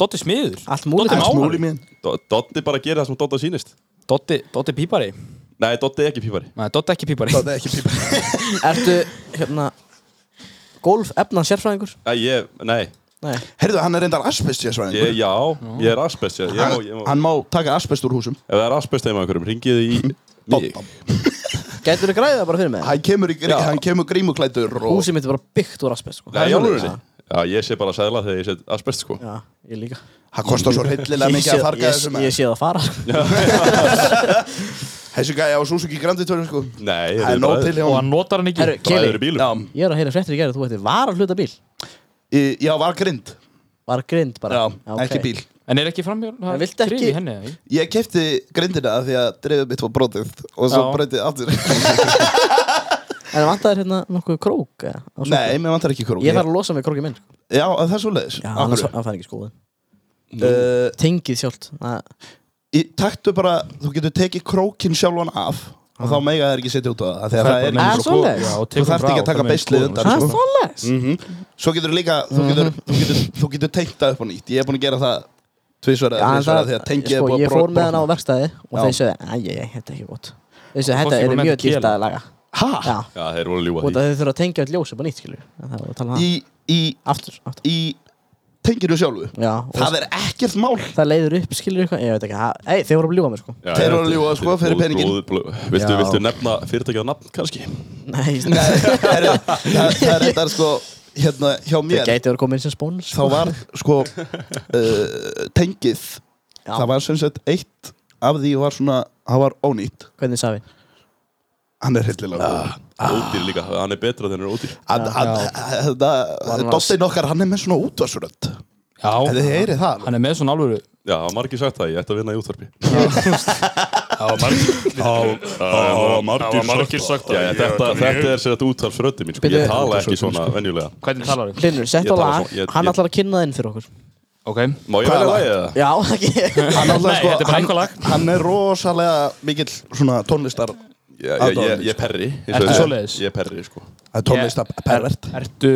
[SPEAKER 7] Doddi smiður
[SPEAKER 2] Allt múlið
[SPEAKER 7] Doddi
[SPEAKER 4] En
[SPEAKER 7] málari.
[SPEAKER 4] smúli mín
[SPEAKER 3] Do- Dotti bara gerir það sem Dotta sýnist.
[SPEAKER 7] Doddi, Doddi pípari Nei,
[SPEAKER 3] Nei, Dotti er ekki pípari.
[SPEAKER 7] Doddi ekki pípari
[SPEAKER 4] Það er ekki pípa
[SPEAKER 2] Ertu, hérna, golf efna sérfræðingur?
[SPEAKER 3] Nei, ég, nei,
[SPEAKER 2] Nei,
[SPEAKER 4] Heyrðu, hann er reyndar asbest ég
[SPEAKER 3] ég, já, ég er asbest, ég, ég, má, ég má,
[SPEAKER 4] Hann má taka asbest úr húsum
[SPEAKER 3] ef það er asbest eða einhverjum, ringið í mig.
[SPEAKER 2] gætur þú græðið það bara fyrir mig?
[SPEAKER 4] Hann kemur, í,
[SPEAKER 3] Já.
[SPEAKER 4] hann kemur grímuklættur og
[SPEAKER 2] Húsið mitt er bara byggt úr asbest sko.
[SPEAKER 3] Nei, í alvörunni.
[SPEAKER 2] Já,
[SPEAKER 3] Já, ég sé bara sæðla þegar ég set asbest, sko.
[SPEAKER 2] Já, ég líka
[SPEAKER 4] Það kostar svo hryllilega mikið að farga þessu
[SPEAKER 2] ég,
[SPEAKER 4] með
[SPEAKER 2] ég sé það fara
[SPEAKER 4] Þessi gæja á Suzuki Grandi Touring sko
[SPEAKER 3] Nei,
[SPEAKER 4] Það er nóg til hjá
[SPEAKER 7] Og
[SPEAKER 4] hún
[SPEAKER 7] hann notar hann ekki
[SPEAKER 2] Herru,
[SPEAKER 3] Bræður í
[SPEAKER 2] Kelly,
[SPEAKER 3] bílum.
[SPEAKER 4] Já,
[SPEAKER 2] ég er að heyra fréttir í gerð Þú ætti var að hluta bíl
[SPEAKER 4] í- já, var grind
[SPEAKER 2] Var grind bara
[SPEAKER 4] Já,
[SPEAKER 2] ok.
[SPEAKER 4] ekki bíl
[SPEAKER 7] En er ekki framjör
[SPEAKER 2] En viltu ekki-
[SPEAKER 7] henni, eða ekki?
[SPEAKER 4] Ég kefti grindina af því að dreifið mitt var brotið Og svo
[SPEAKER 7] Já.
[SPEAKER 4] brotið aftur (laughs)
[SPEAKER 2] En vantar hérna nokkuð krók eða, á svo-
[SPEAKER 4] Nei, mér vantar ekki krók
[SPEAKER 2] Ég þarf að losa mig krókið minn sko.
[SPEAKER 4] Já, að það er svo leiðis
[SPEAKER 2] Já, annars hann fær ekki skoðin
[SPEAKER 4] uh,
[SPEAKER 2] Tengið sjálft það-
[SPEAKER 4] í- Taktu bara, þú getur tekið krókin sjálfan af Og þá mega það er ekki setja út á það af Því að það er
[SPEAKER 2] bara-
[SPEAKER 4] ekki
[SPEAKER 2] Ah, svoleiðis.
[SPEAKER 7] Já, og
[SPEAKER 4] Þú
[SPEAKER 7] tekur
[SPEAKER 4] þarft
[SPEAKER 7] frá
[SPEAKER 4] ekki að taka
[SPEAKER 7] og fer með
[SPEAKER 4] beislið
[SPEAKER 7] skoðun.
[SPEAKER 4] undan
[SPEAKER 2] Það
[SPEAKER 4] sko.
[SPEAKER 2] er þóles
[SPEAKER 4] Svo getur líka, þú getur,
[SPEAKER 2] Mhm.
[SPEAKER 4] þú getur, þú getur tengt það upp á nýtt Ég er búin að gera það tvisvara eða þrisvar því að tengið er
[SPEAKER 2] sko,
[SPEAKER 4] búið að
[SPEAKER 2] Ég
[SPEAKER 4] bro-
[SPEAKER 2] fór með hann á
[SPEAKER 4] brotna. hérna.
[SPEAKER 2] verkstæði Og
[SPEAKER 4] Já.
[SPEAKER 2] þeir sögðu, æjæj, þetta er ekki gott Þeir sögðu,
[SPEAKER 7] fórstu
[SPEAKER 2] þetta
[SPEAKER 7] bara
[SPEAKER 2] er
[SPEAKER 7] með
[SPEAKER 2] mjög
[SPEAKER 7] til
[SPEAKER 2] dýrt
[SPEAKER 7] Kela?
[SPEAKER 2] að laga
[SPEAKER 4] Ha?
[SPEAKER 2] Já,
[SPEAKER 3] Já, þeir voru að ljúa
[SPEAKER 2] og
[SPEAKER 3] því.
[SPEAKER 2] það þau þurfa að tengja all ljósið bara nýtt skilur Það var að tala um það.
[SPEAKER 4] í, í,
[SPEAKER 2] Aftur, aftur
[SPEAKER 4] í tenginu sjálfu
[SPEAKER 2] Já, og
[SPEAKER 4] það er ekkert mál
[SPEAKER 2] það leiður upp, skilur eitthvað, ég veit ekki, það- ei, þeir voru að bljúa mér sko (laughs)
[SPEAKER 3] Já,
[SPEAKER 4] Þeir
[SPEAKER 3] já,
[SPEAKER 4] voru að ljúga,
[SPEAKER 3] þetta-
[SPEAKER 4] sko, fyrir
[SPEAKER 3] blóð-
[SPEAKER 4] peninginn.
[SPEAKER 3] blóð- blóð- Viltu,
[SPEAKER 7] Já.
[SPEAKER 3] viltu nefna fyrirtækið á nafn, kannski?
[SPEAKER 2] Nei,
[SPEAKER 4] Nei, það er það er þetta sko hérna hjá
[SPEAKER 2] þeir
[SPEAKER 4] mér
[SPEAKER 2] gæti að vera komið inn sem spónus
[SPEAKER 4] þá var sko uh, tengið
[SPEAKER 2] Já.
[SPEAKER 4] það var sem sagt eitt af því var svona það var ónýtt
[SPEAKER 2] Hvernig sagði við?
[SPEAKER 4] hann er hildilega ja.
[SPEAKER 3] Ódýr líka, hann er betra þegar hann er ódýr.
[SPEAKER 4] þetta
[SPEAKER 2] hann
[SPEAKER 4] dottin hérna, okkar hann er með svona útvarsrönd þið
[SPEAKER 7] Já,
[SPEAKER 4] heyrið
[SPEAKER 1] (laughs)
[SPEAKER 4] það
[SPEAKER 7] hann er með svona alvöru
[SPEAKER 3] Já, hafa margir sagt það, ég ætti að vinna í útvarpi.
[SPEAKER 5] Það var margir sagt
[SPEAKER 3] Já, já, þetta, þetta er sér að útvarpsröndi mín, sko.
[SPEAKER 2] Bíddu.
[SPEAKER 3] Ég tala ekki svona venjulega.
[SPEAKER 7] Hvernig talar þau?
[SPEAKER 2] Hlinur, sett
[SPEAKER 3] Ég
[SPEAKER 2] á
[SPEAKER 3] tala
[SPEAKER 2] lag,
[SPEAKER 3] svo- ég-
[SPEAKER 2] hann
[SPEAKER 3] ég-
[SPEAKER 2] ætlar að kynna það inn fyrir okkur
[SPEAKER 7] Ok
[SPEAKER 3] Má ég
[SPEAKER 4] Hvaða
[SPEAKER 3] velja
[SPEAKER 4] lag?
[SPEAKER 3] lagið það?
[SPEAKER 2] Já, ekki (laughs)
[SPEAKER 4] hann,
[SPEAKER 7] Nei,
[SPEAKER 4] alltaf, sko,
[SPEAKER 7] þetta er bara
[SPEAKER 4] hann,
[SPEAKER 7] eitthvað lag.
[SPEAKER 4] hann er rosalega mikill svona tónlistar
[SPEAKER 3] Já, ég, ég, ég perri. eins og
[SPEAKER 7] Ertu
[SPEAKER 3] ég-
[SPEAKER 7] svoleiðis?
[SPEAKER 3] Ég perri, sko.
[SPEAKER 4] tónlistar pervert
[SPEAKER 7] Ertu,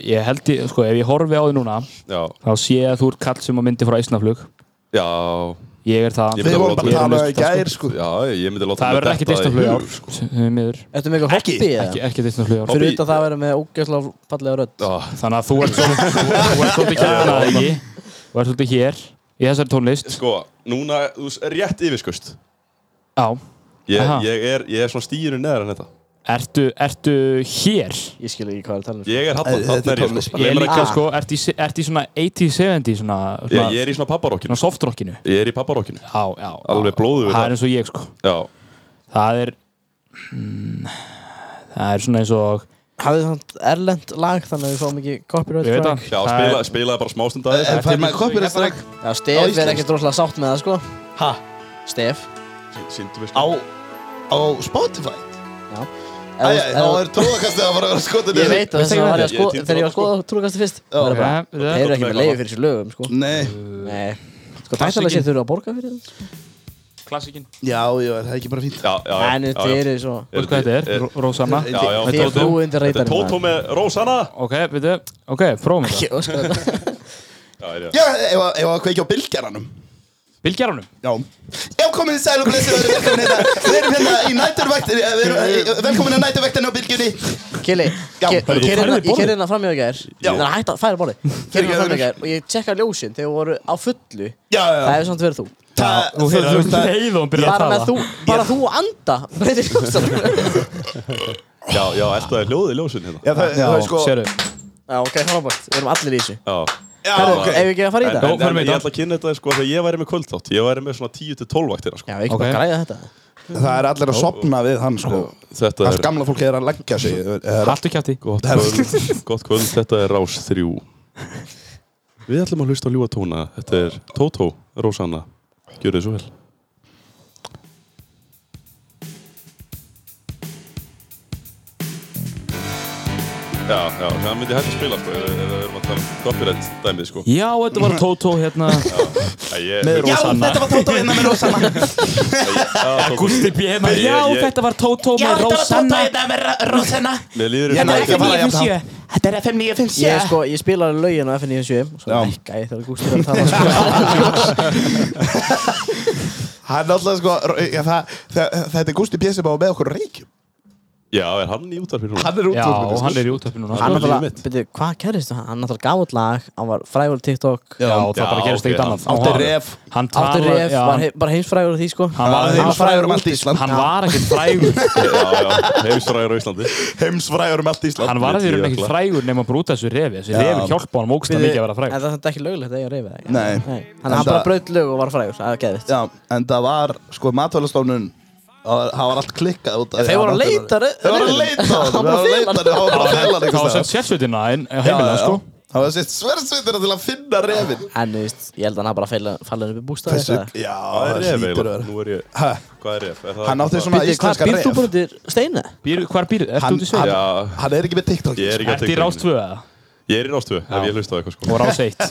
[SPEAKER 7] ég held ég, sko, ef ég horfi á þig núna
[SPEAKER 3] Já,
[SPEAKER 7] Þá sé ég að þú ert kall sem að myndi frá Ísnaflug
[SPEAKER 3] já,
[SPEAKER 1] Ég er það
[SPEAKER 3] Ég myndi
[SPEAKER 4] Við vorum
[SPEAKER 3] láta
[SPEAKER 4] bara að
[SPEAKER 3] mig-
[SPEAKER 4] tala um það í
[SPEAKER 1] listan,
[SPEAKER 4] gær sko
[SPEAKER 3] Já, ég myndi láta
[SPEAKER 1] Það
[SPEAKER 3] mig
[SPEAKER 1] verður
[SPEAKER 3] detta
[SPEAKER 1] ekki deilt á
[SPEAKER 3] í
[SPEAKER 1] flug
[SPEAKER 3] hug, sko.
[SPEAKER 1] ár (laughs) Því miður.
[SPEAKER 2] Ertu með eitthvað
[SPEAKER 4] Ekki.
[SPEAKER 2] hobby eða?
[SPEAKER 1] Ekki ekki deilt á flug ár
[SPEAKER 2] Fyrir
[SPEAKER 3] Hobby-
[SPEAKER 2] utan það að vera með ógjöfslega fallega rödd
[SPEAKER 3] Já,
[SPEAKER 1] Þannig að þú ert svo-
[SPEAKER 3] (laughs)
[SPEAKER 1] þú ert svolítið kjærna ekki og ert svolítið hér í þessari tónlist
[SPEAKER 3] sko, núna, þú s- rétt yfirskust
[SPEAKER 1] Já
[SPEAKER 3] ég,
[SPEAKER 1] Aha.
[SPEAKER 3] ég, er, ég er svona stíðinu neðar en þetta
[SPEAKER 1] Ertu, ertu hér?
[SPEAKER 2] Ég skil ekki hvað það er talað um
[SPEAKER 3] Ég er hann,
[SPEAKER 4] Æ,
[SPEAKER 3] hann er
[SPEAKER 4] þetta er
[SPEAKER 3] ég
[SPEAKER 4] tónlist.
[SPEAKER 3] sko
[SPEAKER 1] Ég er
[SPEAKER 3] Ég,
[SPEAKER 1] líka sko, ertu í, ertu í svona 80-70 svona,
[SPEAKER 3] ég,
[SPEAKER 1] svona,
[SPEAKER 3] ég er í svona papparokkinu
[SPEAKER 1] svona softrockinu
[SPEAKER 3] Ég er í papparokkinu
[SPEAKER 1] Já, já já.
[SPEAKER 3] Alveg blóðugur
[SPEAKER 1] Það
[SPEAKER 3] þar.
[SPEAKER 1] er eins og ég sko
[SPEAKER 3] Já,
[SPEAKER 1] Það er mm, Það er svona eins og
[SPEAKER 2] Hafið þannig erlend lag þannig að við fáum ekki copyright
[SPEAKER 1] Ég veit það.
[SPEAKER 2] strike?
[SPEAKER 3] já
[SPEAKER 1] Það er-
[SPEAKER 3] spila, spilaði bara smástund að
[SPEAKER 4] En
[SPEAKER 3] þetta
[SPEAKER 4] fær maður koppir að stræk
[SPEAKER 2] Já, Stef er
[SPEAKER 4] íslensku.
[SPEAKER 2] ekkert rosalega sátt með það sko
[SPEAKER 4] Ha?
[SPEAKER 2] Stef
[SPEAKER 3] Sýndu við
[SPEAKER 4] Á
[SPEAKER 3] sko
[SPEAKER 4] Á Spotify
[SPEAKER 2] Já Ef-
[SPEAKER 4] Æ, æ, Þá
[SPEAKER 2] ef-
[SPEAKER 4] er tróðakastið að fara að skota
[SPEAKER 2] Ég veit að
[SPEAKER 4] niður.
[SPEAKER 1] Veistu
[SPEAKER 2] þess að
[SPEAKER 1] hvað
[SPEAKER 2] var ég
[SPEAKER 3] er?
[SPEAKER 2] að sko
[SPEAKER 3] Ég er
[SPEAKER 2] Þegar ég var að skoða trúkast fyrst Það er bara Þeir
[SPEAKER 1] Það
[SPEAKER 2] eru ekki með leiði fyrir sér lögum sko
[SPEAKER 4] Mm. Nei
[SPEAKER 2] Nei Sko tættalega séð þau eru að borga fyrir það
[SPEAKER 1] Klassikin
[SPEAKER 4] Já, já, er það er ekki bara fínt
[SPEAKER 3] Já, já, já,
[SPEAKER 2] En
[SPEAKER 3] já,
[SPEAKER 2] þau
[SPEAKER 3] já.
[SPEAKER 2] eru svo
[SPEAKER 1] Þú veist hvað þetta er? Rósanna
[SPEAKER 3] Já, já,
[SPEAKER 2] Þið er
[SPEAKER 3] Tótó.
[SPEAKER 2] flúindir
[SPEAKER 3] Þetta er
[SPEAKER 2] reytarinn
[SPEAKER 3] Tótó með Rósanna
[SPEAKER 1] Ok, veitu Ok, prófum þetta
[SPEAKER 2] (laughs) Sko,
[SPEAKER 3] Já, er ég
[SPEAKER 4] Já, ef að- ef að kveikja á bylgjaranum
[SPEAKER 1] Bylgjaranum
[SPEAKER 4] Já Já, komið þið sæl og blessið verið velkomin hérna Við erum hérna í næturvækt eh, við erum- eh, Velkomin að næturvæktinu á bylgjunni
[SPEAKER 2] Kili
[SPEAKER 4] Já,
[SPEAKER 2] Ég
[SPEAKER 4] heyrðu,
[SPEAKER 1] færðu
[SPEAKER 2] keyrði hérna- ég
[SPEAKER 1] borðið?
[SPEAKER 2] keyrði hérna fram í aðgær
[SPEAKER 4] Já.
[SPEAKER 2] Það er hægt að færa
[SPEAKER 4] (laughs)
[SPEAKER 2] borði Keirði hérna
[SPEAKER 4] Fyrirgefðu
[SPEAKER 2] fram í
[SPEAKER 4] mér.
[SPEAKER 2] aðgær Og ég tjekkaði ljósin þegar voru á fullu
[SPEAKER 4] Já, já,
[SPEAKER 2] Það
[SPEAKER 4] já
[SPEAKER 2] hefur samt verið þú
[SPEAKER 4] Það-
[SPEAKER 1] Þú
[SPEAKER 4] það-
[SPEAKER 1] hefur
[SPEAKER 4] það-
[SPEAKER 1] leið og hún byrjar
[SPEAKER 2] Bara
[SPEAKER 1] að
[SPEAKER 2] með þú
[SPEAKER 1] tala
[SPEAKER 2] Bara þú og anda (laughs) Breytir ljósan
[SPEAKER 4] (laughs)
[SPEAKER 3] Já, já, þetta er hljóðið ljósin hérna
[SPEAKER 4] Já, það það er sko
[SPEAKER 1] Sérðu
[SPEAKER 2] Já ok, frábært Við erum allir í þessu
[SPEAKER 3] Já,
[SPEAKER 4] Já,
[SPEAKER 2] Herru,
[SPEAKER 4] ok
[SPEAKER 2] ef við ekki að fara í
[SPEAKER 3] en,
[SPEAKER 2] þetta
[SPEAKER 1] Jó,
[SPEAKER 3] en,
[SPEAKER 1] förum í
[SPEAKER 3] en ég
[SPEAKER 1] þetta.
[SPEAKER 3] ætla að kynna þetta sko Þegar ég væri með kvöldþátt Ég væri með svona 10-12 vaktina sko
[SPEAKER 2] Já, við ekki bara
[SPEAKER 1] Ok.
[SPEAKER 2] græða þetta
[SPEAKER 4] Það er allir að sopna við hann sko
[SPEAKER 3] Þetta
[SPEAKER 4] Það
[SPEAKER 3] er
[SPEAKER 4] gamla fólki er að leggja sig er-
[SPEAKER 1] Haltu kjátti
[SPEAKER 3] Gott kvöld, gott kvöld, þetta er Rás 3 Við ætlum að hlusta á ljúa tóna Þetta er Tótó, Rósanna Gjörðu þið svo vel Já, já, það myndi ég hægt að spila sko Ef ef við erum að tala um copyright dæmið sko
[SPEAKER 1] Já, þetta var Tótó hérna
[SPEAKER 3] Æ, ég,
[SPEAKER 1] Með
[SPEAKER 4] Já,
[SPEAKER 1] Rósanna
[SPEAKER 4] þetta var (laughs) Tóta hérna með Rósanna
[SPEAKER 3] já, Tótó.
[SPEAKER 1] Gústi B. hérna
[SPEAKER 3] Ég-
[SPEAKER 1] Já,
[SPEAKER 3] ég-
[SPEAKER 1] þetta var Tótó með Rósanna
[SPEAKER 4] með Rósanna
[SPEAKER 3] Mér líður
[SPEAKER 4] Ég
[SPEAKER 3] eins
[SPEAKER 4] næ
[SPEAKER 3] og-
[SPEAKER 4] ekki að fara jafn hátt.
[SPEAKER 5] Þetta er FM 957
[SPEAKER 2] Ég sko, ég spilaði lögin á FN97 og svo
[SPEAKER 4] Já.
[SPEAKER 2] nekka ég þegar Gústi var að
[SPEAKER 4] (laughs)
[SPEAKER 2] tala sko.
[SPEAKER 4] Það er náttúrulega sko já, það- það- Þetta er Gusti Pési bá með okkur á reykjum
[SPEAKER 3] Já, er hann í útarfið núna?
[SPEAKER 4] Hann er
[SPEAKER 1] Já,
[SPEAKER 4] útvarpinu,
[SPEAKER 1] hann
[SPEAKER 4] sko.
[SPEAKER 1] er í útöppi núna sko.
[SPEAKER 2] Hann
[SPEAKER 3] er lífið
[SPEAKER 2] náttúrulega,
[SPEAKER 3] mitt.
[SPEAKER 2] byrju, hvað gerðist það? Hann náttúrulega gaf út lag, hann var frægur á TikTok
[SPEAKER 1] Já, það
[SPEAKER 3] Já,
[SPEAKER 1] bara gerist ekkert
[SPEAKER 3] ok,
[SPEAKER 1] annað
[SPEAKER 4] Átti
[SPEAKER 1] Hann-
[SPEAKER 4] ref
[SPEAKER 1] Hann
[SPEAKER 2] Áttur
[SPEAKER 1] talar-
[SPEAKER 2] ref,
[SPEAKER 1] já,
[SPEAKER 2] var hei, bara heimsfrægur á því sko
[SPEAKER 1] Hann var-
[SPEAKER 4] Það
[SPEAKER 1] hann
[SPEAKER 4] er
[SPEAKER 1] var
[SPEAKER 4] frægur um allt Ísland
[SPEAKER 1] Hann var ekkert frægur
[SPEAKER 3] (laughs) Já, já, heimsfræður á Íslandi
[SPEAKER 4] Heimsfrægur um allt Ísland
[SPEAKER 1] Hann var
[SPEAKER 3] Milli
[SPEAKER 1] því raun ekki
[SPEAKER 3] jökla.
[SPEAKER 1] frægur nema að brúta þessu refi Þessi refi hjálpa honum ógst mikið að vera
[SPEAKER 2] En
[SPEAKER 1] frægur
[SPEAKER 2] það er þetta ekki löglegt að eiga reyfið ekki?
[SPEAKER 4] Nei.
[SPEAKER 2] Nei.
[SPEAKER 4] En
[SPEAKER 2] Hann, hann
[SPEAKER 4] það-
[SPEAKER 2] bara braut lög og var frægur, það er geðvitt
[SPEAKER 4] Já, en það var sko matvælastofnun það það var allt klikkað út af því
[SPEAKER 2] Þeir voru að
[SPEAKER 4] hann átti-
[SPEAKER 2] leita re-
[SPEAKER 4] Þeir voru að
[SPEAKER 2] rifin.
[SPEAKER 4] leita á honum,
[SPEAKER 2] Það var
[SPEAKER 4] Þeir voru að
[SPEAKER 2] felan.
[SPEAKER 4] leita á honum, Það var bara að fela
[SPEAKER 1] Það var sett sérsveitina inn á heimilega sko
[SPEAKER 4] Það var sett sverðsveitina til að finna refin
[SPEAKER 2] En þú veist, ég held að hann bara feila- fallin upp í bústaði
[SPEAKER 4] Þessu,
[SPEAKER 2] Byrju,
[SPEAKER 4] já,
[SPEAKER 3] Hvað er
[SPEAKER 4] það
[SPEAKER 3] ref
[SPEAKER 4] hlýtur að
[SPEAKER 3] eiginlega?
[SPEAKER 4] vera
[SPEAKER 3] Nú er ég,
[SPEAKER 4] Ha,
[SPEAKER 3] hvað er ref? Er það-
[SPEAKER 4] Hann átti svona
[SPEAKER 2] hvað,
[SPEAKER 4] íslenska
[SPEAKER 2] býr þú
[SPEAKER 4] ref
[SPEAKER 2] bara undir steina?
[SPEAKER 1] Býr, Hvar býr, ertu
[SPEAKER 4] Hann-
[SPEAKER 1] út í sveit?
[SPEAKER 3] Já,
[SPEAKER 4] Hann er ekki með TikTok
[SPEAKER 3] ég er ekki að
[SPEAKER 1] Ertu í
[SPEAKER 3] TikTokinu.
[SPEAKER 1] rástvöðu eða?
[SPEAKER 3] Ég er í rástvö, ef ég hlusta á eitthvað sko
[SPEAKER 1] Og rás eitt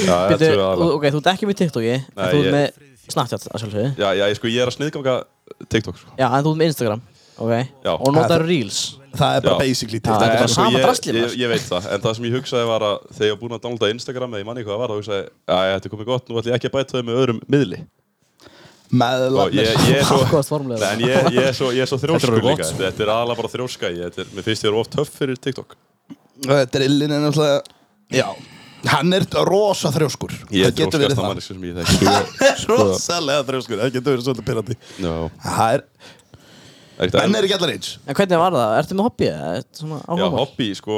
[SPEAKER 3] Já, ég
[SPEAKER 2] Byrju,
[SPEAKER 3] tvö aðalega.
[SPEAKER 2] ok, þú ert ekki með TikToki en
[SPEAKER 3] Nei,
[SPEAKER 2] Þú ert
[SPEAKER 3] ég-
[SPEAKER 2] með Snapchat, að sjálfsögðu
[SPEAKER 3] Já, já, ég sko, ég er að sniðganga TikTok sko
[SPEAKER 2] Já, en þú ert með Instagram, ok
[SPEAKER 3] Já.
[SPEAKER 2] Og notar Reels
[SPEAKER 4] Það er bara
[SPEAKER 3] Já.
[SPEAKER 4] basically
[SPEAKER 2] Já,
[SPEAKER 4] TikTok
[SPEAKER 2] þetta er bara
[SPEAKER 3] En sko,
[SPEAKER 2] sama
[SPEAKER 3] ég-
[SPEAKER 2] draslið,
[SPEAKER 3] ég-
[SPEAKER 2] maður.
[SPEAKER 3] Ég veit það, en það sem ég hugsaði var að þegar ég var búinn að downloada Instagram eða ég manni hvað það var, þá hugsaði ég, að þetta er komið gott, nú ætlum ég ekki að bæta þau með öðrum miðli Og
[SPEAKER 4] Meðlarnir
[SPEAKER 3] ég, ég er svo,
[SPEAKER 2] Ákvaðast formulega
[SPEAKER 3] Nei, en ég, ég er svo, ég er svo þrjóskur
[SPEAKER 1] orðið
[SPEAKER 3] líka
[SPEAKER 1] gott. sko.
[SPEAKER 3] Þetta er aðalega bara þrjóska, ég, þetta er, mér finnst ég er of töff fyrir TikTok
[SPEAKER 4] Drillin er náttúrulega Já Hann er rosa þrjóskur
[SPEAKER 3] Ég er
[SPEAKER 4] Það getur verið
[SPEAKER 3] þrjóskasta
[SPEAKER 4] það
[SPEAKER 3] manneski sem ég
[SPEAKER 4] (laughs)
[SPEAKER 3] þekki
[SPEAKER 4] sko. Rosalega þrjóskur Það getur verið svolítið pyrrandi
[SPEAKER 3] Já,
[SPEAKER 4] Það er
[SPEAKER 3] er þetta
[SPEAKER 4] Menn er ekki allar eins
[SPEAKER 2] En hvernig var það? Ertu með hobby? eða Ertu svona
[SPEAKER 3] Já,
[SPEAKER 2] áhugamál?
[SPEAKER 3] hobby, sko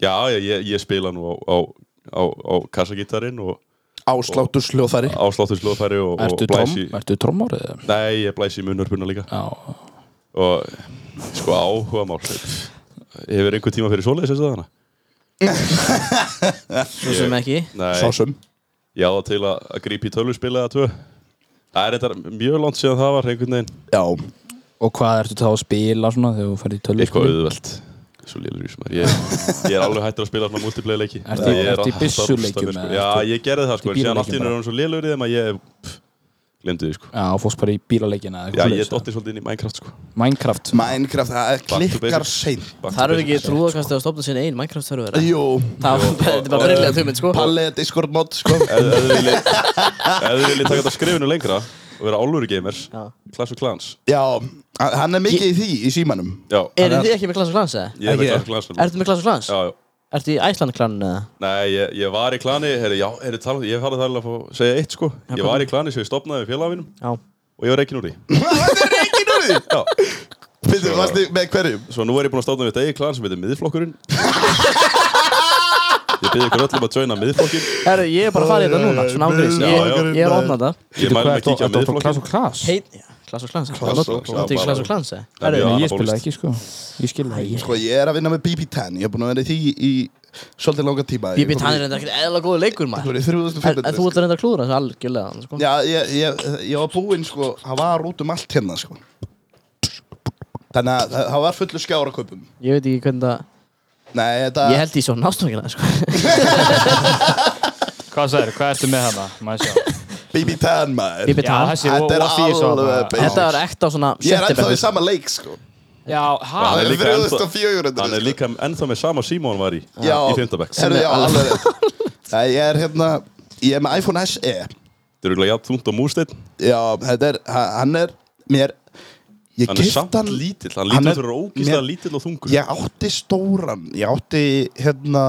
[SPEAKER 3] Já, ég, ég, ég spila nú á, á, á, á kassagítarinn og
[SPEAKER 4] Ásláttur sljóðfæri
[SPEAKER 3] áslátturslóðfæri og, og
[SPEAKER 1] Ertu tróm,
[SPEAKER 3] blæsi
[SPEAKER 1] ertu trómórið eða?
[SPEAKER 3] Nei, ég blæsi í munnörpuna líka
[SPEAKER 1] Já
[SPEAKER 3] og sko áhuga mál Hefur einhver tíma fyrir svoleiðis þess að hana?
[SPEAKER 2] Svo sem ekki
[SPEAKER 3] Nei,
[SPEAKER 4] Sásum
[SPEAKER 3] ég á það til að, að grípa í tölvuspila eða tvö Það er þetta mjög langt síðan það var einhvern veginn
[SPEAKER 4] Já
[SPEAKER 1] Og hvað ertu þá að spila svona þegar þú ferði í
[SPEAKER 3] Eitthvað
[SPEAKER 1] tölvur?
[SPEAKER 3] auðvelt Svo lélur í sem er ég, ég er alveg hættur að spila svona multiplayer leiki
[SPEAKER 1] Ertu-
[SPEAKER 3] Ég er
[SPEAKER 1] ertu í
[SPEAKER 3] alltaf að rústa
[SPEAKER 1] byssuleikjum
[SPEAKER 3] mér, sko.
[SPEAKER 1] eða
[SPEAKER 3] Já,
[SPEAKER 1] ertu-
[SPEAKER 3] ég gerði það
[SPEAKER 1] í
[SPEAKER 3] sko en Síðan
[SPEAKER 1] bílaleikjum
[SPEAKER 3] allt
[SPEAKER 1] bara?
[SPEAKER 3] í náttúrulega svo lélur í þeim að ég glemdu því sko
[SPEAKER 1] Já, og fórst bara í bílaleikina eða
[SPEAKER 3] Já,
[SPEAKER 1] eitthvað
[SPEAKER 3] ég
[SPEAKER 1] svoleiðis.
[SPEAKER 3] dotti svolítið inn í Minecraft sko
[SPEAKER 1] Minecraft
[SPEAKER 4] Minecraft, það er
[SPEAKER 3] Back to
[SPEAKER 4] klikkar
[SPEAKER 3] basics.
[SPEAKER 4] seint
[SPEAKER 3] Back to
[SPEAKER 2] Það eru
[SPEAKER 3] basics.
[SPEAKER 2] ekki trúðakast að stopna sinni einn Minecraft-server eða?
[SPEAKER 4] Jú,
[SPEAKER 2] Það var- þetta er bara brillið að þau sko
[SPEAKER 4] Palli (laughs) er Discord mod, sko
[SPEAKER 3] Ef ef þið viljið ef þið viljið taka þetta skrifinu lengra og vera álfur gamers
[SPEAKER 2] Já.
[SPEAKER 3] Clash of Clans
[SPEAKER 4] Já, hann er mikið í því í (laughs) símanum
[SPEAKER 3] Já,
[SPEAKER 2] Eru þið ekki með Clash of Clans eða?
[SPEAKER 3] ég er með
[SPEAKER 4] Ekki.
[SPEAKER 3] Clash of Clans núna.
[SPEAKER 2] Ertu með Clash of Clans?
[SPEAKER 3] Já, já
[SPEAKER 2] Ertu í Æsland-klaninu eða?
[SPEAKER 3] Nei, ég, ég var í klani, heyri, já, heyri, tala, ég farið þærlega að fá að segja eitt sko Ég var í klani sem ég stopnaði við félagafinum
[SPEAKER 2] Já
[SPEAKER 3] og ég var reikin úr því
[SPEAKER 4] (laughs) Það er ekki núr því
[SPEAKER 3] Já,
[SPEAKER 4] Fyndu, varstu með hverjum?
[SPEAKER 3] svo nú er ég búin að stopna við þetta eigi klan sem heitir Miðflokkurinn Ég byrði ykkur öllum að joina Miðflokkin
[SPEAKER 2] Herru, ég er bara að fara í þetta núna, svona ángriðs
[SPEAKER 4] Já,
[SPEAKER 2] Ég,
[SPEAKER 3] já.
[SPEAKER 2] ég er ofnað þetta
[SPEAKER 3] Ég mæli mig að kíkja á
[SPEAKER 1] Þetta var frá Clash
[SPEAKER 3] Miðflokkin
[SPEAKER 1] of Class
[SPEAKER 2] Heit, já, Clash of Clans
[SPEAKER 4] Clash of Clans,
[SPEAKER 2] Þetta er ekki
[SPEAKER 3] já,
[SPEAKER 2] Clash
[SPEAKER 3] bara-
[SPEAKER 2] of Clans eða?
[SPEAKER 3] Það er mjög
[SPEAKER 1] Nei,
[SPEAKER 3] annað
[SPEAKER 1] ég spila
[SPEAKER 3] bólist.
[SPEAKER 1] ekki sko Ég skil það ekki
[SPEAKER 4] Sko, ég er að vinna með BB10 Ég er búin að vera í því í svolítið langa tíma
[SPEAKER 2] BB Tan er reyndar ekkert eðla góðu leikur maður
[SPEAKER 4] Þú er í
[SPEAKER 2] En en
[SPEAKER 4] 3500
[SPEAKER 2] þú ætlar reyndar að klúðra þessu algjörlega hann, sko.
[SPEAKER 4] Já, ég, ég, ég var búinn, sko Hann var út um allt hérna, sko Þannig að það- hann var fullu skjára kaupum
[SPEAKER 2] Ég veit ekki hvernig það
[SPEAKER 4] Nei, þetta
[SPEAKER 2] Ég held því svo nástungina sko.
[SPEAKER 4] (laughs)
[SPEAKER 1] Hvað sagður, hvað ertu með hana? Maður sjá
[SPEAKER 4] BB10, maður
[SPEAKER 2] BB
[SPEAKER 1] Já,
[SPEAKER 2] Tan
[SPEAKER 1] þessi
[SPEAKER 4] Þetta er
[SPEAKER 1] Wafi svo
[SPEAKER 4] alveg
[SPEAKER 1] bara.
[SPEAKER 4] basic.
[SPEAKER 2] Þetta var ekta svona
[SPEAKER 4] Ég er ennþá í
[SPEAKER 2] september
[SPEAKER 4] sama leik, sko
[SPEAKER 1] Já, hæ?
[SPEAKER 3] Hann er líka ennþá-
[SPEAKER 4] 3400
[SPEAKER 3] Hann er líka ennþá með sama Simón var í
[SPEAKER 4] Já,
[SPEAKER 3] í fymtabæk Þetta
[SPEAKER 4] herðu, já,
[SPEAKER 2] (laughs)
[SPEAKER 4] alveg rétt. Nei, Ég er hérna Ég er með iPhone SE
[SPEAKER 3] er auðvitað jafn þungt á músteinn
[SPEAKER 4] Já, þetta er, ha- hann er Mér Ég
[SPEAKER 3] Hann er
[SPEAKER 4] keypti
[SPEAKER 3] samt
[SPEAKER 4] hann-
[SPEAKER 3] lítill, hann
[SPEAKER 4] hann
[SPEAKER 3] lítur
[SPEAKER 4] er-
[SPEAKER 3] fyrir ógislega
[SPEAKER 4] mér-
[SPEAKER 3] lítill og þungur
[SPEAKER 4] Ég átti stóran Ég átti hérna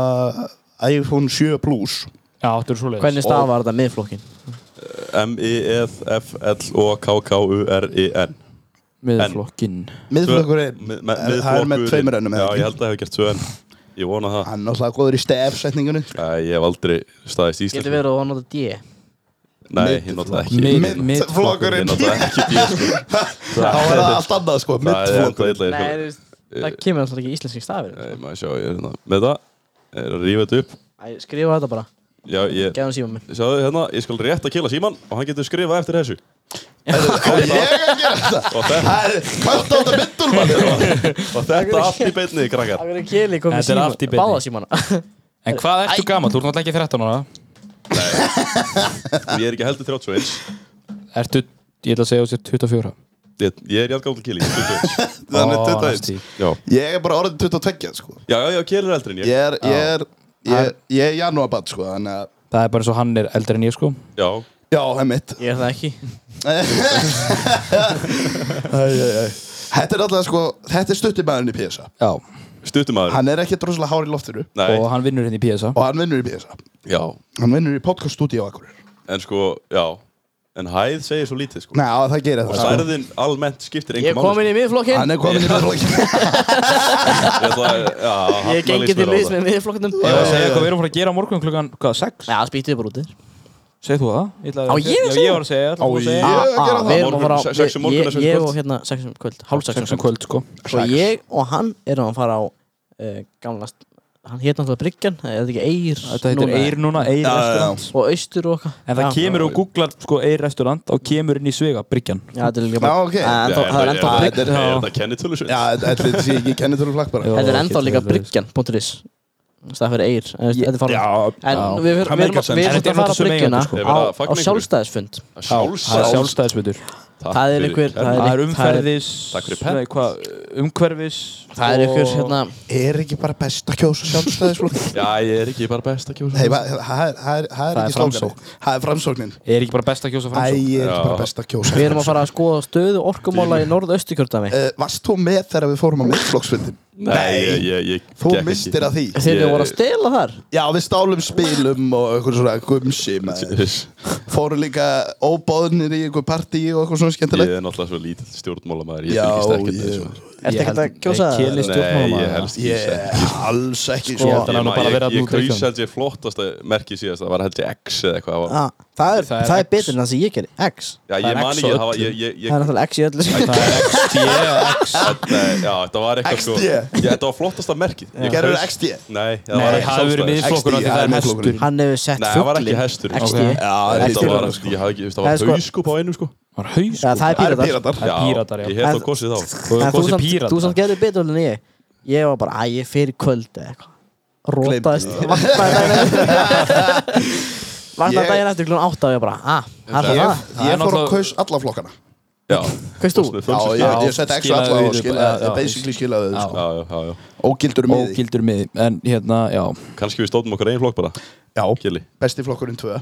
[SPEAKER 4] iPhone 7 Plus
[SPEAKER 1] Já, þetta er svoleiðis
[SPEAKER 2] Hvernig stað var þetta miðflokkin?
[SPEAKER 3] M-I-F-F-L-O-K-K-U-R-I-N
[SPEAKER 1] Miðflokkin
[SPEAKER 4] Miðflokkurinn
[SPEAKER 3] Me- me-
[SPEAKER 4] Eh, Það er með
[SPEAKER 3] miðflokkurinn.
[SPEAKER 4] tveimur önnum
[SPEAKER 3] Já,
[SPEAKER 4] eða
[SPEAKER 3] ég
[SPEAKER 4] ekki?
[SPEAKER 3] held að það hefur gert tvö enn Ég vona það
[SPEAKER 4] Hann er náttúrulega góður í stefsetningunni
[SPEAKER 3] Æ, Ég hef aldrei staðist í
[SPEAKER 2] Getur
[SPEAKER 3] Ísland
[SPEAKER 2] verið að hann nota D
[SPEAKER 3] Nei, ég nota ekki
[SPEAKER 1] Mið-
[SPEAKER 3] Ég
[SPEAKER 4] Miðflokkurinn
[SPEAKER 3] nota ekki bíl sko.
[SPEAKER 4] Þá er það allt annað sko
[SPEAKER 3] Það er enda
[SPEAKER 4] Miðflokkurinn
[SPEAKER 3] illa
[SPEAKER 2] Nei, þú
[SPEAKER 3] ég-
[SPEAKER 2] veist, það kemur alltaf ekki íslenski stafir
[SPEAKER 3] Nei, maður sjá, ég er hérna Með það, ég er að rífa þetta upp
[SPEAKER 2] Æ, Skrifa þetta bara,
[SPEAKER 3] Já, ég
[SPEAKER 2] gefum síma minn
[SPEAKER 3] Sjáðu hérna, ég skal rétt að kila síman og hann getur skrifað eftir þessu
[SPEAKER 4] Og ég er að gera þetta
[SPEAKER 3] Og þetta,
[SPEAKER 4] Það er Kvönt á þetta myndul maður
[SPEAKER 3] (laughs) og þetta allt í beinni, krakkar
[SPEAKER 2] Það verður keli komið
[SPEAKER 1] Þetta er allt í
[SPEAKER 2] síma,
[SPEAKER 1] beinni.
[SPEAKER 2] báða símana
[SPEAKER 1] En hvað ertu gaman? Þú ert náttúrulega ekki 13 ára
[SPEAKER 3] Ég er ekki heldur 31
[SPEAKER 1] Ertu, ég ætla að segja þú sér 24
[SPEAKER 3] Ég, ég er játgáðlega kili 21.
[SPEAKER 4] Þannig
[SPEAKER 1] Ó,
[SPEAKER 4] 21
[SPEAKER 1] nasty.
[SPEAKER 3] Já,
[SPEAKER 4] Ég er bara orðin 22 sko
[SPEAKER 3] já, já, já kili er eldri en ég
[SPEAKER 4] Ég er Ég er Ég, ég er janúabatt sko Þannig að
[SPEAKER 1] Það er bara eins og hann er eldri en ég sko
[SPEAKER 3] Já,
[SPEAKER 4] Já, það er
[SPEAKER 3] (laughs)
[SPEAKER 4] mitt
[SPEAKER 2] (laughs) Ég er það ekki
[SPEAKER 4] Þetta er alltaf sko Þetta er stuttimæðurinn í PSA
[SPEAKER 1] Já,
[SPEAKER 3] stuttumæður
[SPEAKER 4] Hann er ekki droslega hár í loftinu
[SPEAKER 3] Nei,
[SPEAKER 1] og hann vinnur hérna í PSA
[SPEAKER 4] Og hann vinnur í PSA
[SPEAKER 3] já,
[SPEAKER 4] Hann vinnur í podcast-stúdíu á Akureyri
[SPEAKER 3] en sko, já En hæð segir svo lítið, sko
[SPEAKER 4] Nei, á, það gerir það sko.
[SPEAKER 3] Stærðin almennt skiptir
[SPEAKER 2] Ég
[SPEAKER 3] engum
[SPEAKER 2] er komin í miðflokkin
[SPEAKER 4] Hann er komin í meðflokkin
[SPEAKER 3] Ég ætla að, já,
[SPEAKER 2] Ég
[SPEAKER 3] hafna
[SPEAKER 2] gengið til
[SPEAKER 3] líst mér á
[SPEAKER 2] liðs
[SPEAKER 3] það
[SPEAKER 2] með miðflokknum
[SPEAKER 1] Ég var að segja hvað við erum að fara að gera á morgun klukkan, hvað, 6?
[SPEAKER 2] Já, spýttu þið bara út þér
[SPEAKER 1] Segð þú það? ætla að-
[SPEAKER 2] Á, ég að
[SPEAKER 1] Já,
[SPEAKER 2] segja
[SPEAKER 1] ég var að segja, ég ætla að þú að
[SPEAKER 4] Á,
[SPEAKER 1] segja
[SPEAKER 4] ég-
[SPEAKER 2] Ah,
[SPEAKER 4] gera
[SPEAKER 2] ah,
[SPEAKER 4] það.
[SPEAKER 2] Við erum að fara á
[SPEAKER 3] Morgun- sex um morgun
[SPEAKER 2] ég-
[SPEAKER 3] og sex um
[SPEAKER 2] Ég
[SPEAKER 3] kvöld.
[SPEAKER 2] og hérna sex um kvöld Hálf sex um
[SPEAKER 1] Sexum
[SPEAKER 2] kvöld
[SPEAKER 1] kvöld sko
[SPEAKER 2] Svo ég og hann erum að fara á eh, Gamla st- Hann hétt náttúrulega Bryggjan Eða þetta ekki Eir
[SPEAKER 1] Þetta heitir
[SPEAKER 2] núna?
[SPEAKER 1] Eir núna, Eir
[SPEAKER 4] já,
[SPEAKER 1] restaurant
[SPEAKER 2] Og Austur og okkar
[SPEAKER 1] En það kemur og googlar sko Eir restaurant og kemur inn í svega, Bryggjan
[SPEAKER 2] Já, þetta er líka
[SPEAKER 4] Já,
[SPEAKER 2] bara
[SPEAKER 4] ok.
[SPEAKER 2] Eh, ennþá-
[SPEAKER 3] Já,
[SPEAKER 2] Það er
[SPEAKER 3] en
[SPEAKER 2] ennþá
[SPEAKER 3] það-
[SPEAKER 2] Brygg-
[SPEAKER 4] Þetta
[SPEAKER 3] Er
[SPEAKER 4] er-
[SPEAKER 3] þetta kennitölu
[SPEAKER 4] (laughs) Já,
[SPEAKER 3] sinni?
[SPEAKER 4] þetta er því ekki kennið til flakk bara
[SPEAKER 1] Já.
[SPEAKER 2] Þetta er
[SPEAKER 1] ok,
[SPEAKER 2] ennþá
[SPEAKER 1] þetta
[SPEAKER 2] líka
[SPEAKER 1] er-
[SPEAKER 2] Bryggjan.is Það fyrir Eir En Þetta er farlega En
[SPEAKER 1] já.
[SPEAKER 2] við við-
[SPEAKER 3] Það
[SPEAKER 2] við
[SPEAKER 3] meikar
[SPEAKER 2] erum
[SPEAKER 3] sens.
[SPEAKER 2] við
[SPEAKER 1] En þetta
[SPEAKER 2] erum að
[SPEAKER 1] er
[SPEAKER 2] fara
[SPEAKER 1] nota
[SPEAKER 2] á
[SPEAKER 1] sem
[SPEAKER 2] Bryggjuna
[SPEAKER 1] eigendur, sko.
[SPEAKER 3] Ég verð að
[SPEAKER 2] á-
[SPEAKER 3] fagna
[SPEAKER 2] Á
[SPEAKER 3] ykkur.
[SPEAKER 2] sjálfstæðisfund
[SPEAKER 1] Það er
[SPEAKER 3] Sjálfsagt
[SPEAKER 1] sjálfstæðismyndur
[SPEAKER 2] Það er ykkur
[SPEAKER 1] Það er
[SPEAKER 2] það er-
[SPEAKER 1] umferðis
[SPEAKER 3] Takk fyrir pent.
[SPEAKER 1] Nei, hvað, umhverfis
[SPEAKER 2] Það er ykkur
[SPEAKER 1] og-
[SPEAKER 2] hérna
[SPEAKER 4] Er ekki bara best að kjósa sjálfstæðisflokk?
[SPEAKER 3] Já, ég er ekki bara best að kjósa
[SPEAKER 4] Nei, va- það er- það er það er
[SPEAKER 1] Það er
[SPEAKER 4] ekki slókan
[SPEAKER 1] framsókn.
[SPEAKER 4] Það er framsóknin
[SPEAKER 1] Er ekki bara best að kjósa
[SPEAKER 4] Æ,
[SPEAKER 1] framsókn?
[SPEAKER 4] ég er ekki
[SPEAKER 3] Já.
[SPEAKER 4] bara best að kjósa
[SPEAKER 2] Við erum að fara að skoða stöðu orkumála í norðaustukjördami
[SPEAKER 4] Eh, Varst þú með þegar við fórum á mittflokksfundin?
[SPEAKER 3] Nei, ég, ég, ég
[SPEAKER 4] Þú
[SPEAKER 3] gekk
[SPEAKER 4] mistir
[SPEAKER 3] (laughs)
[SPEAKER 4] að því
[SPEAKER 2] Þeir
[SPEAKER 3] Ég-
[SPEAKER 2] eru voru að stela þar
[SPEAKER 4] Já, við stálum spilum og eitthvað svona gumsi maður. Fórum líka óbóðnir í eitthvað partí og eitthvað svona
[SPEAKER 3] Ég
[SPEAKER 4] skemmtilegt
[SPEAKER 3] er náttúrulega svo lítill stjórnmálamæður Ég
[SPEAKER 4] Já,
[SPEAKER 3] fylgist ekkert með
[SPEAKER 4] ég-
[SPEAKER 3] þessu
[SPEAKER 2] Ertu ekkert að kjósa það?
[SPEAKER 1] Keli
[SPEAKER 3] Nei,
[SPEAKER 1] stjórnmála
[SPEAKER 3] ég helst ekki
[SPEAKER 4] Ég
[SPEAKER 3] yeah.
[SPEAKER 4] er alls ekki
[SPEAKER 1] Ég
[SPEAKER 4] sko
[SPEAKER 1] held að hann
[SPEAKER 3] Ég,
[SPEAKER 1] hafi bara verið
[SPEAKER 3] ég,
[SPEAKER 1] að
[SPEAKER 3] ég
[SPEAKER 1] nú
[SPEAKER 3] kaus
[SPEAKER 1] Kristján.
[SPEAKER 3] held ég flottasta merki síðast Það var held ég X eða eitthvað það var-
[SPEAKER 2] Ah, það er,
[SPEAKER 1] Það er
[SPEAKER 2] það er
[SPEAKER 1] X.
[SPEAKER 2] betur en það sem ég gerði X
[SPEAKER 3] Já,
[SPEAKER 1] það
[SPEAKER 3] ég
[SPEAKER 1] er
[SPEAKER 3] man
[SPEAKER 1] X
[SPEAKER 3] ekki
[SPEAKER 1] á
[SPEAKER 3] Það var,
[SPEAKER 1] öllu.
[SPEAKER 3] ég, ég,
[SPEAKER 2] Það er
[SPEAKER 3] ég
[SPEAKER 2] náttúrulega X í öllu sem
[SPEAKER 1] Það er
[SPEAKER 3] (laughs)
[SPEAKER 1] XD eða X
[SPEAKER 3] Nei, já, þetta var eitthvað sko
[SPEAKER 4] XD.
[SPEAKER 3] Ég- Þetta var flottasta merkið Ég
[SPEAKER 4] Gerður
[SPEAKER 3] kaus-
[SPEAKER 4] XD?
[SPEAKER 3] Nei, það var
[SPEAKER 1] Nei,
[SPEAKER 3] ekki
[SPEAKER 1] það hefur verið
[SPEAKER 3] sjálfstæðis.
[SPEAKER 1] miðflokkur af því
[SPEAKER 4] XD, það
[SPEAKER 1] það
[SPEAKER 4] er
[SPEAKER 1] er
[SPEAKER 4] miðflokkurinn.
[SPEAKER 1] hestur
[SPEAKER 2] Hann hefur sett
[SPEAKER 3] Nei, það var
[SPEAKER 2] fugglin
[SPEAKER 3] ekki hestur
[SPEAKER 2] XD
[SPEAKER 1] Ok.
[SPEAKER 3] Þetta
[SPEAKER 4] Já, XD.
[SPEAKER 3] var, ég hafði ekki, það
[SPEAKER 2] Það er
[SPEAKER 3] var
[SPEAKER 2] sko-
[SPEAKER 3] hauskup á einu sko
[SPEAKER 1] Var haus
[SPEAKER 2] Já, það er
[SPEAKER 4] Það eru
[SPEAKER 2] píratar
[SPEAKER 4] píratar
[SPEAKER 1] Það er píratar, já.
[SPEAKER 3] Ég hef
[SPEAKER 2] En-
[SPEAKER 3] þá kosið þá
[SPEAKER 1] Og
[SPEAKER 2] En
[SPEAKER 1] þú
[SPEAKER 2] þú
[SPEAKER 1] kosið
[SPEAKER 2] samt,
[SPEAKER 1] píratar
[SPEAKER 2] þú samt gerði betur en ég Ég var bara, að ég fer í kvöld eða eitthvað Rótaðist
[SPEAKER 3] (laughs)
[SPEAKER 4] Gleymdi.
[SPEAKER 2] Vaknaði daginn eftir. Vaknaði
[SPEAKER 4] Ég-
[SPEAKER 2] daginn eftir klun 8 og ég bara, ah, það er það
[SPEAKER 4] Ég,
[SPEAKER 7] er
[SPEAKER 4] ég fór
[SPEAKER 7] náttúrulega-
[SPEAKER 4] og kaus alla flokkana
[SPEAKER 3] Já,
[SPEAKER 2] Kaust þú?
[SPEAKER 3] Þorsteinn
[SPEAKER 4] Já,
[SPEAKER 3] Þorsteinsson.
[SPEAKER 4] ég, ég seti ekki
[SPEAKER 7] skilaðu
[SPEAKER 4] alla og
[SPEAKER 7] því, já,
[SPEAKER 4] skilaði,
[SPEAKER 7] já.
[SPEAKER 4] basically skilaði þau,
[SPEAKER 7] Já.
[SPEAKER 4] sko.
[SPEAKER 3] já, já, já, já.
[SPEAKER 4] Ógildur miði
[SPEAKER 7] Ógildur miði, en hérna, já
[SPEAKER 3] Kannski við stóðum okkar einn flokk bara
[SPEAKER 4] Já,
[SPEAKER 3] Kili
[SPEAKER 4] besti flokkurinn tvö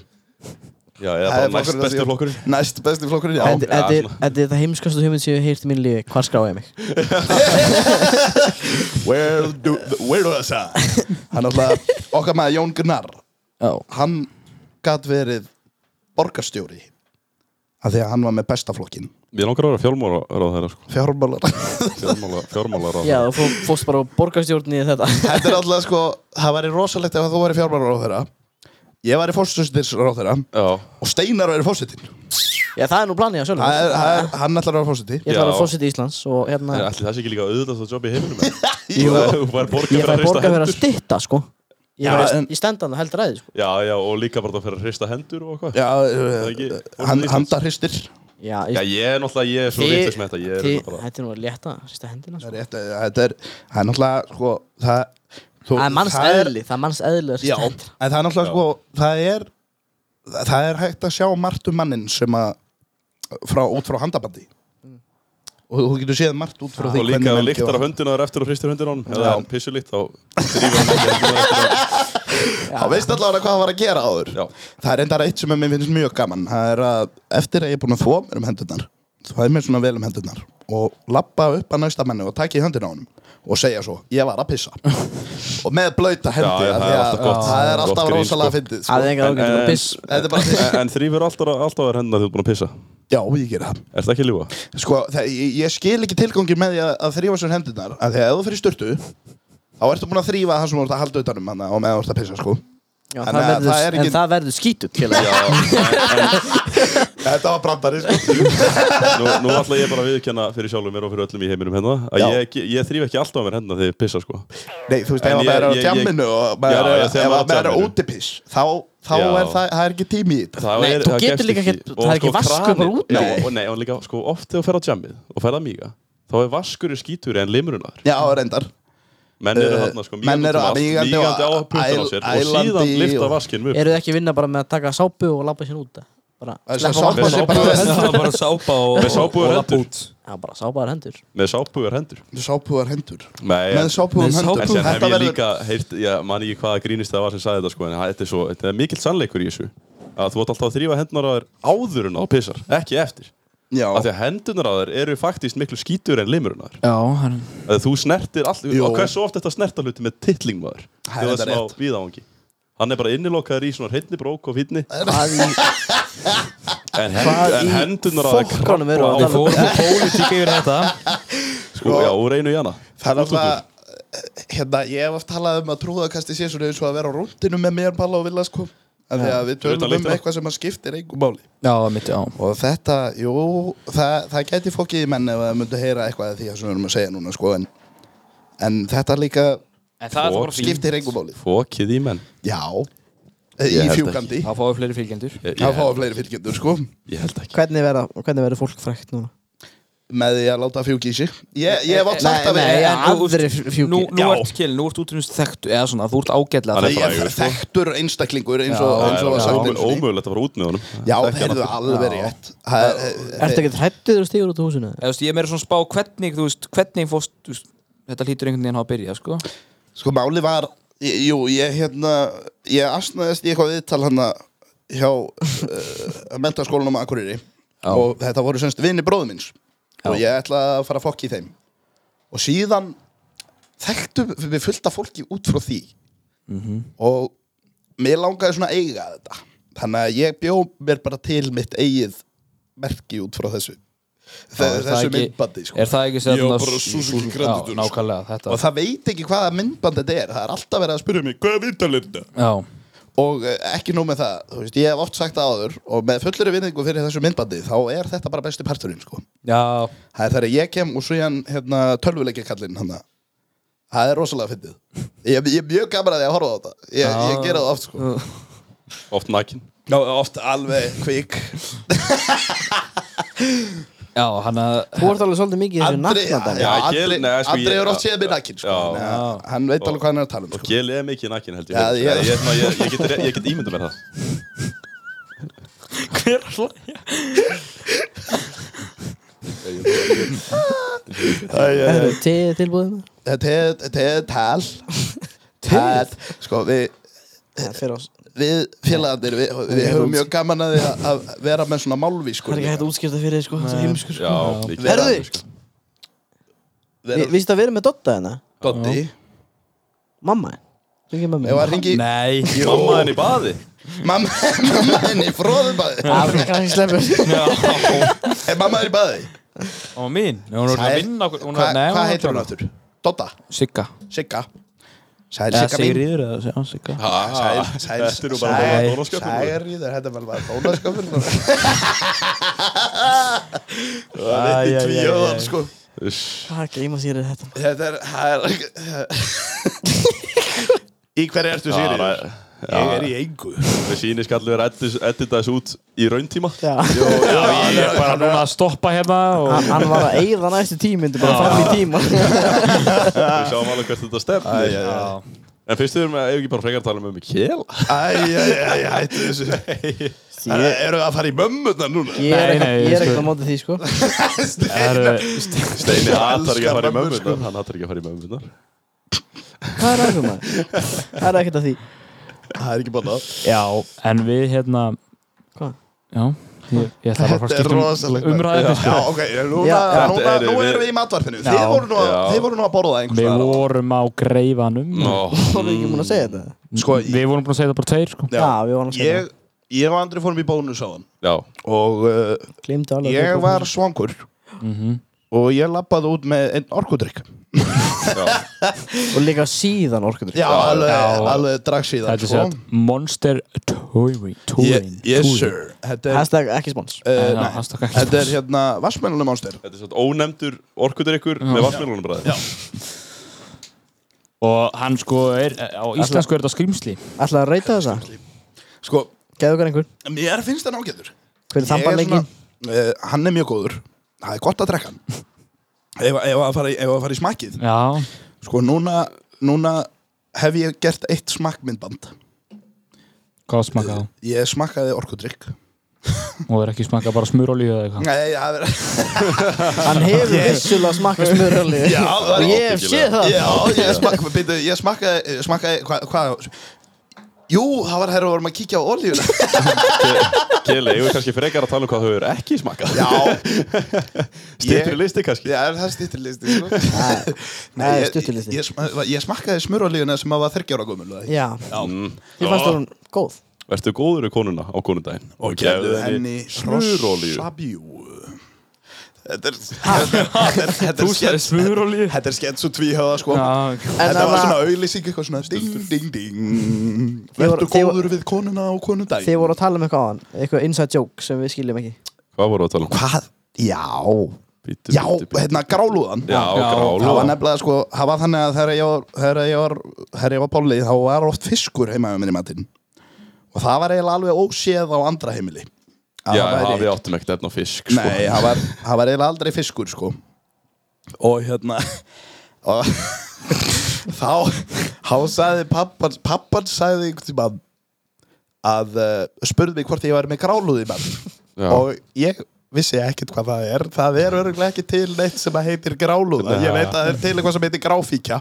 [SPEAKER 3] Já, eða
[SPEAKER 4] Það
[SPEAKER 3] bara
[SPEAKER 4] er
[SPEAKER 3] næst
[SPEAKER 4] flokkurinn að
[SPEAKER 3] besti
[SPEAKER 4] því-
[SPEAKER 3] flokkurinn
[SPEAKER 4] Næst besti flokkurinn, já
[SPEAKER 2] Þetta þetta er
[SPEAKER 3] já.
[SPEAKER 2] þetta er það heimskastu hugmynd sem ég hef heyrt í mínu lífi Hvar skráði ég mig?
[SPEAKER 4] Where do, where do I sign? (laughs) Hann alltaf, okkar maður Jón Gunnar
[SPEAKER 7] Já,
[SPEAKER 4] Hann gat verið borgarstjóri af því að hann var með besta flokkin
[SPEAKER 3] Mér langar að vera fjármála ráð þeirra sko
[SPEAKER 4] (laughs) Fjármálar
[SPEAKER 7] (laughs)
[SPEAKER 3] Fjármála, fjármála ráð
[SPEAKER 2] Já, þú fó- fórst bara á borgarstjórn í þetta
[SPEAKER 3] (laughs)
[SPEAKER 4] Þetta er alltaf sko, það væri rosalegt ef þú væri fjármálar á þeirra Ég væri fórstuðsins á þeirra
[SPEAKER 3] Já,
[SPEAKER 4] og Steinar væri fórstuðin
[SPEAKER 2] Já, það er nú planið að sjálf
[SPEAKER 4] Hann ætlar að vera fórstuði
[SPEAKER 2] Ég ætla að
[SPEAKER 3] Já.
[SPEAKER 2] vera fórseti Íslands og hérna
[SPEAKER 3] en allir það sé ekki líka auðvitað svo jobb í heiminum en?
[SPEAKER 4] Jú.
[SPEAKER 3] Þú fær borga
[SPEAKER 2] Ég
[SPEAKER 3] fyrir
[SPEAKER 2] fæ
[SPEAKER 3] að hrista
[SPEAKER 2] borga fyrir að
[SPEAKER 3] hendur
[SPEAKER 2] stitta, sko Ég,
[SPEAKER 4] Já,
[SPEAKER 2] bara,
[SPEAKER 4] en-
[SPEAKER 2] ég stend hann og held ræði, sko
[SPEAKER 3] Já, já, og líka bara fyrir að hrista hendur og eitthvað
[SPEAKER 4] Já,
[SPEAKER 3] ekki
[SPEAKER 4] uh,
[SPEAKER 3] fórsetinn
[SPEAKER 4] hann,
[SPEAKER 3] Íslands?
[SPEAKER 4] handa hristir
[SPEAKER 2] Já,
[SPEAKER 3] Já, ég er náttúrulega, ég er svo
[SPEAKER 2] Þið-
[SPEAKER 3] vitlis með þetta Ég er
[SPEAKER 2] þið-
[SPEAKER 3] hérna bara
[SPEAKER 2] Þetta er nú að létta, sýsta hendina, sko
[SPEAKER 4] Þetta er, það er náttúrulega sko, það, þú,
[SPEAKER 2] Það er manns
[SPEAKER 4] Sko, það
[SPEAKER 2] eðli, það er manns eðli að
[SPEAKER 4] Já,
[SPEAKER 2] sýsta
[SPEAKER 4] en
[SPEAKER 2] hendina
[SPEAKER 4] það er náttúrulega
[SPEAKER 3] Já.
[SPEAKER 4] sko, það er það er hægt að sjá margt um mannin sem að frá, út frá handabandi Mm. og þú getur séð margt út frá því
[SPEAKER 3] Og líka
[SPEAKER 4] hvernig
[SPEAKER 3] að
[SPEAKER 4] menn
[SPEAKER 3] líktar á
[SPEAKER 4] gefa-
[SPEAKER 3] höndina þar eftir og hristir höndina á hann
[SPEAKER 4] Já.
[SPEAKER 3] Eða hann pissur líkt, þá drífur hann ekki höndina eftir á-
[SPEAKER 4] Já, veist allavega hvað það var að gera áður
[SPEAKER 3] Já,
[SPEAKER 4] Það er enda eitt sem mér finnst mjög gaman það er að eftir að ég er búin að þvó mér um hendurnar það er mér svona vel um hendurnar og lappa upp að næsta manni og taka í höndina á honum og segja svo, ég var
[SPEAKER 3] (laughs)
[SPEAKER 4] að pissa og með blöyta hendi
[SPEAKER 3] Já, já, það
[SPEAKER 4] af því
[SPEAKER 3] er
[SPEAKER 4] að
[SPEAKER 3] alltaf gott.
[SPEAKER 4] það er
[SPEAKER 3] Gott
[SPEAKER 4] alltaf
[SPEAKER 3] grín,
[SPEAKER 4] rosalega
[SPEAKER 3] sko.
[SPEAKER 4] fyndið sko.
[SPEAKER 2] Það er engar
[SPEAKER 3] En-
[SPEAKER 2] ágættur
[SPEAKER 3] en-
[SPEAKER 2] að piss (laughs)
[SPEAKER 4] þetta er bara
[SPEAKER 3] En- En þrýfur alltaf á þær hendina þegar þú ert búin að pissa
[SPEAKER 4] já, ég ger það
[SPEAKER 3] Er það ekki að ljúga?
[SPEAKER 4] Sko, það, ég, ég skil ekki tilgangir með því að, að þrýfa sér hendunar að því að ef þú fyrir styrtu þá ertu búin að þrýfa það sem þú ert að halda utanum hana og með þú ert að pissa, sko
[SPEAKER 2] Já,
[SPEAKER 4] En,
[SPEAKER 2] það
[SPEAKER 4] eh,
[SPEAKER 2] verður-
[SPEAKER 4] það er
[SPEAKER 2] En
[SPEAKER 4] ekki-
[SPEAKER 2] það verður
[SPEAKER 4] (laughs)
[SPEAKER 2] skítut, félag
[SPEAKER 4] Þetta var brandari, sko
[SPEAKER 3] Nú, nú ætla ég bara að viðkjanna fyrir sjálfum mér og fyrir öllum í heiminum hérna að
[SPEAKER 4] Já.
[SPEAKER 3] ég, ég þrýf ekki alltaf á mér hérna þegar ég pissa sko
[SPEAKER 4] Nei, þú veist,
[SPEAKER 3] En
[SPEAKER 4] ef
[SPEAKER 3] ég-
[SPEAKER 4] maður er á
[SPEAKER 3] ég- ég-
[SPEAKER 4] tjamminu og
[SPEAKER 3] Já,
[SPEAKER 4] maður
[SPEAKER 3] já, þegar
[SPEAKER 4] er, ef
[SPEAKER 3] maður er á
[SPEAKER 4] maður er
[SPEAKER 3] djamminu.
[SPEAKER 4] útipiss þá, þá
[SPEAKER 3] Já.
[SPEAKER 4] er það, það er ekki tími í þetta
[SPEAKER 3] Það
[SPEAKER 2] Nei,
[SPEAKER 3] er-
[SPEAKER 2] þú
[SPEAKER 3] það
[SPEAKER 2] getur
[SPEAKER 3] gefst
[SPEAKER 2] líka ekkert- það er ekki vaskur
[SPEAKER 3] kraninn-
[SPEAKER 2] bara út
[SPEAKER 3] sko, Já,
[SPEAKER 2] með.
[SPEAKER 3] og Nei, og líka, sko, oft þegar þú fer á jammið og fer að míga þá er vaskur í skíturi en limurinn aður
[SPEAKER 4] Já, reyndar
[SPEAKER 3] Menn eru
[SPEAKER 4] Eh,
[SPEAKER 3] þarna sko
[SPEAKER 4] menn
[SPEAKER 3] mígandi út
[SPEAKER 4] eru
[SPEAKER 3] um allt,
[SPEAKER 4] mígandi og
[SPEAKER 3] mígandi á puttan á
[SPEAKER 4] æl-
[SPEAKER 3] sér og
[SPEAKER 4] ælandi
[SPEAKER 3] síðan lifta
[SPEAKER 4] og-
[SPEAKER 3] vaskinn upp
[SPEAKER 2] Eru þið ekki að vinna bara með að taka sápu og labba sér út? Bara,
[SPEAKER 4] Það er
[SPEAKER 2] sleppa
[SPEAKER 4] svo-
[SPEAKER 3] með
[SPEAKER 4] sápa sé
[SPEAKER 3] sápu-
[SPEAKER 4] bara-
[SPEAKER 1] það var bara sápa og,
[SPEAKER 3] Með sápu
[SPEAKER 1] og,
[SPEAKER 3] og
[SPEAKER 1] og
[SPEAKER 3] hendur.
[SPEAKER 1] lappa út
[SPEAKER 2] Já, bara sápaðar hendur
[SPEAKER 3] með sápugar hendur
[SPEAKER 4] Sápúðar hendur
[SPEAKER 3] Nei,
[SPEAKER 4] Með sápúðum
[SPEAKER 1] Með
[SPEAKER 4] hendur
[SPEAKER 3] En sem hef
[SPEAKER 4] Þetta
[SPEAKER 3] ég
[SPEAKER 4] verður
[SPEAKER 3] líka heyrt, ég man ekki hvaða grínist það var sem sagði þetta sko, en þetta er svo, þetta er mikill sannleikur í þessu að þú átt alltaf að þrýfa hendunar á þér áður en á pissar, ekki eftir
[SPEAKER 4] Já,
[SPEAKER 3] af því að hendunar á þér eru faktist miklu skítur en limurinn á þér
[SPEAKER 7] já hann,
[SPEAKER 3] að þú snertir all,
[SPEAKER 4] Jú.
[SPEAKER 3] og hversu oft þetta snerta hluti með titling maður
[SPEAKER 4] Það er
[SPEAKER 3] það
[SPEAKER 4] þetta
[SPEAKER 3] sem á
[SPEAKER 4] rétt.
[SPEAKER 3] viðavangi hann er bara innilokaður í svona hreitni brók og fínni (laughs)
[SPEAKER 2] Hvað í
[SPEAKER 3] en, hend, en hendunar á það
[SPEAKER 2] fokkanum eru
[SPEAKER 1] Við
[SPEAKER 2] að tala um?
[SPEAKER 1] fórum úr pólitík yfir þetta
[SPEAKER 3] sko, já, úr einu í hana
[SPEAKER 4] það er
[SPEAKER 3] Út úr
[SPEAKER 4] alltaf Hérna, ég hef oft talað um að trúðakasti sé svona eins og að vera á rúndinu með mér, Palla og Villa, sko Af því að við
[SPEAKER 3] Fyrir utan
[SPEAKER 4] tölum um
[SPEAKER 3] lyktina.
[SPEAKER 4] eitthvað sem að skiptir einhver máli
[SPEAKER 7] já, mitt, já
[SPEAKER 4] Og þetta, jú, það, það gæti fokkið í menn ef það myndi heyra eitthvað af því sem við erum að segja núna, sko, en, en þetta líka
[SPEAKER 7] En það er það bara fínt
[SPEAKER 4] skiptir einhver málið.
[SPEAKER 3] fokið í menn
[SPEAKER 4] Já, í
[SPEAKER 3] held ekki.
[SPEAKER 4] fjúkandi.
[SPEAKER 7] Það fáið fleiri fylgjendur
[SPEAKER 3] ég,
[SPEAKER 4] Það
[SPEAKER 3] ég,
[SPEAKER 4] fáið fleiri fylgjendur, sko,
[SPEAKER 3] ég held ekki
[SPEAKER 2] Hvernig verða- hvernig verður fólk frækt núna?
[SPEAKER 4] með því að láta fjúki í sig. Ég, ég hef átt sagt að
[SPEAKER 2] Nei,
[SPEAKER 4] við...
[SPEAKER 2] nei,
[SPEAKER 7] en þú-
[SPEAKER 2] aðrir fjúki
[SPEAKER 7] Nú, nú
[SPEAKER 4] Já.
[SPEAKER 7] ert kil, nú ert útrunst þekktu eða svona, þú ert ágætlega
[SPEAKER 3] Hann er
[SPEAKER 4] Ég
[SPEAKER 3] frægur,
[SPEAKER 4] er
[SPEAKER 3] sko.
[SPEAKER 4] þekktur einstaklingur eins og,
[SPEAKER 7] Já,
[SPEAKER 4] eins og var
[SPEAKER 3] það
[SPEAKER 4] sagt
[SPEAKER 3] er
[SPEAKER 4] eins og því.
[SPEAKER 3] ómögulegt að fara út með honum
[SPEAKER 4] Já,
[SPEAKER 3] Ekki
[SPEAKER 4] heyrðu
[SPEAKER 3] annað.
[SPEAKER 4] alveg rétt. Það er-
[SPEAKER 2] Ertu ekkert hrættu þegar þú stígur út á húsinu?
[SPEAKER 7] Eða, þú veist, ég er meira svona að spá hvernig, þú veist, hvernig fórst, þú veist, þetta hlýtur einhvern veginn að hafa byrjað, sko.
[SPEAKER 4] Sko máli var ég- Jú, ég hérna Ég asnaðist í eitthvað viðtal hana Hjá uh, mentaskólanum á Akureyri Og þetta voru semst vini bróðu minns Og ég ætla að fara að fokk í þeim Og síðan Þekktu við fullta fólki út frá því
[SPEAKER 7] Mhm.
[SPEAKER 4] Og Mér langaði svona að eiga þetta Þannig að ég bjó mér bara til mitt eigið Merki út frá þessu
[SPEAKER 7] Já,
[SPEAKER 4] Þe-
[SPEAKER 7] er það
[SPEAKER 4] Þessu
[SPEAKER 7] ekki-
[SPEAKER 4] myndbandi sko.
[SPEAKER 7] Er það ekki sem
[SPEAKER 4] Ég á bara Suzuki Granditour, sko.
[SPEAKER 7] Já, nákvæmlega, þetta.
[SPEAKER 4] Og það veit ekki hvaða myndband þetta er Það er alltaf verið að spyrja mig, hvaða viðtal er þetta?
[SPEAKER 7] Já,
[SPEAKER 4] Og eh, ekki nóg með það, þú veist, ég hef oft sagt það áður Og með fullri vinningu fyrir þessu myndbandi Þá er þetta bara besti parturinn, sko
[SPEAKER 7] já,
[SPEAKER 4] Það er þegar ég kem og svo hann, hérna, tölvuleikja kallinn hann Það er rosalega fyndið Ég, ég er mjög gaman að því að horfa á þetta Ég, ég gera það oft, sko
[SPEAKER 3] oft nakin
[SPEAKER 4] Já, oft alveg kvík
[SPEAKER 7] já, hann að,
[SPEAKER 2] Þú ert alveg svolítið mikið í þessu
[SPEAKER 4] Andri,
[SPEAKER 2] naknadæmi
[SPEAKER 4] já,
[SPEAKER 3] Já, ég-
[SPEAKER 4] Andri,
[SPEAKER 3] nei, sko,
[SPEAKER 4] Andri
[SPEAKER 3] ég-
[SPEAKER 4] er oft séð mér nakkin, sko
[SPEAKER 3] Já.
[SPEAKER 4] Þannig að Hann veit alveg hvað hann er að tala um,
[SPEAKER 3] og
[SPEAKER 4] sko
[SPEAKER 3] gel er mikið nakin held ég
[SPEAKER 4] Já,
[SPEAKER 3] ég,
[SPEAKER 4] ég-
[SPEAKER 3] ég, ég, ég, ég, get- ég get ímyndað mér það
[SPEAKER 1] ég er að hlæja
[SPEAKER 2] (laughs)
[SPEAKER 4] Æ, æ, æ.
[SPEAKER 2] Þetta er til, tilbúðin
[SPEAKER 4] Te- te- Tal Tal Sko við
[SPEAKER 2] Það fyrir á Það
[SPEAKER 4] Við félagarnir, við, við höfum mjög gaman að því að- að vera með svona málvískur
[SPEAKER 2] er ekki hægt að útskipta fyrir þér sko Það er heimsku sko
[SPEAKER 3] Já, mikið
[SPEAKER 4] Herðu,
[SPEAKER 3] alveg, sko.
[SPEAKER 2] Vi-
[SPEAKER 4] vera
[SPEAKER 2] Vistu að við erum með Dotta hérna?
[SPEAKER 4] Doddi
[SPEAKER 2] Mamma Ringið mamma
[SPEAKER 4] Ef að ringi (laughs)
[SPEAKER 1] Nei
[SPEAKER 3] Mamma henni í baði
[SPEAKER 4] Mamma mamma henni, fróðubaði
[SPEAKER 2] Það er kannski sleppur
[SPEAKER 4] Mamma er í baði
[SPEAKER 1] Og mín Nei, Hún er að
[SPEAKER 4] Sæl.
[SPEAKER 1] vinna okkur hún er-
[SPEAKER 4] Hva-
[SPEAKER 1] nei,
[SPEAKER 4] Hvað
[SPEAKER 1] hún er að
[SPEAKER 4] heitir hún
[SPEAKER 1] klára.
[SPEAKER 4] aftur? Dodda,
[SPEAKER 7] Sigga
[SPEAKER 4] Sigga Sæl
[SPEAKER 7] Eða
[SPEAKER 4] Sigga mín
[SPEAKER 7] Sigriður eða já, Sigga
[SPEAKER 3] Ha,
[SPEAKER 4] Sæl, sæl,
[SPEAKER 3] Þetta
[SPEAKER 4] sæl,
[SPEAKER 3] eru bara bara
[SPEAKER 4] sæl,
[SPEAKER 3] dónaskapur.
[SPEAKER 4] sæl, þetta er vel bara bónaskapur
[SPEAKER 1] Æ, æ, æ, æ, æ.
[SPEAKER 4] Tvíjóðan, sko
[SPEAKER 3] Uss.
[SPEAKER 2] Hvað gleyma sér er þetta?
[SPEAKER 4] Þetta er, það er Í hverju ertu
[SPEAKER 3] Já,
[SPEAKER 4] Sigriður?
[SPEAKER 3] ræ-
[SPEAKER 4] Ég
[SPEAKER 3] já.
[SPEAKER 4] er í engu
[SPEAKER 3] Við sýnist allir vera edita þessu út í rauntíma
[SPEAKER 2] Já
[SPEAKER 1] Já, ég er bara núna að stoppa hérna og
[SPEAKER 2] Hann var að eigða næstu tímyndu Bara fram í tíma
[SPEAKER 3] Við sjáum alveg hvert þetta stefnir En fyrst við erum að, ef ekki bara frekar tala um um Kjela
[SPEAKER 4] Æj, æj, æj, hættu þessu Það
[SPEAKER 2] (laughs) Ég
[SPEAKER 4] eru að fara í mömmurnar núna
[SPEAKER 2] ég
[SPEAKER 1] Nei,
[SPEAKER 2] er ekkert
[SPEAKER 1] nei,
[SPEAKER 2] Ég
[SPEAKER 1] ég
[SPEAKER 2] er ekkert
[SPEAKER 1] sko-
[SPEAKER 2] á móti því sko
[SPEAKER 1] Það
[SPEAKER 4] Steina.
[SPEAKER 1] eru
[SPEAKER 3] Steini hatar ekki
[SPEAKER 4] elskar
[SPEAKER 3] að fara í
[SPEAKER 4] mömmur, sko.
[SPEAKER 3] mömmunar Hann hatar ekki að fara í mömmunar
[SPEAKER 2] Hvað er aðgjóma? Það er ekkert að því
[SPEAKER 4] Það er ekki búin að
[SPEAKER 1] Já, en við hérna
[SPEAKER 2] Hvað?
[SPEAKER 1] Já, ég, ég ætla bara að fara að
[SPEAKER 4] Þetta er
[SPEAKER 1] skipta
[SPEAKER 4] rosalegt.
[SPEAKER 1] um umræðið
[SPEAKER 4] Já, ok, núna,
[SPEAKER 2] Já.
[SPEAKER 4] núna,
[SPEAKER 3] Þetta eru
[SPEAKER 4] nú
[SPEAKER 3] við-
[SPEAKER 4] erum við í matvarpinu Þið voru nú, að-
[SPEAKER 3] Já.
[SPEAKER 4] þið voru nú að borða einhvers
[SPEAKER 1] Við
[SPEAKER 4] staðar.
[SPEAKER 1] vorum á greifanum
[SPEAKER 2] Þú erum ekki múin að segja þetta
[SPEAKER 4] Sko,
[SPEAKER 1] Við vorum búin að segja það bara tveir sko
[SPEAKER 4] Já.
[SPEAKER 2] Já, við varum að segja
[SPEAKER 4] ég, ég og Andri fórum í bónus á hann
[SPEAKER 3] Já,
[SPEAKER 4] Og uh,
[SPEAKER 2] það Gleymdu alveg
[SPEAKER 4] ég var svangur Og ég lappaði út með einn orkudrykk
[SPEAKER 3] já,
[SPEAKER 2] Og líka síðan orkundur
[SPEAKER 4] Já, alveg, alveg drags í það
[SPEAKER 1] Þetta er sér Monster Touring Touring
[SPEAKER 4] sko. Yes sir Þetta er,
[SPEAKER 2] Hashtag ekki spons
[SPEAKER 4] uh,
[SPEAKER 1] Nei,
[SPEAKER 4] nei,
[SPEAKER 1] hashtag ekki
[SPEAKER 4] þetta er hérna Vassmennunum ánstæl
[SPEAKER 3] þetta er svona ónefndur orkudrykkur með vatnmjölunum bræði
[SPEAKER 1] Og hann sko er Á íslensku er þetta skrýmsli
[SPEAKER 2] Ætlaðu að reyta þessa?
[SPEAKER 4] Sko,
[SPEAKER 2] Gæðu okkar einhver
[SPEAKER 4] mér finnst það nágætur
[SPEAKER 2] Hver er þambanleiki?
[SPEAKER 4] uh, Hann er mjög góður Það er gott að drekka hann (laughs) Ef, ef, að fara, í- ef að fara í smakkið
[SPEAKER 1] Já,
[SPEAKER 4] Sko, núna, núna hef ég gert eitt smakkmyndband
[SPEAKER 1] hvað smaka þá?
[SPEAKER 4] Ég smakkaði orkudrykk
[SPEAKER 1] Og það er ekki smaka bara smurolíu eða eitthvað
[SPEAKER 4] Nei, það er (laughs)
[SPEAKER 2] Hann hefur vissulega smakka smurröli
[SPEAKER 4] Já, það er
[SPEAKER 2] Og ég hef séð það
[SPEAKER 4] Já, ég smakkaði, byrju, ég smakkaði, eh, smakkaði, hvað, hva, jú, það var herra, við vorum að kíkja á olíuna.
[SPEAKER 3] Kjeli, ég er kannski frekar að tala um hvað þau eru ekki smakað
[SPEAKER 4] (laughs) Já,
[SPEAKER 3] Stýttur
[SPEAKER 4] (laughs) Ég-
[SPEAKER 3] listi kannski
[SPEAKER 4] já, það er stutturlisti, (laughs) sko.
[SPEAKER 2] Það er
[SPEAKER 4] ég-
[SPEAKER 2] stutturlisti.
[SPEAKER 4] Ég, sma- ég smakkaði smurolíuna sem að var 30 ára gömul. eða ekki?
[SPEAKER 2] Já
[SPEAKER 3] Mm.
[SPEAKER 2] Ég fannst það hún góð
[SPEAKER 3] Vertu góður í konuna á konundaginn Og gefðu henni smurolíu
[SPEAKER 4] rossabjú. Þetta er, þetta er, þetta er skets,
[SPEAKER 1] smurolíu
[SPEAKER 4] þetta er skets og tvíhöða, sko.
[SPEAKER 1] Já, ok.
[SPEAKER 4] Þetta
[SPEAKER 2] En
[SPEAKER 4] var
[SPEAKER 2] þarna-
[SPEAKER 4] svona auðlýsing, eitthvað svona ding, ding, ding.
[SPEAKER 2] Þið voru- þið
[SPEAKER 4] Vertu
[SPEAKER 2] voru-
[SPEAKER 4] góður við konuna á konundaginn.
[SPEAKER 2] Þið voru að tala um eitthvað á hann Eitthvað inside joke sem við skiljum ekki
[SPEAKER 3] Hvað voru að tala um?
[SPEAKER 4] Hvað? Já
[SPEAKER 3] Bíddu,
[SPEAKER 4] Já,
[SPEAKER 3] bíddu, bíddu.
[SPEAKER 4] hérna grálúðan
[SPEAKER 3] Já,
[SPEAKER 4] Það var
[SPEAKER 3] grála
[SPEAKER 4] nefnilega sko, það var þannig að þegar ég var, þegar ég var, þegar ég var pálið þá var oft fiskur heima með minni matinn og það var eiginlega alveg óséð á andra heimili Að
[SPEAKER 3] Já,
[SPEAKER 4] það
[SPEAKER 3] já,
[SPEAKER 4] væri-
[SPEAKER 3] við áttum ekkert efna á fisk sko.
[SPEAKER 4] Nei, það var, það var eiginlega aldrei fiskur sko og hérna og (laughs) þá þá sagði pappan pappan sagði einhvern tíma að uh, spurði mig hvort ég væri með grálúð í matinn
[SPEAKER 3] Já.
[SPEAKER 4] og ég vissi ekkert hvað það er það er örgulega ekki til neitt sem að heitir grálúða ég veit að það er til eitthvað sem heitir gráfíkja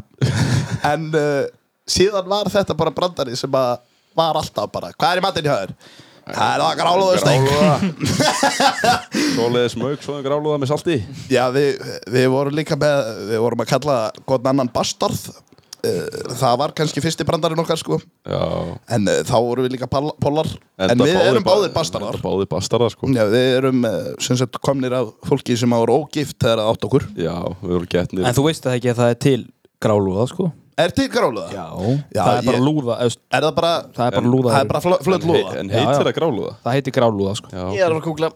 [SPEAKER 4] en uh, síðan var þetta bara brandari sem að var alltaf bara, hvað er í matinn hjá þér? Það er það grálúðasteng
[SPEAKER 3] Gráluða Svoleiðis mög, svoðum gráluða með salti
[SPEAKER 4] Já, við, við vorum líka með við vorum að kalla hvort annan bastarð Uh, það var kannski fyrsti brandarinn okkar sko
[SPEAKER 3] Já,
[SPEAKER 4] en uh, þá vorum við líka pal- pollar en, við erum báðir bastardar
[SPEAKER 3] Báðir bastarðar sko
[SPEAKER 4] Já, við erum uh, sem sagt komnir af fólki sem ára ógift þegar það átt okkur
[SPEAKER 3] Já, við vorum getnir
[SPEAKER 7] En þú veist það ekki að það er til grálúða sko
[SPEAKER 4] Er til gráluða? Já,
[SPEAKER 7] Það er bara
[SPEAKER 4] ég-
[SPEAKER 7] lúða eða,
[SPEAKER 4] Er það bara,
[SPEAKER 7] Það er bara lúða
[SPEAKER 4] það er bara flö- flöt lúða?
[SPEAKER 3] En
[SPEAKER 7] Já, já.
[SPEAKER 3] heitir það gráluða?
[SPEAKER 7] Það heitir grálúða sko
[SPEAKER 3] Já,
[SPEAKER 2] Ég er alveg að kúkla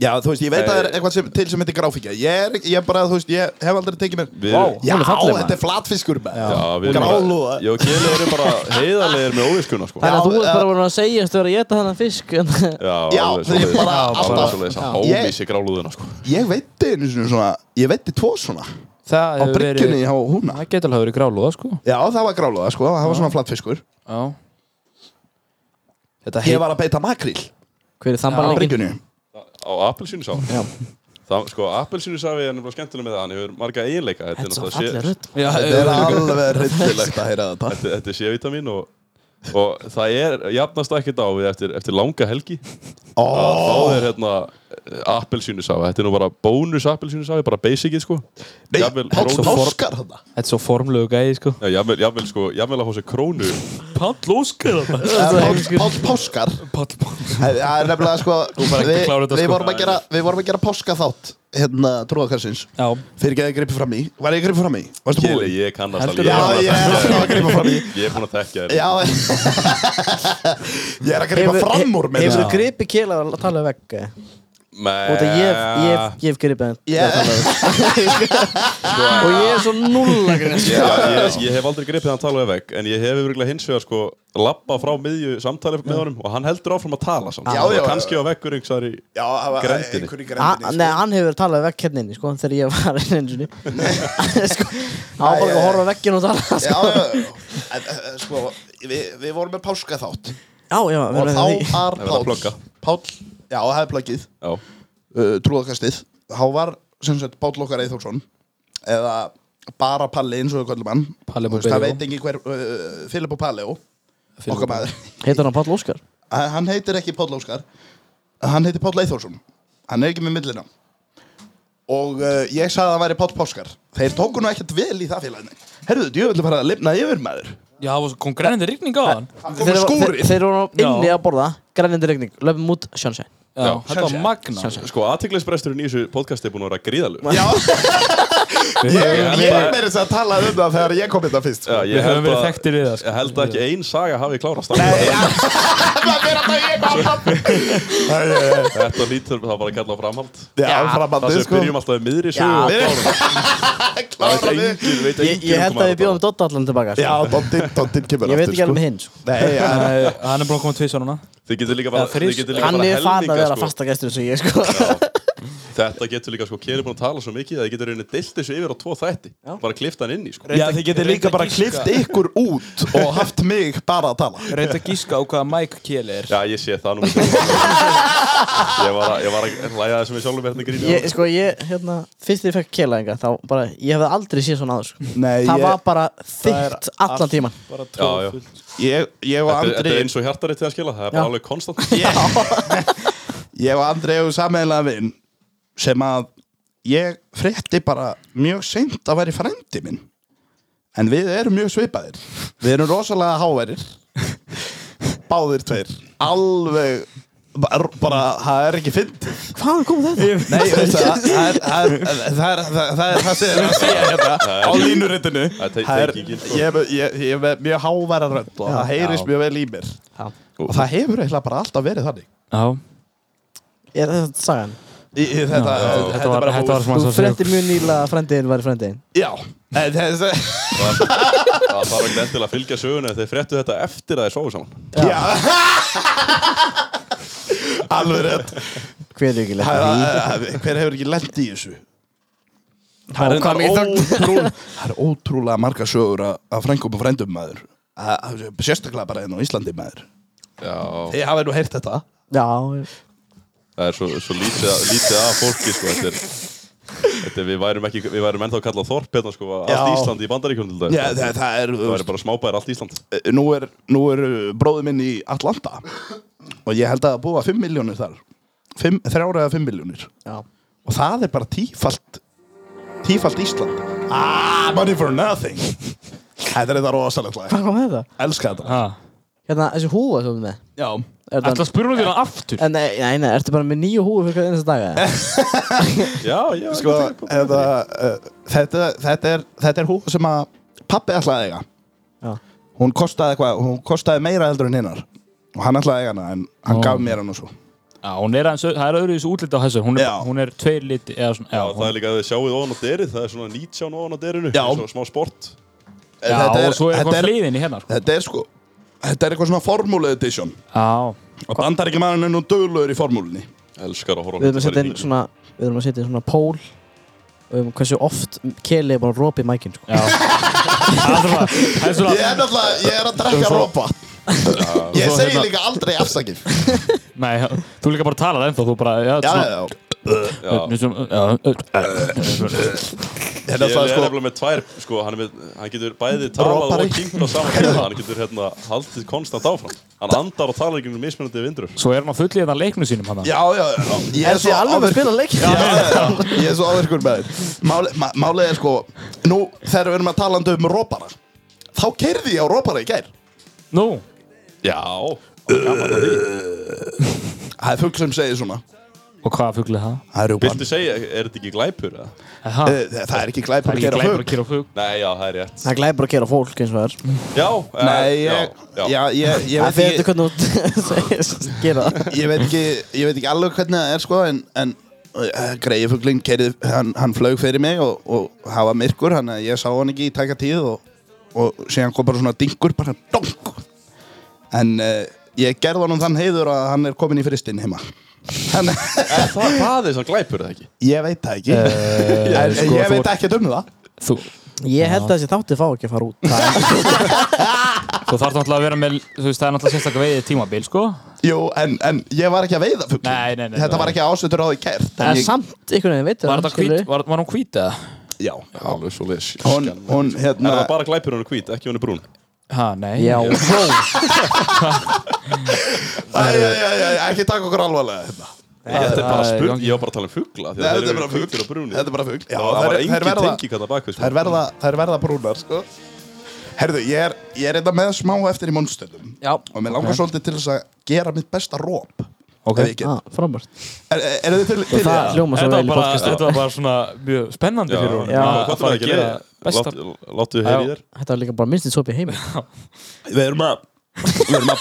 [SPEAKER 4] Já, þú veist, ég veit að það er eitthvað sem, til sem heitir gráfíkja Ég er, ég er bara, þú veist, ég hef aldrei tekið mér
[SPEAKER 3] Við erum-
[SPEAKER 4] Já,
[SPEAKER 2] hún er falleg, maður.
[SPEAKER 4] þetta er flatfiskur með
[SPEAKER 3] já við erum
[SPEAKER 4] Grálúða
[SPEAKER 3] Ég og Kjeli erum bara heiðarlegar með óviskuna sko
[SPEAKER 2] Þannig að þú ert
[SPEAKER 4] Já,
[SPEAKER 2] bara voru að segja Þú er að geta þennan fisk en-
[SPEAKER 4] Já,
[SPEAKER 3] alveg
[SPEAKER 4] þið er
[SPEAKER 3] svoleiðis.
[SPEAKER 4] bara
[SPEAKER 3] Alveg
[SPEAKER 4] alltaf-
[SPEAKER 3] svoleiðis
[SPEAKER 4] Já.
[SPEAKER 3] að hómis í gráluðuna sko
[SPEAKER 4] Ég veitti einu sinni svona, ég veitti tvo svona Á
[SPEAKER 7] Það hefur
[SPEAKER 4] bryggjunni hjá húna
[SPEAKER 7] Það getur alveg verið grálúða sko
[SPEAKER 4] Já, það var gráluða, sko, það var svona flatfiskur
[SPEAKER 7] Já Þetta
[SPEAKER 4] Ég
[SPEAKER 7] heit
[SPEAKER 4] var að beita makríl
[SPEAKER 2] Hver er
[SPEAKER 4] Á
[SPEAKER 2] þambarleggin?
[SPEAKER 4] bryggjunni
[SPEAKER 3] á appelsínusafi
[SPEAKER 2] Já.
[SPEAKER 3] það, sko, appelsínusafi er nefnilega skemmtilega með það hann hefur marga eiginleika þetta
[SPEAKER 2] Þetta
[SPEAKER 3] er
[SPEAKER 2] er svo
[SPEAKER 3] náttúrulega
[SPEAKER 2] fallega
[SPEAKER 3] sé-
[SPEAKER 2] rödd
[SPEAKER 7] Já,
[SPEAKER 4] Þetta er alveg rillilegt að heyra þetta
[SPEAKER 3] þetta, þetta er C-vitamin og, og það er jafnast ekkert á við eftir, eftir langa helgi að
[SPEAKER 4] Ó,
[SPEAKER 3] þá er hérna appelsínusafi, þetta er nú bara bónus appelsínusafi, bara basicið sko
[SPEAKER 4] Nei,
[SPEAKER 3] jafnvel
[SPEAKER 4] Páll
[SPEAKER 3] rót-
[SPEAKER 4] Óskar þarna.
[SPEAKER 7] Þetta er svo formlegu gæði sko
[SPEAKER 3] Já, jafnvel, jafnvel sko, jafnvel að hósa krónu
[SPEAKER 1] Pall Óskar þarna.
[SPEAKER 4] Eh, Páll- Páll Páskar
[SPEAKER 7] Pall Pál
[SPEAKER 4] Það er nefnilega sko
[SPEAKER 1] bara ekki
[SPEAKER 4] Við
[SPEAKER 1] klára þetta,
[SPEAKER 4] við
[SPEAKER 1] sko.
[SPEAKER 4] vorum að gera Við vorum að gera páska þátt Hérna trúðakarsins
[SPEAKER 7] Já,
[SPEAKER 4] Fyrir ekki að gripa fram í Var ég að gripa fram í? Varstu
[SPEAKER 3] Kili,
[SPEAKER 4] búinn?
[SPEAKER 3] ég kannast
[SPEAKER 7] Heldur
[SPEAKER 3] alveg
[SPEAKER 4] Já,
[SPEAKER 3] ég,
[SPEAKER 4] ég
[SPEAKER 3] er
[SPEAKER 4] er alltaf að gripa fram í
[SPEAKER 3] alveg- ég er búin að þekka þér
[SPEAKER 4] Já Ég er að gripa fram úr með
[SPEAKER 2] Hefur
[SPEAKER 4] þetta
[SPEAKER 2] þú gripið kela að tala við vegg? eh? Og það ég hef- ég hef- ég hef gripið hann til
[SPEAKER 4] Yeah.
[SPEAKER 2] að tala við Og ég er svo nulla (laughs) grins
[SPEAKER 3] Ég, ég, ég hef aldrei gripið hann tala við vegg en ég hef yfirlega hins vegar sko lappa frá miðju samtali með honum og hann heldur áfram að tala samt
[SPEAKER 4] Já,
[SPEAKER 3] Og
[SPEAKER 4] já, já.
[SPEAKER 3] kannski á veggur einhversar í
[SPEAKER 4] Já, það var
[SPEAKER 3] Grenndinni.
[SPEAKER 4] einhver í sko.
[SPEAKER 2] Ha- Ah, Nei,
[SPEAKER 4] grendinni
[SPEAKER 2] hann hefur talað við vekk hérna inni, sko, þegar ég var inn einu (laughs) sinni sko, Hann var bara að
[SPEAKER 4] Æ, æ,
[SPEAKER 2] horfa á vegginn og tala sko.
[SPEAKER 4] Já, já, já En, eh, eh, Sko, við, við vorum með páska þátt
[SPEAKER 2] Já, já, við erum
[SPEAKER 4] Og þá
[SPEAKER 2] með því
[SPEAKER 4] var
[SPEAKER 3] er verið að
[SPEAKER 4] Páll
[SPEAKER 3] plugga.
[SPEAKER 4] Páll, já, það er plöggið
[SPEAKER 3] já,
[SPEAKER 4] uh, trúðakastið þá var sem sagt Páll okkar Eithórsson eða bara Palli eins og við kallum hann
[SPEAKER 7] Palli
[SPEAKER 4] Þú veist, það
[SPEAKER 7] Pompeo.
[SPEAKER 4] veit ekki hver uh, Filippo Palleo okkar maður
[SPEAKER 2] Heitar hann Páll Óskar?
[SPEAKER 4] Hann- hann heitir ekki Páll Óskar hann heitir Páll Eithórsson hann er ekki með millina og uh, ég sagði að það væri Páll Páskar þeir tóku nú ekkert vel í það félaginu herruðu, djöfullu fara að lifna yfir maður
[SPEAKER 7] já það var svo kom grænandi rigning á hann
[SPEAKER 4] hann kom
[SPEAKER 2] Þeir,
[SPEAKER 4] með
[SPEAKER 2] þeir,
[SPEAKER 4] skúrið
[SPEAKER 2] þeir voru inni
[SPEAKER 7] Já.
[SPEAKER 2] að borða, grænindi regning, löfum út, sjónsæn
[SPEAKER 7] Já, þetta var magna
[SPEAKER 3] sko aðtiklisbresturinn í þessu podcast er búin að vera gríðalug
[SPEAKER 4] Já, ég
[SPEAKER 3] held
[SPEAKER 4] ég
[SPEAKER 3] að-
[SPEAKER 4] meiri þess að tala um það þegar ég kom þetta fyrst sko.
[SPEAKER 3] já,
[SPEAKER 7] Við
[SPEAKER 3] ég
[SPEAKER 7] höfum
[SPEAKER 3] held
[SPEAKER 7] verið
[SPEAKER 3] að
[SPEAKER 7] þekktir við það sko
[SPEAKER 3] ég held að ekki ein saga hafi klárast
[SPEAKER 2] (laughs)
[SPEAKER 4] Það er að ég kom
[SPEAKER 3] þetta lítur það bara að kalla á framhald
[SPEAKER 4] Já,
[SPEAKER 3] það
[SPEAKER 4] framandi
[SPEAKER 3] sem
[SPEAKER 4] sko
[SPEAKER 3] byrjum alltaf í miðri
[SPEAKER 2] Já.
[SPEAKER 3] sögu og klárum. það veit
[SPEAKER 4] Klára við
[SPEAKER 3] engin, veit um
[SPEAKER 2] Ég,
[SPEAKER 3] engin
[SPEAKER 2] ég held að við bjóðum Dotta allan tilbaka
[SPEAKER 4] Já,
[SPEAKER 2] sko.
[SPEAKER 4] Dondin, Dondin kemur
[SPEAKER 2] Ég veit
[SPEAKER 4] aftur,
[SPEAKER 2] ekki alveg
[SPEAKER 4] sko.
[SPEAKER 2] með hinn sko.
[SPEAKER 4] Nei,
[SPEAKER 7] Æ,
[SPEAKER 4] já,
[SPEAKER 7] (laughs) Hann er búin að koma tvið svona
[SPEAKER 3] þið getur líka bara,
[SPEAKER 7] Eða
[SPEAKER 3] þið
[SPEAKER 7] þrír.
[SPEAKER 3] getur líka
[SPEAKER 2] Hann
[SPEAKER 3] bara
[SPEAKER 2] er farin að vera
[SPEAKER 3] helminga sko.
[SPEAKER 2] fasta gæstur eins og ég sko
[SPEAKER 3] þetta getur líka sko Keli er búin að tala svo mikið að þið getur reyni deilt þessu yfir á tvo þætti bara klifta hann inn í sko
[SPEAKER 4] já þið getur líka bara klift ykkur út og haft mig bara að tala
[SPEAKER 7] Reynd að gíska á hvaða Mike Kjeli er
[SPEAKER 3] Já, ég sé það nú (laughs) myndi Ég var að, ég var að læja það sem ég sjálfur með hérna grínu
[SPEAKER 2] Ég, sko, ég, hérna, fyrst þegar ég fekk kela enga þá bara, ég hefði aldrei séð svona aður sko.
[SPEAKER 4] Nei,
[SPEAKER 2] Það
[SPEAKER 4] ég,
[SPEAKER 2] var bara þygt allan tíman
[SPEAKER 7] Bara
[SPEAKER 3] Já, já.
[SPEAKER 7] tróðfullt
[SPEAKER 4] ég, ég og
[SPEAKER 3] Þetta er
[SPEAKER 4] Andri
[SPEAKER 3] eins og hjartarið til að skila, það er bara
[SPEAKER 2] Já.
[SPEAKER 3] alveg konstant
[SPEAKER 4] (laughs) Ég og Andri hefur sammeðlega vinn sem að ég frétti bara mjög seint að væri frændi minn en við erum mjög svipaðir við erum rosalega háverir báðir tveir alveg bara, bara það er ekki fyndið
[SPEAKER 2] Hvaðan kom þetta?
[SPEAKER 4] Nei, veistu það, (laughs) það er- það er- það er það er- það er það sem ég er að segja hérna á línuritinu
[SPEAKER 3] Það er
[SPEAKER 4] Það er,
[SPEAKER 3] tengingin, sko.
[SPEAKER 4] ég er með- ég ég er með mjög háværa rönd og það heyrist mjög vel í mér
[SPEAKER 2] Já.
[SPEAKER 4] og það hefur eiginlega bara alltaf verið þannig
[SPEAKER 7] Já,
[SPEAKER 2] Er þetta sagan?
[SPEAKER 4] Í- í Þetta
[SPEAKER 7] þetta var,
[SPEAKER 4] bara
[SPEAKER 7] þetta var
[SPEAKER 4] búið.
[SPEAKER 7] svona
[SPEAKER 2] Þú
[SPEAKER 7] svo
[SPEAKER 2] frettir mjög nýla að frendiðin væri frendiðin
[SPEAKER 4] Já, en þess-
[SPEAKER 3] Það þarf ekki endilega að fylgja söguna Þeir fréttu þetta eftir að þeir sóðu saman
[SPEAKER 4] já (laughs) Alveg rétt
[SPEAKER 2] Hver er ekki
[SPEAKER 4] Það
[SPEAKER 2] lefnir í?
[SPEAKER 4] er- Hver hefur ekki lent í þessu?
[SPEAKER 2] Það er
[SPEAKER 4] Það
[SPEAKER 2] hvað
[SPEAKER 4] er
[SPEAKER 2] mikið þögn
[SPEAKER 4] ótrúlega, það er ótrúlega marga sögur að- að frængum og frændum maður Að- að- sérstaklega bara enn á Íslandi maður
[SPEAKER 3] Já,
[SPEAKER 4] Þið hafið nú heyrt þetta
[SPEAKER 2] Já,
[SPEAKER 3] það er svo, svo lítið, að, lítið að fólki sko, þetta er, þetta er, við, værum ekki, við værum ennþá að kalla þorp hérna, sko, Allt
[SPEAKER 4] Já.
[SPEAKER 3] Ísland í bandaríkjum til
[SPEAKER 4] Já,
[SPEAKER 3] dag
[SPEAKER 4] það, það er, eh,
[SPEAKER 3] Það væri bara smábæðir allt Ísland
[SPEAKER 4] nú er, nú er bróði minn í Atlanta og ég held að búa 5 miljónir þar 5, 3 eða 5 miljónir
[SPEAKER 2] já
[SPEAKER 4] og það er bara tífalt tífalt Ísland ah, money for nothing þetta er þetta rosalegt lag
[SPEAKER 2] Hvað kom þetta?
[SPEAKER 4] elska þetta
[SPEAKER 2] Hérna, þessi húfa sem við með
[SPEAKER 4] já,
[SPEAKER 2] Er
[SPEAKER 1] Ætla
[SPEAKER 2] þetta
[SPEAKER 1] að spyrja hún þér aftur
[SPEAKER 2] En nei, nei, nei, ertu bara með nýju húfu fyrir hverja einasta daga?
[SPEAKER 4] Eh,
[SPEAKER 2] eða?
[SPEAKER 3] Já, já,
[SPEAKER 4] sko eða, uh, þetta, þetta er þetta er hú sem að pappi ætlaði að eiga
[SPEAKER 2] Já.
[SPEAKER 4] hún kostaði eitthvað, hún kostaði meira heldur en hinnar og hann ætlaði að eiga hana en hann
[SPEAKER 7] Ó.
[SPEAKER 4] gaf mér hann og svo
[SPEAKER 1] Já, hún er aðeins, það er öðru þessu útlita á þessar Hún er,
[SPEAKER 4] Já.
[SPEAKER 1] hún er tveir liti eða svona
[SPEAKER 3] Já,
[SPEAKER 1] Já,
[SPEAKER 3] það er líka að þið sjáuð ofan á derið, það er svona nýtsján ofan á derinu
[SPEAKER 4] Já.
[SPEAKER 3] Svo smá sport
[SPEAKER 1] já
[SPEAKER 4] Þetta
[SPEAKER 1] og svo er
[SPEAKER 4] þetta
[SPEAKER 1] eitthvað hliðin í hérna sko.
[SPEAKER 4] Þetta er sko Þetta er eitthvað svona formúlu edition
[SPEAKER 1] Já,
[SPEAKER 4] Og bandaríkja maðurinn er nú dögluður í formúlunni
[SPEAKER 3] Elskar að horfa á
[SPEAKER 2] Við erum að
[SPEAKER 3] hluti fara í
[SPEAKER 2] setja inn
[SPEAKER 3] bíl.
[SPEAKER 2] svona Við erum að setja inn svona pól um hversu oft Keli er
[SPEAKER 4] (laughs)
[SPEAKER 2] bara að ropa í mækinn sko.
[SPEAKER 1] já Það er svona- það er svona
[SPEAKER 4] Ég er náttúrulega, ég er að drekka ropa Ég
[SPEAKER 1] Svo
[SPEAKER 4] segi
[SPEAKER 1] hérna-
[SPEAKER 4] líka aldrei afsakir
[SPEAKER 1] Nei, já, þú líka bara talar ennþá, þú bara, já,
[SPEAKER 4] Já, já, já
[SPEAKER 3] Já.
[SPEAKER 1] svona, já,
[SPEAKER 4] Ég
[SPEAKER 2] Hérna
[SPEAKER 3] Ég er
[SPEAKER 4] sko
[SPEAKER 3] nefnilega með tvær, sko, hann, er með, hann getur bæði talað
[SPEAKER 4] Ropari.
[SPEAKER 3] og kynkt á saman tíma, hann getur hérna haldið konstant áfram. Hann andar og talar í gegnum mismunandi vindur.
[SPEAKER 1] svo er hann á fulli þetta leiknum sínum hann.
[SPEAKER 4] Já, já, já Ég er
[SPEAKER 2] Þessi
[SPEAKER 4] svo
[SPEAKER 2] alveg að
[SPEAKER 4] áverkur
[SPEAKER 2] spila leik
[SPEAKER 4] Já, já, já Ég er svo áverkur með þeir Máli- ma- Málið er sko Nú, þegar við erum að tala um rópara Þá keirði ég á rópara í gær
[SPEAKER 1] Nú,
[SPEAKER 3] Já, hann er gaman að því.
[SPEAKER 4] Það er fugg sem segir svona
[SPEAKER 1] og hvaða fugli er það?
[SPEAKER 4] Það er rjúpan
[SPEAKER 3] Viltu segja, er þetta ekki glæpur? Eða?
[SPEAKER 1] Aha,
[SPEAKER 4] Eh, Það er ekki
[SPEAKER 1] það
[SPEAKER 4] glæpur
[SPEAKER 1] er ekki
[SPEAKER 4] að keira
[SPEAKER 1] glæpur
[SPEAKER 4] fugg
[SPEAKER 1] að kýra á fugl.
[SPEAKER 3] Nei, já, það er rétt.
[SPEAKER 2] Það glæði bara að gera fólk eins og það er
[SPEAKER 3] Já, eh,
[SPEAKER 4] Nei, ég,
[SPEAKER 3] já,
[SPEAKER 4] já,
[SPEAKER 3] já.
[SPEAKER 4] ég, ég,
[SPEAKER 2] Það
[SPEAKER 4] veit
[SPEAKER 2] fyrir
[SPEAKER 4] ekki,
[SPEAKER 2] þetta hvernig þú segist gera það
[SPEAKER 4] (laughs) ég veit ekki Ég veit ekki alveg hvernig það er sko En, en uh, greiðfuglinn keirði hann, hann flög fyrir mig og, og hann var myrkur Þannig að ég sá hann ekki í taka tíð Og, og síðan kom bara svona dingur Bara dong En uh, ég gerði honum þann heiður að hann er komin í fristinn heima Þannig
[SPEAKER 3] Er það hvað er það glæpur, eða ekki?
[SPEAKER 4] Ég veit það ekki (laughs) en,
[SPEAKER 1] sko,
[SPEAKER 4] Ég
[SPEAKER 1] þú-
[SPEAKER 4] veit ekki um það
[SPEAKER 1] Þú,
[SPEAKER 2] (laughs) Ég held að þessi þátti fá ekki að fara út
[SPEAKER 1] þú þarf náttúrulega að vera með, þú veist, það er náttúrulega sérstaklega veiðið tímabil, sko.
[SPEAKER 4] Jú, en, en ég var ekki að veiða fugg
[SPEAKER 1] Nei, nei, nei,
[SPEAKER 4] Þetta
[SPEAKER 1] nei.
[SPEAKER 4] var ekki ásötur á því kært en
[SPEAKER 2] En
[SPEAKER 4] ég,
[SPEAKER 2] samt einhvern veginn veitur
[SPEAKER 1] Var þetta hvít, var, var hún hvít eða?
[SPEAKER 4] Já,
[SPEAKER 3] Alveg svo leis.
[SPEAKER 4] hún, hún
[SPEAKER 3] Er
[SPEAKER 4] hérna
[SPEAKER 3] það bara glæpur hún er hvít, ekki hún er brún?
[SPEAKER 1] Ha, nei. (laughs)
[SPEAKER 2] Já,
[SPEAKER 4] æ, æ, æ, æ, Ekki taka okkur alvarlega hérna.
[SPEAKER 3] Nei, þetta er bara
[SPEAKER 1] það er
[SPEAKER 3] spurning,
[SPEAKER 1] gangi.
[SPEAKER 3] ég var bara að tala um fugla því
[SPEAKER 4] Nei,
[SPEAKER 3] að þeir
[SPEAKER 4] þetta er
[SPEAKER 3] eru
[SPEAKER 4] bara
[SPEAKER 3] hvítir og brúnir
[SPEAKER 4] Þetta er bara fugg Já,
[SPEAKER 3] það var
[SPEAKER 4] þær-
[SPEAKER 3] engin
[SPEAKER 4] þær verða-
[SPEAKER 3] tengi kalla bak við sko.
[SPEAKER 4] Þær verða, þær verða brúnar, sko Herðu, ég er, ég er eitthvað með smá eftir í monstundum
[SPEAKER 2] Já.
[SPEAKER 4] Og mér langar svolítið til þess að gera mitt besta róp
[SPEAKER 1] Ok.
[SPEAKER 4] Ef ég get.
[SPEAKER 2] frábært
[SPEAKER 4] Er, er, er þið til, til í
[SPEAKER 2] Ah. Það
[SPEAKER 4] það?
[SPEAKER 2] hljóma svo
[SPEAKER 1] Þetta
[SPEAKER 2] vel
[SPEAKER 1] var
[SPEAKER 2] í
[SPEAKER 1] bara,
[SPEAKER 2] podcasti
[SPEAKER 1] þetta var bara svona mjög spennandi
[SPEAKER 3] Já,
[SPEAKER 1] fyrir hún.
[SPEAKER 3] já,
[SPEAKER 1] að-
[SPEAKER 3] hvað
[SPEAKER 1] að
[SPEAKER 3] þú
[SPEAKER 1] fara
[SPEAKER 3] að
[SPEAKER 1] að
[SPEAKER 3] gera
[SPEAKER 1] gera besta.
[SPEAKER 3] Lát- Láttu þið heyri
[SPEAKER 1] Já.
[SPEAKER 3] þér
[SPEAKER 2] Þetta var líka bara minnstins opið heimi
[SPEAKER 4] Við erum að Við
[SPEAKER 3] (laughs)
[SPEAKER 4] erum að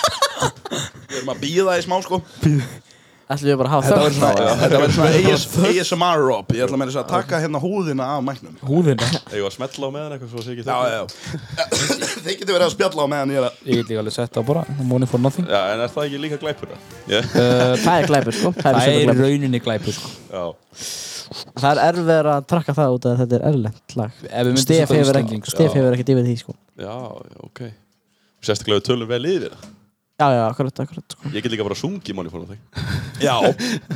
[SPEAKER 4] Við erum að býða í smá, sko
[SPEAKER 2] Ætlum við bara að
[SPEAKER 4] Þetta
[SPEAKER 2] hafa
[SPEAKER 4] verður svona,
[SPEAKER 2] þögn á-
[SPEAKER 4] þetta verður (laughs) svona AS, ASMR-rop Ég ætla meira að segja að taka hérna húðina af mæknum
[SPEAKER 1] Húðina.
[SPEAKER 3] Eða að smetla á meðan eitthvað svo sé ekki
[SPEAKER 4] Já, já, já (laughs) Þið getur verið að spjalla á meðan ég er að
[SPEAKER 1] Ég get líka alveg sett á bara, money for nothing.
[SPEAKER 3] Já, en er það ekki líka glæpur það? Já,
[SPEAKER 2] Það er glæpur sko Það
[SPEAKER 1] Það
[SPEAKER 2] er
[SPEAKER 1] er í
[SPEAKER 2] stundum glæpur.
[SPEAKER 1] rauninni glæpur, sko.
[SPEAKER 3] já
[SPEAKER 2] Það er erfiðar að trakka það út af að þetta er erlend lag
[SPEAKER 1] Ef við myndum
[SPEAKER 2] Stef
[SPEAKER 1] setja
[SPEAKER 2] hefur
[SPEAKER 1] Íslending,
[SPEAKER 2] ekki-
[SPEAKER 1] sko.
[SPEAKER 2] Stef hefur ekkert yfir því sko
[SPEAKER 3] Já, já, ok Sérstaklega við tölum vel yfir það
[SPEAKER 2] Já, já, akkurat, akkurat sko.
[SPEAKER 3] Ég get líka bara sungið manni fór á þig
[SPEAKER 4] Já,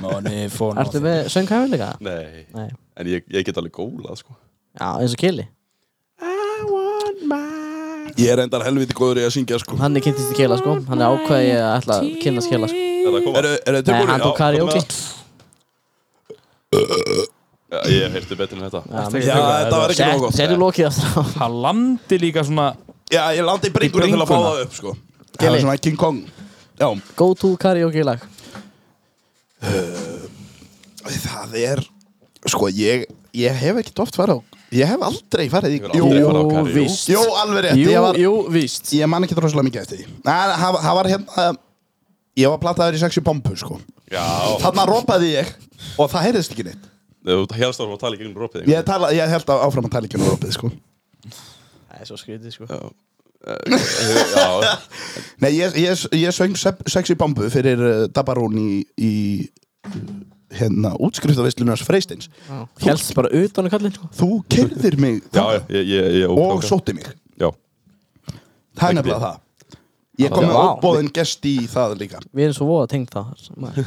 [SPEAKER 1] Money for
[SPEAKER 2] Ertu
[SPEAKER 1] nothing.
[SPEAKER 2] með sönghæfilega?
[SPEAKER 3] Nei,
[SPEAKER 2] Nei
[SPEAKER 3] en ég, ég get alveg gólað sko
[SPEAKER 2] Já, eins og Kili
[SPEAKER 4] ég er endar helviti góður í að syngja, sko
[SPEAKER 2] Hann er kynntist í Kila sko Hann er ákveðið að ætla að kynna Kila sko
[SPEAKER 3] Er það komað?
[SPEAKER 4] Eru eru þið
[SPEAKER 2] Nei, hann
[SPEAKER 4] tilbúinir?
[SPEAKER 2] tók
[SPEAKER 3] Já,
[SPEAKER 2] karaoke
[SPEAKER 3] komið Já, ég heyrti betur en þetta
[SPEAKER 2] Já,
[SPEAKER 4] Já, þetta var ekki nóg
[SPEAKER 2] Sett-
[SPEAKER 4] gott
[SPEAKER 2] Settu lokið aftur á
[SPEAKER 1] Hann landi líka svona,
[SPEAKER 4] Já, ég landi í bringuna til að fá
[SPEAKER 1] bringuna.
[SPEAKER 4] það upp, sko Það
[SPEAKER 2] Gilli.
[SPEAKER 4] var svona King Kong Já,
[SPEAKER 2] Go to karaoke lag
[SPEAKER 4] það er Sko, ég, ég hef ekkert oft farið á Ég hef aldrei farið í
[SPEAKER 3] Ég vil aldrei fara á karaoke.
[SPEAKER 2] víst
[SPEAKER 4] jú, alveg rétt
[SPEAKER 2] Jú,
[SPEAKER 4] Ég var,
[SPEAKER 2] jú, víst
[SPEAKER 4] ég man ekki droslega mikið eftir því Nei, það það var hérna Ég var plataður í sexi bombu, sko
[SPEAKER 3] Já,
[SPEAKER 4] Þarna rópaði ég og það heyrðist ekki neitt
[SPEAKER 3] þú helst áfram að tala í gegnum ropið
[SPEAKER 4] Ég, tala, ég held að áfram að tala ekki um Európið sko.
[SPEAKER 2] Það er svo skrítið sko
[SPEAKER 3] Já,
[SPEAKER 4] Nei, ég, ég, ég söng se- Sexy Bambu fyrir uh, Dabarún í, í uh, hérna, útskriftavistlunas Freysteins
[SPEAKER 2] Hélst bara utan á kallinn sko
[SPEAKER 4] Þú kyrðir mig
[SPEAKER 3] já,
[SPEAKER 4] þarna
[SPEAKER 3] ég, ég, ég
[SPEAKER 4] og sótti mig
[SPEAKER 3] Já,
[SPEAKER 4] Það er
[SPEAKER 3] Ekki
[SPEAKER 4] nefnilega það Ég kom með
[SPEAKER 2] Vá.
[SPEAKER 4] óbóðin gest í það líka
[SPEAKER 2] Við erum svo voða tengt það maður.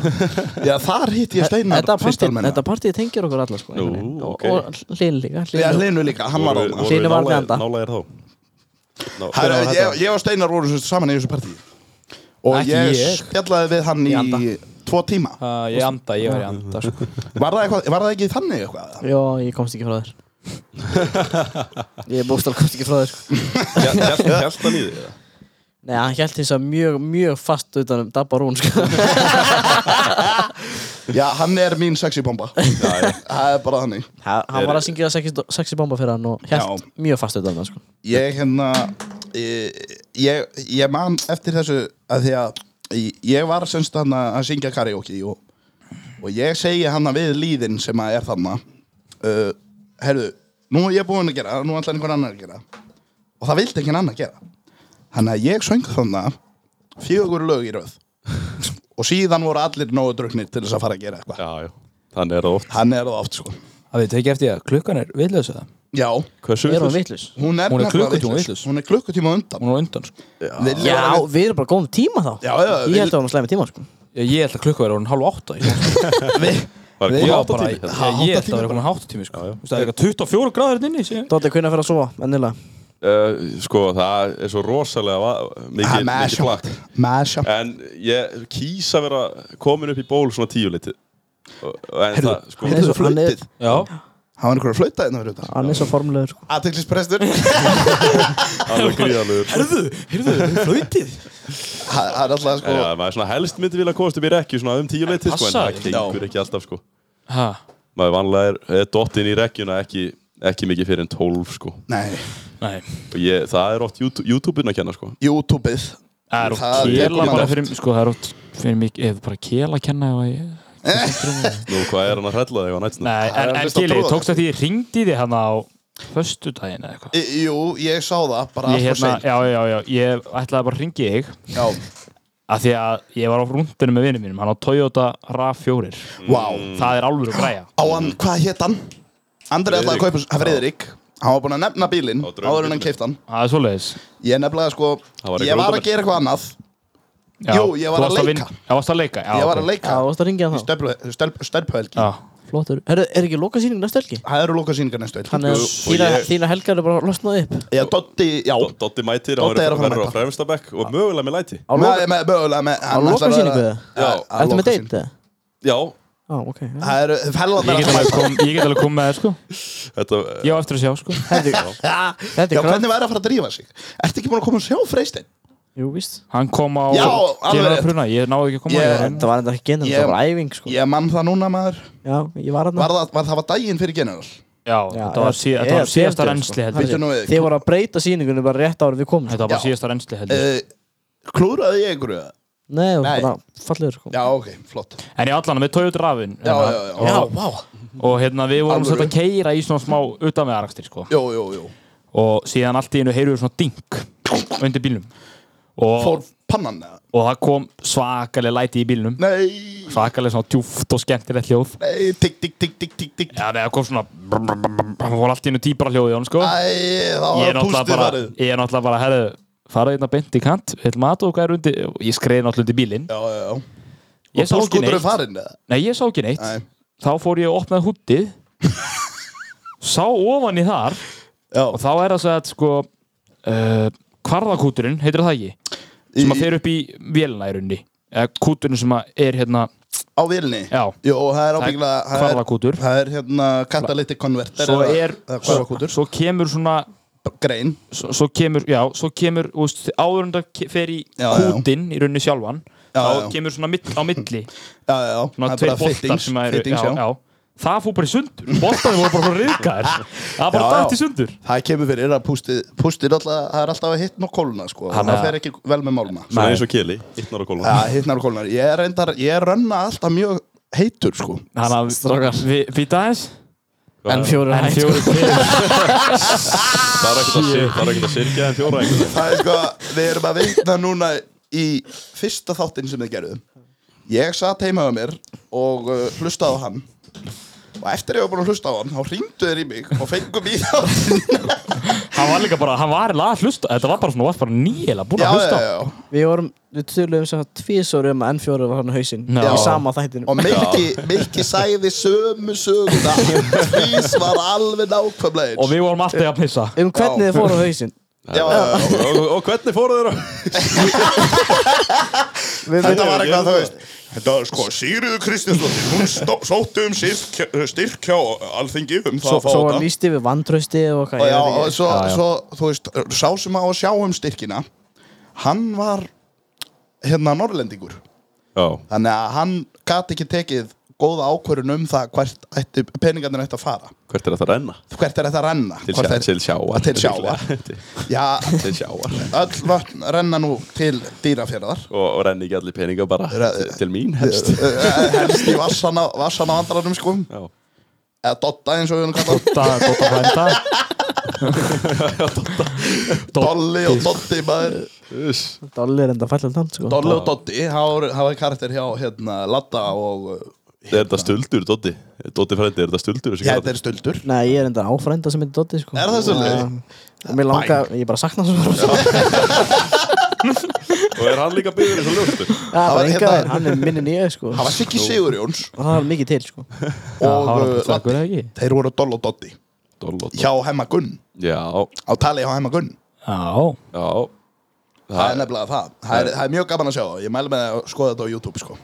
[SPEAKER 4] Já, þar hitt ég steinar
[SPEAKER 2] Þetta
[SPEAKER 4] fyrst
[SPEAKER 2] partíð,
[SPEAKER 4] almenna
[SPEAKER 2] þetta partíð tengir okkur alla sko einhvern veginn.
[SPEAKER 3] Nú,
[SPEAKER 2] Og-
[SPEAKER 3] ok.
[SPEAKER 2] Og hlinn líka
[SPEAKER 4] Já,
[SPEAKER 2] Hlynur.
[SPEAKER 4] Hlynur líka, hann var á
[SPEAKER 3] Voru- voru
[SPEAKER 2] Hlynur var
[SPEAKER 3] nálægir-
[SPEAKER 2] með anda.
[SPEAKER 3] nálægir þá Ná,
[SPEAKER 4] Herra,
[SPEAKER 2] Hver var
[SPEAKER 4] ég,
[SPEAKER 2] þetta?
[SPEAKER 4] ég og Steinar voru sem sagt saman í þessu partí Og
[SPEAKER 1] Ekki
[SPEAKER 4] ég,
[SPEAKER 1] ég.
[SPEAKER 4] spjallaði við hann í,
[SPEAKER 2] anda.
[SPEAKER 4] tvo tíma
[SPEAKER 7] Ah,
[SPEAKER 1] uh, ég anda, ég var í anda, sko.
[SPEAKER 4] Var það, eitthvað, var það ekki þannig eitthvað?
[SPEAKER 2] (laughs) Já, ég komst ekki frá þér
[SPEAKER 4] (laughs)
[SPEAKER 2] Ég bókstál komst ekki frá þér sko
[SPEAKER 3] Hjælt hann í því eða?
[SPEAKER 2] Nei, hann held þess að mjög, mjög fast utan um Dabba
[SPEAKER 4] (laughs)
[SPEAKER 2] Rún sko
[SPEAKER 4] Já, hann er mín sexy bomba
[SPEAKER 3] Já, já.
[SPEAKER 4] Það er bara þannig
[SPEAKER 2] Ha- Hann var að syngja sexy, sexy bomba fyrir hann og held
[SPEAKER 4] Já.
[SPEAKER 2] mjög fast utan um það sko
[SPEAKER 4] Ég hérna eh, Ég, ég man eftir þessu að Því að ég var semst hann að syngja karaoke og, og ég segi hann við líðin sem að er þarna uh, Herðu, nú er ég búinn að gera Nú ætlar einhver annar að gera Og það vildi einhvern annar gera Þannig að ég söng þarna Fjögur lög í röð Og síðan voru allir nógu druknir til þess að fara að gera eitthvað
[SPEAKER 3] Já, já Þannig er það oft
[SPEAKER 4] Hann er það oft sko
[SPEAKER 1] Það veit ekki eftir ég að klukkan er viðlösa það.
[SPEAKER 4] Já,
[SPEAKER 3] Hversu
[SPEAKER 2] Erum við
[SPEAKER 3] vitlaus?
[SPEAKER 2] vitlaus?
[SPEAKER 4] hún er,
[SPEAKER 1] Hún er
[SPEAKER 4] nefnilega
[SPEAKER 1] klukkutíma
[SPEAKER 4] vitlaus.
[SPEAKER 1] vitlaus.
[SPEAKER 4] Hún er klukkutíma á undan
[SPEAKER 1] Hún er á undan sko.
[SPEAKER 4] Við-
[SPEAKER 2] Já, við erum bara góðum tíma þá
[SPEAKER 4] Já, já,
[SPEAKER 2] Ég
[SPEAKER 4] við-
[SPEAKER 2] held að við erum slæmi tíma sko.
[SPEAKER 1] Ég, ég held að klukka verið orðin hálf átta Ég,
[SPEAKER 4] Við-
[SPEAKER 3] Var
[SPEAKER 1] ég,
[SPEAKER 3] ekki
[SPEAKER 1] var
[SPEAKER 3] átta
[SPEAKER 1] bara,
[SPEAKER 3] tími?
[SPEAKER 1] ég,
[SPEAKER 4] Ha,
[SPEAKER 1] ég held
[SPEAKER 4] átta
[SPEAKER 1] að
[SPEAKER 4] tími
[SPEAKER 1] verið orðin hálf tími sko.
[SPEAKER 3] Já, já.
[SPEAKER 1] Þú veist, Það er eitthvað 24 gráður hérna inni sé.
[SPEAKER 2] Dóttir, hvernig fyrir að sofa, ennilega
[SPEAKER 3] Eh, Sko, það er svo rosalega va-
[SPEAKER 4] Ah,
[SPEAKER 3] mikið mikið
[SPEAKER 4] mash up.
[SPEAKER 3] plakk
[SPEAKER 4] Mash up.
[SPEAKER 3] En ég kýsa að vera komin upp í ból svona tíu litið En
[SPEAKER 4] Heyrðu,
[SPEAKER 3] það, sko
[SPEAKER 4] Hún
[SPEAKER 2] Hann
[SPEAKER 4] er
[SPEAKER 2] er
[SPEAKER 4] svo
[SPEAKER 2] svo- hann er-
[SPEAKER 4] flöytið
[SPEAKER 1] Já,
[SPEAKER 4] Hann var einhver að flöyta hérna fyrir þetta
[SPEAKER 2] Hann er svo formlegur sko. (laughs)
[SPEAKER 4] Aðteglisprestur
[SPEAKER 3] alveg gríðalegur sko.
[SPEAKER 4] Það er alltaf
[SPEAKER 3] En
[SPEAKER 4] sko
[SPEAKER 3] já, maður svona helst myndi vilja komast upp í rekju svona um tíu litið sko, En
[SPEAKER 1] Passa
[SPEAKER 3] það
[SPEAKER 1] þig.
[SPEAKER 3] gengur ekki alltaf sko
[SPEAKER 1] ha,
[SPEAKER 3] Maður vanlega er, er dottinn í rekkjuna ekki, ekki mikið fyrir en 12 sko
[SPEAKER 4] Nei,
[SPEAKER 1] nei
[SPEAKER 3] Og ég, það er oft YouTube- YouTube-in að kenna sko
[SPEAKER 4] YouTube-ið
[SPEAKER 1] Það er oft
[SPEAKER 4] Það er
[SPEAKER 1] kela
[SPEAKER 4] jafnan
[SPEAKER 1] bara
[SPEAKER 4] oft.
[SPEAKER 1] fyrir sko, það er oft fyrir mikið eða bara kela að kenna ef að ég-
[SPEAKER 3] Nú, hvað er hann að hrella þig á nætsinu?
[SPEAKER 1] Nei, en,
[SPEAKER 4] er
[SPEAKER 1] en
[SPEAKER 4] fyrst að
[SPEAKER 1] Gili,
[SPEAKER 4] prófa
[SPEAKER 1] tókst að því ringdi þið hann hérna á föstudaginn eða eitthvað
[SPEAKER 4] Í- Jú, ég sá það bara
[SPEAKER 1] Ég,
[SPEAKER 4] allt og
[SPEAKER 1] hérna,
[SPEAKER 4] sein
[SPEAKER 1] já, já, já, ég ætlaði bara að ringi þig
[SPEAKER 4] Já,
[SPEAKER 1] af því að ég var á rúndinu með vinum mínum hann á Toyota RAV4
[SPEAKER 4] vá
[SPEAKER 1] það er alveg að græja
[SPEAKER 4] Á hann, hvað hétt hann? Andri
[SPEAKER 3] Mm.
[SPEAKER 4] ætlaði að
[SPEAKER 3] Friðrik.
[SPEAKER 4] kaupa hann Friðrik Hann var búinn að nefna bílinn
[SPEAKER 3] Á draumabílinn.
[SPEAKER 4] áður en hann keipt hann
[SPEAKER 1] það er svoleiðis
[SPEAKER 4] Ég nefnilega sko,
[SPEAKER 3] Það var
[SPEAKER 4] ég
[SPEAKER 3] einhver
[SPEAKER 4] var að
[SPEAKER 3] útvarp.
[SPEAKER 4] gera eitthvað annað
[SPEAKER 1] Já,
[SPEAKER 4] Jú, ég var
[SPEAKER 1] þú
[SPEAKER 4] að
[SPEAKER 1] varst
[SPEAKER 4] leika.
[SPEAKER 1] vin- Já, varst að leika já,
[SPEAKER 4] Ég var að
[SPEAKER 1] ok.
[SPEAKER 2] Já,
[SPEAKER 4] leika
[SPEAKER 2] þú varst að ringja
[SPEAKER 4] í
[SPEAKER 2] hann þá
[SPEAKER 4] stelpöhelgi
[SPEAKER 1] já.
[SPEAKER 2] Flottur Herru, er ekki loka síning næstu helgi?
[SPEAKER 4] Það eru loka síningar næstu helgi
[SPEAKER 2] Hann er,
[SPEAKER 3] Jú, og
[SPEAKER 2] þína,
[SPEAKER 3] ég-
[SPEAKER 2] þína helgar eru bara losnað upp
[SPEAKER 4] Já, Dotti, já
[SPEAKER 3] Do- Dotti mætir,
[SPEAKER 4] Doddi er
[SPEAKER 3] hann
[SPEAKER 4] að fara að
[SPEAKER 3] verður á
[SPEAKER 4] mæta.
[SPEAKER 3] fremsta bekk og mögulega með læti
[SPEAKER 2] Á
[SPEAKER 4] Með,
[SPEAKER 2] loka,
[SPEAKER 4] með, mögulega með
[SPEAKER 2] á
[SPEAKER 4] hann
[SPEAKER 2] loka
[SPEAKER 4] ætlar að-
[SPEAKER 2] síningu þið?
[SPEAKER 4] Já, á
[SPEAKER 2] Ertu með
[SPEAKER 4] lokasýningu.
[SPEAKER 2] date? eða?
[SPEAKER 3] Já,
[SPEAKER 2] Já, ok já.
[SPEAKER 4] Það eru
[SPEAKER 1] Ég
[SPEAKER 4] fellandar
[SPEAKER 1] get alveg kom- ég get alveg komið með þér sko
[SPEAKER 3] þetta
[SPEAKER 1] ég á eftir að sjá sko
[SPEAKER 2] Þetta
[SPEAKER 4] Já,
[SPEAKER 2] er grann
[SPEAKER 4] hvernig væri að fara að drífa sig? Ertu ekki búin að koma og sjá Freystein?
[SPEAKER 2] Jú, víst
[SPEAKER 1] hann kom á
[SPEAKER 4] Já, alveg
[SPEAKER 1] Gili
[SPEAKER 4] rétt.
[SPEAKER 1] að pruna ég náði ekki að koma hérna.
[SPEAKER 4] Ég-
[SPEAKER 1] ég,
[SPEAKER 2] Þetta var enda ekki genið,
[SPEAKER 4] Ég-
[SPEAKER 2] þetta var æfing sko
[SPEAKER 4] Ég mann það núna maður
[SPEAKER 2] Já, ég var hann
[SPEAKER 4] Var það, var, það var daginn fyrir general?
[SPEAKER 1] já, þetta var, sko. sí, þetta var síðasta reynsli heldur
[SPEAKER 4] Bíddu nú við.
[SPEAKER 2] sko. Þið voru að breyta síningunni bara rétt ára við komum sko.
[SPEAKER 1] þetta var bara
[SPEAKER 4] Já.
[SPEAKER 1] síðasta reynsli heldur
[SPEAKER 4] Uh, klúraði ég einhverju? það?
[SPEAKER 2] Nei, það var
[SPEAKER 4] Nei.
[SPEAKER 2] bara fallegur sko
[SPEAKER 4] Já, ok, flott
[SPEAKER 1] en ég allan með Toyota RAV-in
[SPEAKER 4] Já, já, já, já.
[SPEAKER 1] hérna. og, og hérna við vorum
[SPEAKER 4] Alvöru.
[SPEAKER 1] sett að keira í svona smá utan með sko
[SPEAKER 4] Jú, jú, jú
[SPEAKER 1] og síðan allt í einu heyrðu við svona dink undir bílnum og,
[SPEAKER 4] Fór pannan eða?
[SPEAKER 1] og það kom svakalega læti í bílnum
[SPEAKER 4] Nei,
[SPEAKER 1] svakalega svona djúft og skemmtilegt hljóð
[SPEAKER 4] nei, tikk, tikk, tikk, tikk, tikk, tikk
[SPEAKER 1] Já, nei, það kom svona brum, brum, brum, brum, Það var allt í einu dýbra hljóðið hann, sko
[SPEAKER 4] Æ, það
[SPEAKER 1] Ég er
[SPEAKER 4] var
[SPEAKER 1] náttúrulega
[SPEAKER 4] pústið
[SPEAKER 1] bara,
[SPEAKER 4] farið
[SPEAKER 1] ég er náttúrulega bara, herðu Farað hérna beint í kant, við ætlum aðtóka hvað er undir Ég skreiði náttúrulega undir bílinn
[SPEAKER 4] Já, já, já
[SPEAKER 1] Ég sá ekki
[SPEAKER 4] Blóðskúturinn
[SPEAKER 1] neitt,
[SPEAKER 4] farinn eða?
[SPEAKER 1] nei, ég sá ekki neitt
[SPEAKER 4] Nei.
[SPEAKER 1] Þá fór ég og opnaði húttið
[SPEAKER 4] (laughs)
[SPEAKER 1] Sá ofan í þar
[SPEAKER 4] Já.
[SPEAKER 1] Og þá er það svo að, sko uh, Kvarðakúturinn, heitir það ekki Sem
[SPEAKER 4] Í-
[SPEAKER 1] að fer upp í vélina í rauninni Eða kúturinn sem að er hérna
[SPEAKER 4] Á vilni?
[SPEAKER 1] Já.
[SPEAKER 4] Jú, það er ábyggla
[SPEAKER 1] Kvarðakútur
[SPEAKER 4] Það er hérna catalytic converter
[SPEAKER 1] Svo
[SPEAKER 4] eða-
[SPEAKER 1] er,
[SPEAKER 4] eða
[SPEAKER 1] svo,
[SPEAKER 4] Kvarðakútur
[SPEAKER 1] svo kemur svona
[SPEAKER 4] Grein
[SPEAKER 1] svo, svo kemur, já, svo kemur þú veist, áður en það ke- fer í
[SPEAKER 4] Já, já, já.
[SPEAKER 1] hútin í rauninni sjálfan
[SPEAKER 4] Já,
[SPEAKER 1] þá
[SPEAKER 4] já.
[SPEAKER 1] kemur svona mitt, á milli
[SPEAKER 4] Já, já, já (laughs) Það
[SPEAKER 1] svona
[SPEAKER 4] er
[SPEAKER 1] tveir
[SPEAKER 4] bara
[SPEAKER 1] boltar
[SPEAKER 4] fittings,
[SPEAKER 1] sem eru
[SPEAKER 4] fittings,
[SPEAKER 1] já, já. það fór bara í sundur boltarnir voru bara frá riðgar það bara
[SPEAKER 4] Já, já.
[SPEAKER 1] dætt í sundur
[SPEAKER 4] Það kemur fyrir að pústið, pústið alltaf, það er alltaf að hittna og kólna sko
[SPEAKER 1] Hann
[SPEAKER 4] Það
[SPEAKER 1] er-
[SPEAKER 4] fer ekki vel með málma
[SPEAKER 3] svona eins og keli, ytnar á kólum
[SPEAKER 4] Það hittnar og kólnar Ég er reyndar, ég er rönna alltaf mjög heitur sko
[SPEAKER 1] þannig að við býta aðeins
[SPEAKER 2] En fjóru
[SPEAKER 1] en fjóri fyrir
[SPEAKER 3] Það er ekkert að syrkja, það er ekkert að syrkja en fjóra einhvern veginn.
[SPEAKER 4] Það er sko, við erum að veitna núna í fyrsta þáttinn sem þið gerðum Ég satt heima á mér og uh, hlustaði á hann Og eftir ég var búin að hlusta á hann, þá hringdu þeir í mig og fengum í þáttinn
[SPEAKER 1] (laughs) (laughs) hann var líka bara, hann var eiginlega að hlusta þetta var bara svona, varst bara nýjela búin að
[SPEAKER 4] Já, já,
[SPEAKER 1] hlusta
[SPEAKER 4] já,
[SPEAKER 2] Við vorum, við töluðum sem það tvísóri um að N4 var hann á hausinn
[SPEAKER 1] Já.
[SPEAKER 2] Í sama þættinu
[SPEAKER 4] Og Mikki, Mikki sæði sömu söguna Tvís var alveg nákvæmlega eins
[SPEAKER 1] og við vorum alltaf að pissa
[SPEAKER 2] Um hvernig þið fóru á
[SPEAKER 4] (laughs)
[SPEAKER 2] hausinn
[SPEAKER 4] já, já, já.
[SPEAKER 3] Og, og, og hvernig fóru þeirra?
[SPEAKER 4] Þetta var eitthvað, þú veist Þetta var sko, Sýriður Kristjánsdóttir Hún stó- sótti um styrkja, styrkja á alþingi um það
[SPEAKER 2] Svo,
[SPEAKER 4] að fá
[SPEAKER 2] svo
[SPEAKER 4] þetta
[SPEAKER 2] lísti við vantrausti og
[SPEAKER 4] Og
[SPEAKER 2] eitthvað
[SPEAKER 4] já,
[SPEAKER 2] ég veit
[SPEAKER 4] og
[SPEAKER 2] ekki.
[SPEAKER 4] svo, svo, þú veist, sá sem á að sjá um styrkina Hann var hérna norrlendingur
[SPEAKER 3] Já,
[SPEAKER 4] Þannig að hann gat ekki tekið góða ákvörun um það hvert ætti, peningarnir ætti að fara
[SPEAKER 3] hvert er þetta að renna?
[SPEAKER 4] Hvert er þetta að renna?
[SPEAKER 3] Til,
[SPEAKER 4] Hvort
[SPEAKER 3] sjá,
[SPEAKER 4] er-
[SPEAKER 3] til sjáar.
[SPEAKER 4] Til sjávar. Já,
[SPEAKER 3] (laughs) til sjáar.
[SPEAKER 4] öll vötn renna nú til dýrafjörðar
[SPEAKER 3] Og, og renni ekki allir peninga bara
[SPEAKER 4] Re-
[SPEAKER 3] til mín helst.
[SPEAKER 4] Eh, helst í vassana, vassana vandrarum sko
[SPEAKER 3] Já,
[SPEAKER 4] eða dotta eins og við hann kallar
[SPEAKER 1] Dota, Dota frænda
[SPEAKER 4] Dolly og Dotti maður
[SPEAKER 3] Uss.
[SPEAKER 2] Dolli er enda fallið tann sko
[SPEAKER 4] Dolly og Dotti, það var- það var karakter hjá hérna, Latta og uh,
[SPEAKER 3] Er þetta stöldur, Doddi? Doddi frændi, er þetta stöldur? þessi
[SPEAKER 4] Já,
[SPEAKER 3] kallar?
[SPEAKER 4] þetta er stöldur
[SPEAKER 2] Nei, ég er enda áfrænda sem heitir Doddi sko.
[SPEAKER 4] Er það svoleiðis?
[SPEAKER 2] Og mér langa, ég bara sakna hans (laughs) svo rosa.
[SPEAKER 3] Og er hann líka byggður eins og ljóstur?
[SPEAKER 2] Já,
[SPEAKER 4] Það
[SPEAKER 2] bara
[SPEAKER 4] var
[SPEAKER 2] enga
[SPEAKER 4] hérna-
[SPEAKER 2] þær, hann er minni nýja sko.
[SPEAKER 4] Það var Siggi Sigurjóns
[SPEAKER 2] Og það var mikið til sko.
[SPEAKER 4] og
[SPEAKER 1] það var
[SPEAKER 4] uh,
[SPEAKER 1] bara þakkur eða
[SPEAKER 4] Latti
[SPEAKER 1] ekki
[SPEAKER 4] Þeir voru Doll og Doddi
[SPEAKER 3] Dollot.
[SPEAKER 4] hjá Hemma Gunn
[SPEAKER 3] Já,
[SPEAKER 4] á tali hjá Hemma Gunn
[SPEAKER 1] Já,
[SPEAKER 3] já.
[SPEAKER 4] Það er
[SPEAKER 3] Það er
[SPEAKER 4] nefnilega það Það er, það er mjög gaman að sjá það Ég mælu með að skoða þetta á YouTube sko.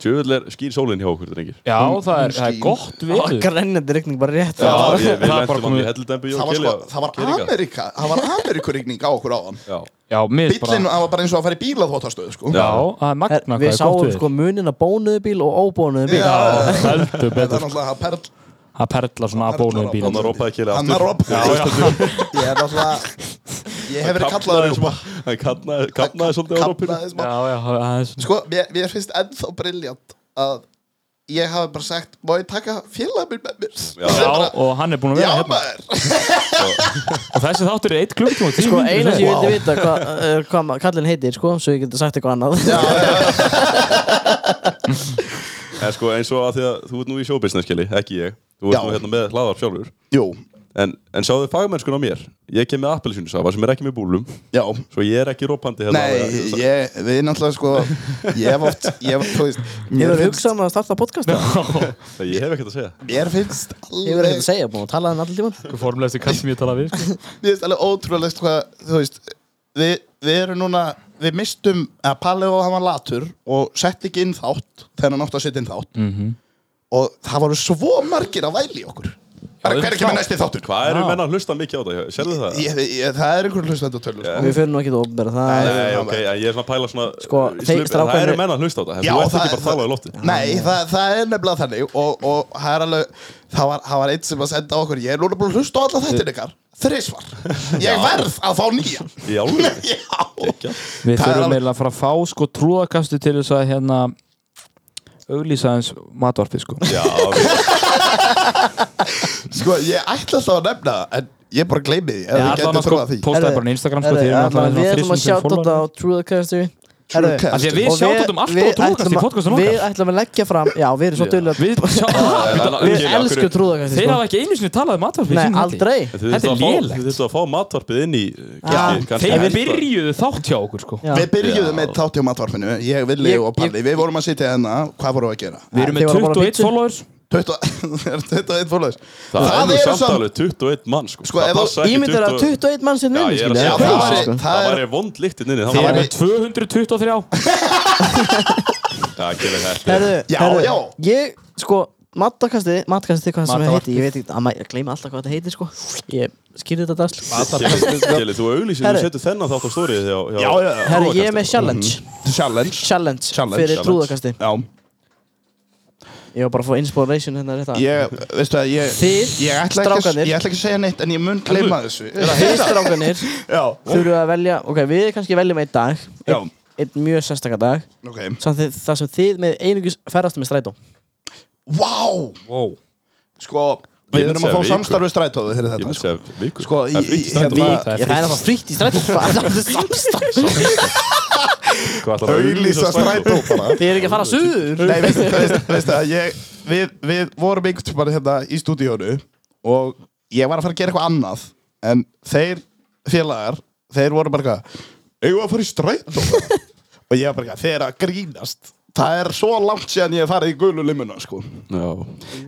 [SPEAKER 3] tjöfull er skýr sólinn hjá okkur, drengir.
[SPEAKER 1] já það, er,
[SPEAKER 4] hún
[SPEAKER 1] það er
[SPEAKER 4] skín.
[SPEAKER 1] gott
[SPEAKER 2] Það var
[SPEAKER 1] við
[SPEAKER 2] grennandi rigning bara rétt
[SPEAKER 3] Já,
[SPEAKER 1] það-
[SPEAKER 3] ég, við
[SPEAKER 1] það er bara
[SPEAKER 3] lendum hann
[SPEAKER 1] komið-
[SPEAKER 3] í helldempu
[SPEAKER 4] Það var, sko, það var Amerika Það var Amerikurigning á okkur áðan
[SPEAKER 3] Já,
[SPEAKER 1] Já, mér finnst
[SPEAKER 4] Bíllinn
[SPEAKER 1] bara
[SPEAKER 4] það var bara eins og að fara í bíla þóttastöð sko.
[SPEAKER 1] Já, það er magna hvað
[SPEAKER 2] Við
[SPEAKER 1] er gott
[SPEAKER 2] sáum
[SPEAKER 1] við
[SPEAKER 2] sko munin að bónuðu bíl og óbónuðu bíl
[SPEAKER 4] Já,
[SPEAKER 1] Heldur
[SPEAKER 4] Þetta
[SPEAKER 1] betur
[SPEAKER 4] er náttúrulega að perl
[SPEAKER 1] Það perla svona að bónu í bílum
[SPEAKER 3] Þarna ropaði Keli aftur.
[SPEAKER 4] Annar ropp
[SPEAKER 3] Já, já.
[SPEAKER 4] Ég er náttúrulega Ég hef verið kallaður
[SPEAKER 3] smá. Hann kapnaði, kapnaði svolítið á roppinu.
[SPEAKER 4] Kallaði smá
[SPEAKER 1] Já, já, það er svona
[SPEAKER 4] Sko, mér, mér finnst ennþá briljant að ég hafi bara sagt Má ég taka félag minn með mér? Já,
[SPEAKER 1] Já, og hann er búin að
[SPEAKER 4] já
[SPEAKER 1] vera hérna
[SPEAKER 4] maður
[SPEAKER 1] Og þessi þáttur er 1 klukkutíma og 10
[SPEAKER 2] Sko
[SPEAKER 1] mínútur.
[SPEAKER 2] eina sem ég
[SPEAKER 4] Wow.
[SPEAKER 2] vildi vita hvað uh, hva kallin heitir sko Svo ég geti sagt eitthvað annað (laughs)
[SPEAKER 4] Já, já,
[SPEAKER 3] En sko eins og að því að þú ert nú í showbusiness, Keli, ekki ég. Þú ert
[SPEAKER 4] Já.
[SPEAKER 3] nú hérna með hlaðar sjálfur.
[SPEAKER 4] Jú,
[SPEAKER 3] En, en sjáðu fagmennskun á mér. Ég kem með appelsínusafa sem er ekki með búlum.
[SPEAKER 4] já
[SPEAKER 3] Svo ég er ekki ropandi hérna.
[SPEAKER 4] Nei, ég, við náttúrulega sko Ég hef oft, ég hef, þú veist Mér
[SPEAKER 2] Hefur
[SPEAKER 4] finnst,
[SPEAKER 2] hugsað um að starta podcast Hefur
[SPEAKER 3] Það ég hef ekkert að segja.
[SPEAKER 4] mér finnst
[SPEAKER 2] ekkert
[SPEAKER 4] alveg
[SPEAKER 2] að segja búin að tala um allir tíman
[SPEAKER 1] Sko formlegasti kall sem ég tala við sko.
[SPEAKER 4] Mér finnst alveg ótrúlegt hvað, þú veist Við, við erum núna, við mistum að Palli og hann var latur og sett ekki inn þátt þegar hann átti að setja inn þátt
[SPEAKER 3] Mhm.
[SPEAKER 4] og það voru svo margir að væli í okkur bara
[SPEAKER 1] Já,
[SPEAKER 4] hver er ekki með næsti þáttur
[SPEAKER 3] Hvað eru menn að hlusta mikið á það? Serðu það?
[SPEAKER 4] Ég, ég, það er einhver hlustendutölur sko.
[SPEAKER 2] Við fyrir nú ekki til ofnbæra það er
[SPEAKER 3] Nei, ok, en ég er svona að pæla svona
[SPEAKER 2] Sko,
[SPEAKER 3] í
[SPEAKER 2] þeir-
[SPEAKER 3] slup-
[SPEAKER 2] strákarnir-
[SPEAKER 3] Það eru menn að hlusta á það,
[SPEAKER 4] Já,
[SPEAKER 3] þú ert
[SPEAKER 4] það-
[SPEAKER 3] ekki bara að tala í lofti
[SPEAKER 4] Nei, það, það er nefnilega þannig og, og það er alveg það var, það var einn sem að senda á okkur ég er núna búin að hlusta á alla þættir ykkar
[SPEAKER 3] (laughs)
[SPEAKER 4] þrisvar, ég verð að fá nýja
[SPEAKER 3] Í
[SPEAKER 4] (laughs)
[SPEAKER 3] álunni
[SPEAKER 4] Já
[SPEAKER 1] Við
[SPEAKER 4] Það
[SPEAKER 1] þurfum
[SPEAKER 4] er alveg-
[SPEAKER 1] eiginlega að fara að fá sko trúðakastu til þess að hérna auglýsa hans matvarpi sko
[SPEAKER 3] Já, við-
[SPEAKER 4] Sko, ég ætla alltaf að nefna það, en ég bara gleymi því ef
[SPEAKER 1] Ég ætla hann
[SPEAKER 4] við getum
[SPEAKER 1] að sko
[SPEAKER 4] þurfað því
[SPEAKER 1] postaði bara á Instagram sko
[SPEAKER 2] Herru,
[SPEAKER 1] þeir eru
[SPEAKER 2] allavega,
[SPEAKER 1] náttúrulega svona
[SPEAKER 2] Við ætlum að
[SPEAKER 1] 3000 follower.
[SPEAKER 2] sjá þetta á Trúðakastu
[SPEAKER 4] Truecast.
[SPEAKER 1] Af því að við
[SPEAKER 2] Og
[SPEAKER 1] sjáum þetta um allt
[SPEAKER 2] við
[SPEAKER 1] og trúðakast í
[SPEAKER 2] ætlum að-
[SPEAKER 1] podcastum
[SPEAKER 2] Við
[SPEAKER 1] okkar
[SPEAKER 2] ætlum að leggja fram Já, við erum svo dullu (laughs) að
[SPEAKER 1] Við sjáum
[SPEAKER 2] Við
[SPEAKER 3] Keli, af hverju-
[SPEAKER 2] elskum trúðakast
[SPEAKER 1] Þeir hafa ekki einu sinni talað um matvarpi í
[SPEAKER 2] Nei,
[SPEAKER 1] sínum þætti.
[SPEAKER 2] aldrei
[SPEAKER 3] En þið
[SPEAKER 1] Þetta er
[SPEAKER 3] þurftu að fá-
[SPEAKER 1] lélegt.
[SPEAKER 3] Þið þurftu að fá matvarpið inn í eh,
[SPEAKER 2] Já,
[SPEAKER 1] Þeir byrjuðu þátt hjá okkur sko
[SPEAKER 2] Já.
[SPEAKER 4] Við byrjuðum
[SPEAKER 3] Já.
[SPEAKER 4] með þátt hjá matvarpinu Ég, Villi
[SPEAKER 2] Ég-
[SPEAKER 4] og Palli, við vorum að sitja hérna Hvað vorum við að gera?
[SPEAKER 1] Við erum
[SPEAKER 2] Þeir
[SPEAKER 1] með
[SPEAKER 2] voru að borða
[SPEAKER 1] 21
[SPEAKER 2] pizzu.
[SPEAKER 1] followers
[SPEAKER 4] (laughs) 21 fólöðis
[SPEAKER 3] Það er nú samt alveg 21 mann sko
[SPEAKER 4] Sko, ef
[SPEAKER 3] Það
[SPEAKER 4] þú-
[SPEAKER 3] passa ekki
[SPEAKER 2] Ímyndir að
[SPEAKER 3] 20
[SPEAKER 2] 21 mann sem
[SPEAKER 3] Já,
[SPEAKER 2] vinni
[SPEAKER 3] ég er
[SPEAKER 2] skilur,
[SPEAKER 3] að segja
[SPEAKER 2] eða
[SPEAKER 4] það.
[SPEAKER 2] hvað? Sko.
[SPEAKER 4] Já, það
[SPEAKER 3] Það
[SPEAKER 4] er-
[SPEAKER 3] væri vond lyktinn inni
[SPEAKER 1] Þeir
[SPEAKER 3] Það
[SPEAKER 1] eru
[SPEAKER 3] væri
[SPEAKER 1] með 223
[SPEAKER 3] Já, Keli, þetta er-
[SPEAKER 2] Herðu,
[SPEAKER 4] Já,
[SPEAKER 2] herðu,
[SPEAKER 4] já.
[SPEAKER 2] Ég, sko, matakastið Matakastið, hvað sem það
[SPEAKER 1] Matarvarpið.
[SPEAKER 2] heiti Ég veit ekki, að maður gleyma alltaf hvað þetta heiti, sko Ég skýrði þetta dasl
[SPEAKER 3] Keli, Keli, þú auglýsir, þú
[SPEAKER 2] Herru.
[SPEAKER 3] setur þennan þátt á stórið Já,
[SPEAKER 4] Já, já, já.
[SPEAKER 2] Herru, ég er með challenge
[SPEAKER 4] Challenge
[SPEAKER 2] Challenge,
[SPEAKER 4] Mhm. Challenge.
[SPEAKER 2] fyrir
[SPEAKER 4] Challenge.
[SPEAKER 2] trúðakasti
[SPEAKER 4] Já,
[SPEAKER 2] Ég var bara að fá inspiration hérna rétt að
[SPEAKER 4] ég, veistu að ég
[SPEAKER 2] Þið,
[SPEAKER 4] Ég ætla, ekki,
[SPEAKER 2] strákarnir.
[SPEAKER 4] ég ætla ekki að segja neitt en ég mun gleyma þessu
[SPEAKER 2] Þið strákanir
[SPEAKER 4] Já,
[SPEAKER 2] þurfum að velja Ok, við kannski veljum einn dag
[SPEAKER 4] Já.
[SPEAKER 2] Einn einn mjög sérstakar dag
[SPEAKER 4] ok
[SPEAKER 2] samt þið, Það sem þið með einungis ferðast með strætó
[SPEAKER 4] Vá,
[SPEAKER 1] Wow
[SPEAKER 4] sko,
[SPEAKER 3] Ég myndi
[SPEAKER 4] við erum að
[SPEAKER 3] segja
[SPEAKER 4] fá
[SPEAKER 3] viku.
[SPEAKER 4] samstarfið strætóðu fyrir
[SPEAKER 3] Ég
[SPEAKER 4] þetta
[SPEAKER 3] myndi
[SPEAKER 4] sko.
[SPEAKER 3] segja viku
[SPEAKER 4] Sko,
[SPEAKER 3] Það er
[SPEAKER 4] í-
[SPEAKER 3] frítt
[SPEAKER 4] í-
[SPEAKER 3] í strætó.
[SPEAKER 4] hérna-
[SPEAKER 1] Það er
[SPEAKER 2] Ég það er það fritt í
[SPEAKER 4] (laughs)
[SPEAKER 2] strætó Hvað er það samstætt?
[SPEAKER 3] Hvað ætlar að
[SPEAKER 4] Auglýsa strætó bara
[SPEAKER 2] Þið eru ekki að fara suður
[SPEAKER 4] Nei, veistu, veistu, veistu að ég Við, við vorum einhvern bara hérna í stúdíónu Og ég var að fara að gera eitthvað annað En þeir félagar Þeir voru bara eitthvað Eigum við að fara í strætó Og ég var bara eitthvað, þeir eru að grínast Það er svo langt síðan ég hef farið í gulu limuna sko.
[SPEAKER 3] Já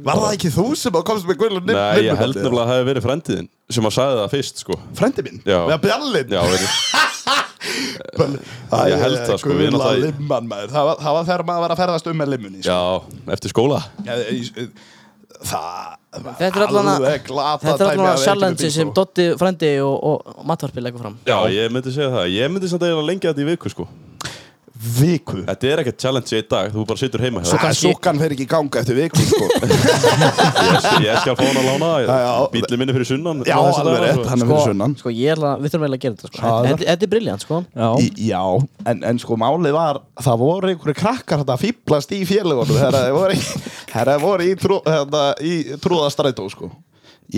[SPEAKER 4] Var það ekki þú sem að komst með gulu limuna?
[SPEAKER 3] Nei, ég held nefnilega að það hefði verið frendiðin sem að sagði það fyrst, sko.
[SPEAKER 4] Frendi minn,
[SPEAKER 3] Já.
[SPEAKER 4] með bjallin
[SPEAKER 3] Já,
[SPEAKER 4] (laughs)
[SPEAKER 3] veit ég. ég held það, sko, við erum
[SPEAKER 4] Gula
[SPEAKER 3] alltaf í-
[SPEAKER 4] limman maður Það var- það var þegar maður var að ferðast um með limunni sko.
[SPEAKER 3] Já, eftir skóla.
[SPEAKER 4] Já, Það var
[SPEAKER 2] Þetta er allan að-
[SPEAKER 4] alveg glata
[SPEAKER 2] Þetta er
[SPEAKER 4] dæmi að
[SPEAKER 2] alltaf
[SPEAKER 4] vera ekki
[SPEAKER 2] challenge
[SPEAKER 4] með bíl,
[SPEAKER 2] sem
[SPEAKER 4] sko.
[SPEAKER 2] Dotti, Frendi og, og, og Matvarpi leggur fram
[SPEAKER 3] Já, ég myndi segja það. Ég myndi samt eiginlega lengja þetta í viku, sko.
[SPEAKER 4] Viku
[SPEAKER 3] Þetta er ekkert challenge í dag, þú bara situr heima hjá
[SPEAKER 4] Það er
[SPEAKER 2] kannski-
[SPEAKER 4] súkan fer ekki í ganga eftir viku sko.
[SPEAKER 2] (laughs)
[SPEAKER 3] þér. Ég skal fá hann að
[SPEAKER 4] Já,
[SPEAKER 3] lána,
[SPEAKER 4] já.
[SPEAKER 3] bílið minni fyrir sunnan.
[SPEAKER 4] Já,
[SPEAKER 3] Þessa
[SPEAKER 4] alveg
[SPEAKER 3] dagana,
[SPEAKER 4] rétt,
[SPEAKER 3] sko.
[SPEAKER 4] hann er fyrir sunnan
[SPEAKER 2] sko ég ætla, við þurfum eiginlega að gera þetta sko.
[SPEAKER 4] Já,
[SPEAKER 2] Þetta- Þetta er briljant sko
[SPEAKER 4] Í, Já, en, en sko málið var Það voru einhverju krakkar þetta fýblast í félagunum Þegar þeir voru í, (laughs) þegar þeir voru í, trú, hérna, í trúðastrætó sko.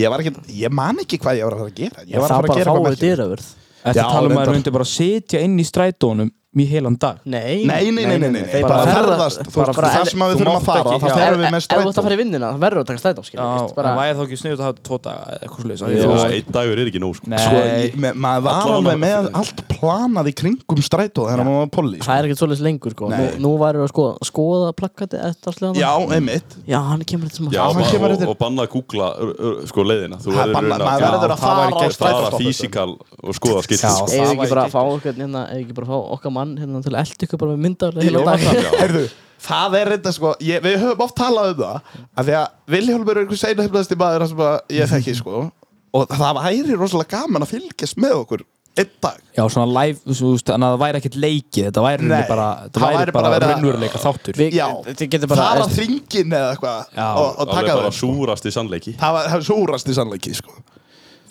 [SPEAKER 4] Ég var ekki, ég man ekki hvað ég var að fara að gera Ég var
[SPEAKER 2] Það
[SPEAKER 4] að fara að
[SPEAKER 2] bara
[SPEAKER 4] gera
[SPEAKER 2] fáið
[SPEAKER 4] eitthvað merkilegt.
[SPEAKER 2] dýraverð
[SPEAKER 1] Þetta
[SPEAKER 4] Já,
[SPEAKER 1] tala um að
[SPEAKER 4] reyndar.
[SPEAKER 1] það myndi bara sitja inn í strætónum í heilan dag
[SPEAKER 2] Nei
[SPEAKER 4] Nei, nei, nei, nei, nei,
[SPEAKER 2] Þeir
[SPEAKER 4] nei. bara ferðast
[SPEAKER 2] ferðast-
[SPEAKER 4] þú veist,
[SPEAKER 2] bara-
[SPEAKER 4] Það sem að
[SPEAKER 1] þú
[SPEAKER 4] við þurfum að
[SPEAKER 1] mátt
[SPEAKER 4] fara,
[SPEAKER 1] ekki-
[SPEAKER 4] það
[SPEAKER 1] já.
[SPEAKER 4] ferum við með
[SPEAKER 2] Ef þú ert að
[SPEAKER 4] strætó
[SPEAKER 2] fara í vinnuna, þá verður að taka strætó
[SPEAKER 1] Já,
[SPEAKER 2] skilur
[SPEAKER 1] en
[SPEAKER 2] veist, bara-
[SPEAKER 1] væri þá ekki sniðut að hafa tvo daga eða eitthvað slúðis
[SPEAKER 3] Þú veist, einn dagur er ekki nóg sko.
[SPEAKER 4] Sko,
[SPEAKER 1] Nei,
[SPEAKER 4] ég- me- maður var
[SPEAKER 3] Allavega
[SPEAKER 4] alveg með
[SPEAKER 3] maður-
[SPEAKER 4] allt planað í kringum strætó þegar maður var poli sko.
[SPEAKER 2] Það er ekkert svolítið lengur sko. nú,
[SPEAKER 4] Nei.
[SPEAKER 2] nú varum við að skoða, skoða plakkati eftir allir hann
[SPEAKER 4] Já, einmitt
[SPEAKER 2] Já, hann kemur þetta sem
[SPEAKER 3] Já,
[SPEAKER 4] hann
[SPEAKER 3] og,
[SPEAKER 4] kemur
[SPEAKER 3] og,
[SPEAKER 4] eftir-
[SPEAKER 3] og banna að googla ur, ur, sko leiðina Þú
[SPEAKER 4] Það er
[SPEAKER 3] verður
[SPEAKER 4] bannað,
[SPEAKER 3] raunar
[SPEAKER 4] maður verður
[SPEAKER 1] það væri
[SPEAKER 3] að
[SPEAKER 4] að fara á
[SPEAKER 1] gegn-
[SPEAKER 3] fara
[SPEAKER 4] strætó
[SPEAKER 3] físikal og skoða sko. skilt
[SPEAKER 1] Já. það
[SPEAKER 2] Eða ekki
[SPEAKER 1] væri
[SPEAKER 2] bara
[SPEAKER 1] ekki-
[SPEAKER 2] að fá okkur hérna, eða ekki bara að fá okkar mann hérna til að elda ykkur bara með myndarlega
[SPEAKER 4] Jó,
[SPEAKER 2] heila dag
[SPEAKER 4] það- Heyrðu, það er þetta sko ég, Við höfum oft talað um það að Því að Vilhjálmur er einhver seinhefnasti maður sem að ég þekki sko Og það væri rosalega gaman að fylgjast með okkur Einn dag
[SPEAKER 1] já, svona live, þú veist, þannig að það væri ekkert leikið Þetta væri
[SPEAKER 4] Nei,
[SPEAKER 1] rauninni bara, þetta
[SPEAKER 4] það
[SPEAKER 1] væri
[SPEAKER 4] væri bara
[SPEAKER 1] bara,
[SPEAKER 4] verið að-
[SPEAKER 1] raunveruleika þáttur
[SPEAKER 2] Við-
[SPEAKER 4] Já,
[SPEAKER 2] Þið getur bara
[SPEAKER 4] fara
[SPEAKER 2] veist,
[SPEAKER 4] þringin eða eitthvað
[SPEAKER 1] Já,
[SPEAKER 4] og, og
[SPEAKER 3] Alveg
[SPEAKER 4] taka
[SPEAKER 3] bara
[SPEAKER 4] það sko.
[SPEAKER 3] súrast í sannleiki
[SPEAKER 4] Það var það var súrast í sannleiki sko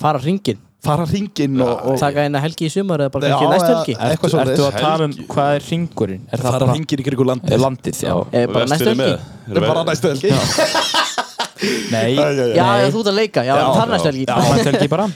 [SPEAKER 2] fara hringin
[SPEAKER 4] Fara þringin og, og
[SPEAKER 2] Taka eina helgi í sumar eða bara
[SPEAKER 4] Já,
[SPEAKER 2] ekki næst
[SPEAKER 4] eða-
[SPEAKER 2] helgi
[SPEAKER 4] eitthvað
[SPEAKER 1] Ertu, ertu
[SPEAKER 4] svoleiðis.
[SPEAKER 1] að tala um hvað er ringurinn? Er það
[SPEAKER 4] Fara
[SPEAKER 1] bara
[SPEAKER 4] hringin í kringu
[SPEAKER 1] er
[SPEAKER 4] landið
[SPEAKER 1] landið, já
[SPEAKER 2] Eða Eh, bara næst
[SPEAKER 3] Vestfirðir
[SPEAKER 2] helgi
[SPEAKER 3] með.
[SPEAKER 4] Það er bara næstu helgi
[SPEAKER 1] Nei,
[SPEAKER 4] Já, já,
[SPEAKER 2] Já,
[SPEAKER 1] Nei.
[SPEAKER 2] já, þú ert að leika, já, þar næst helgi
[SPEAKER 1] já, næst helgi bara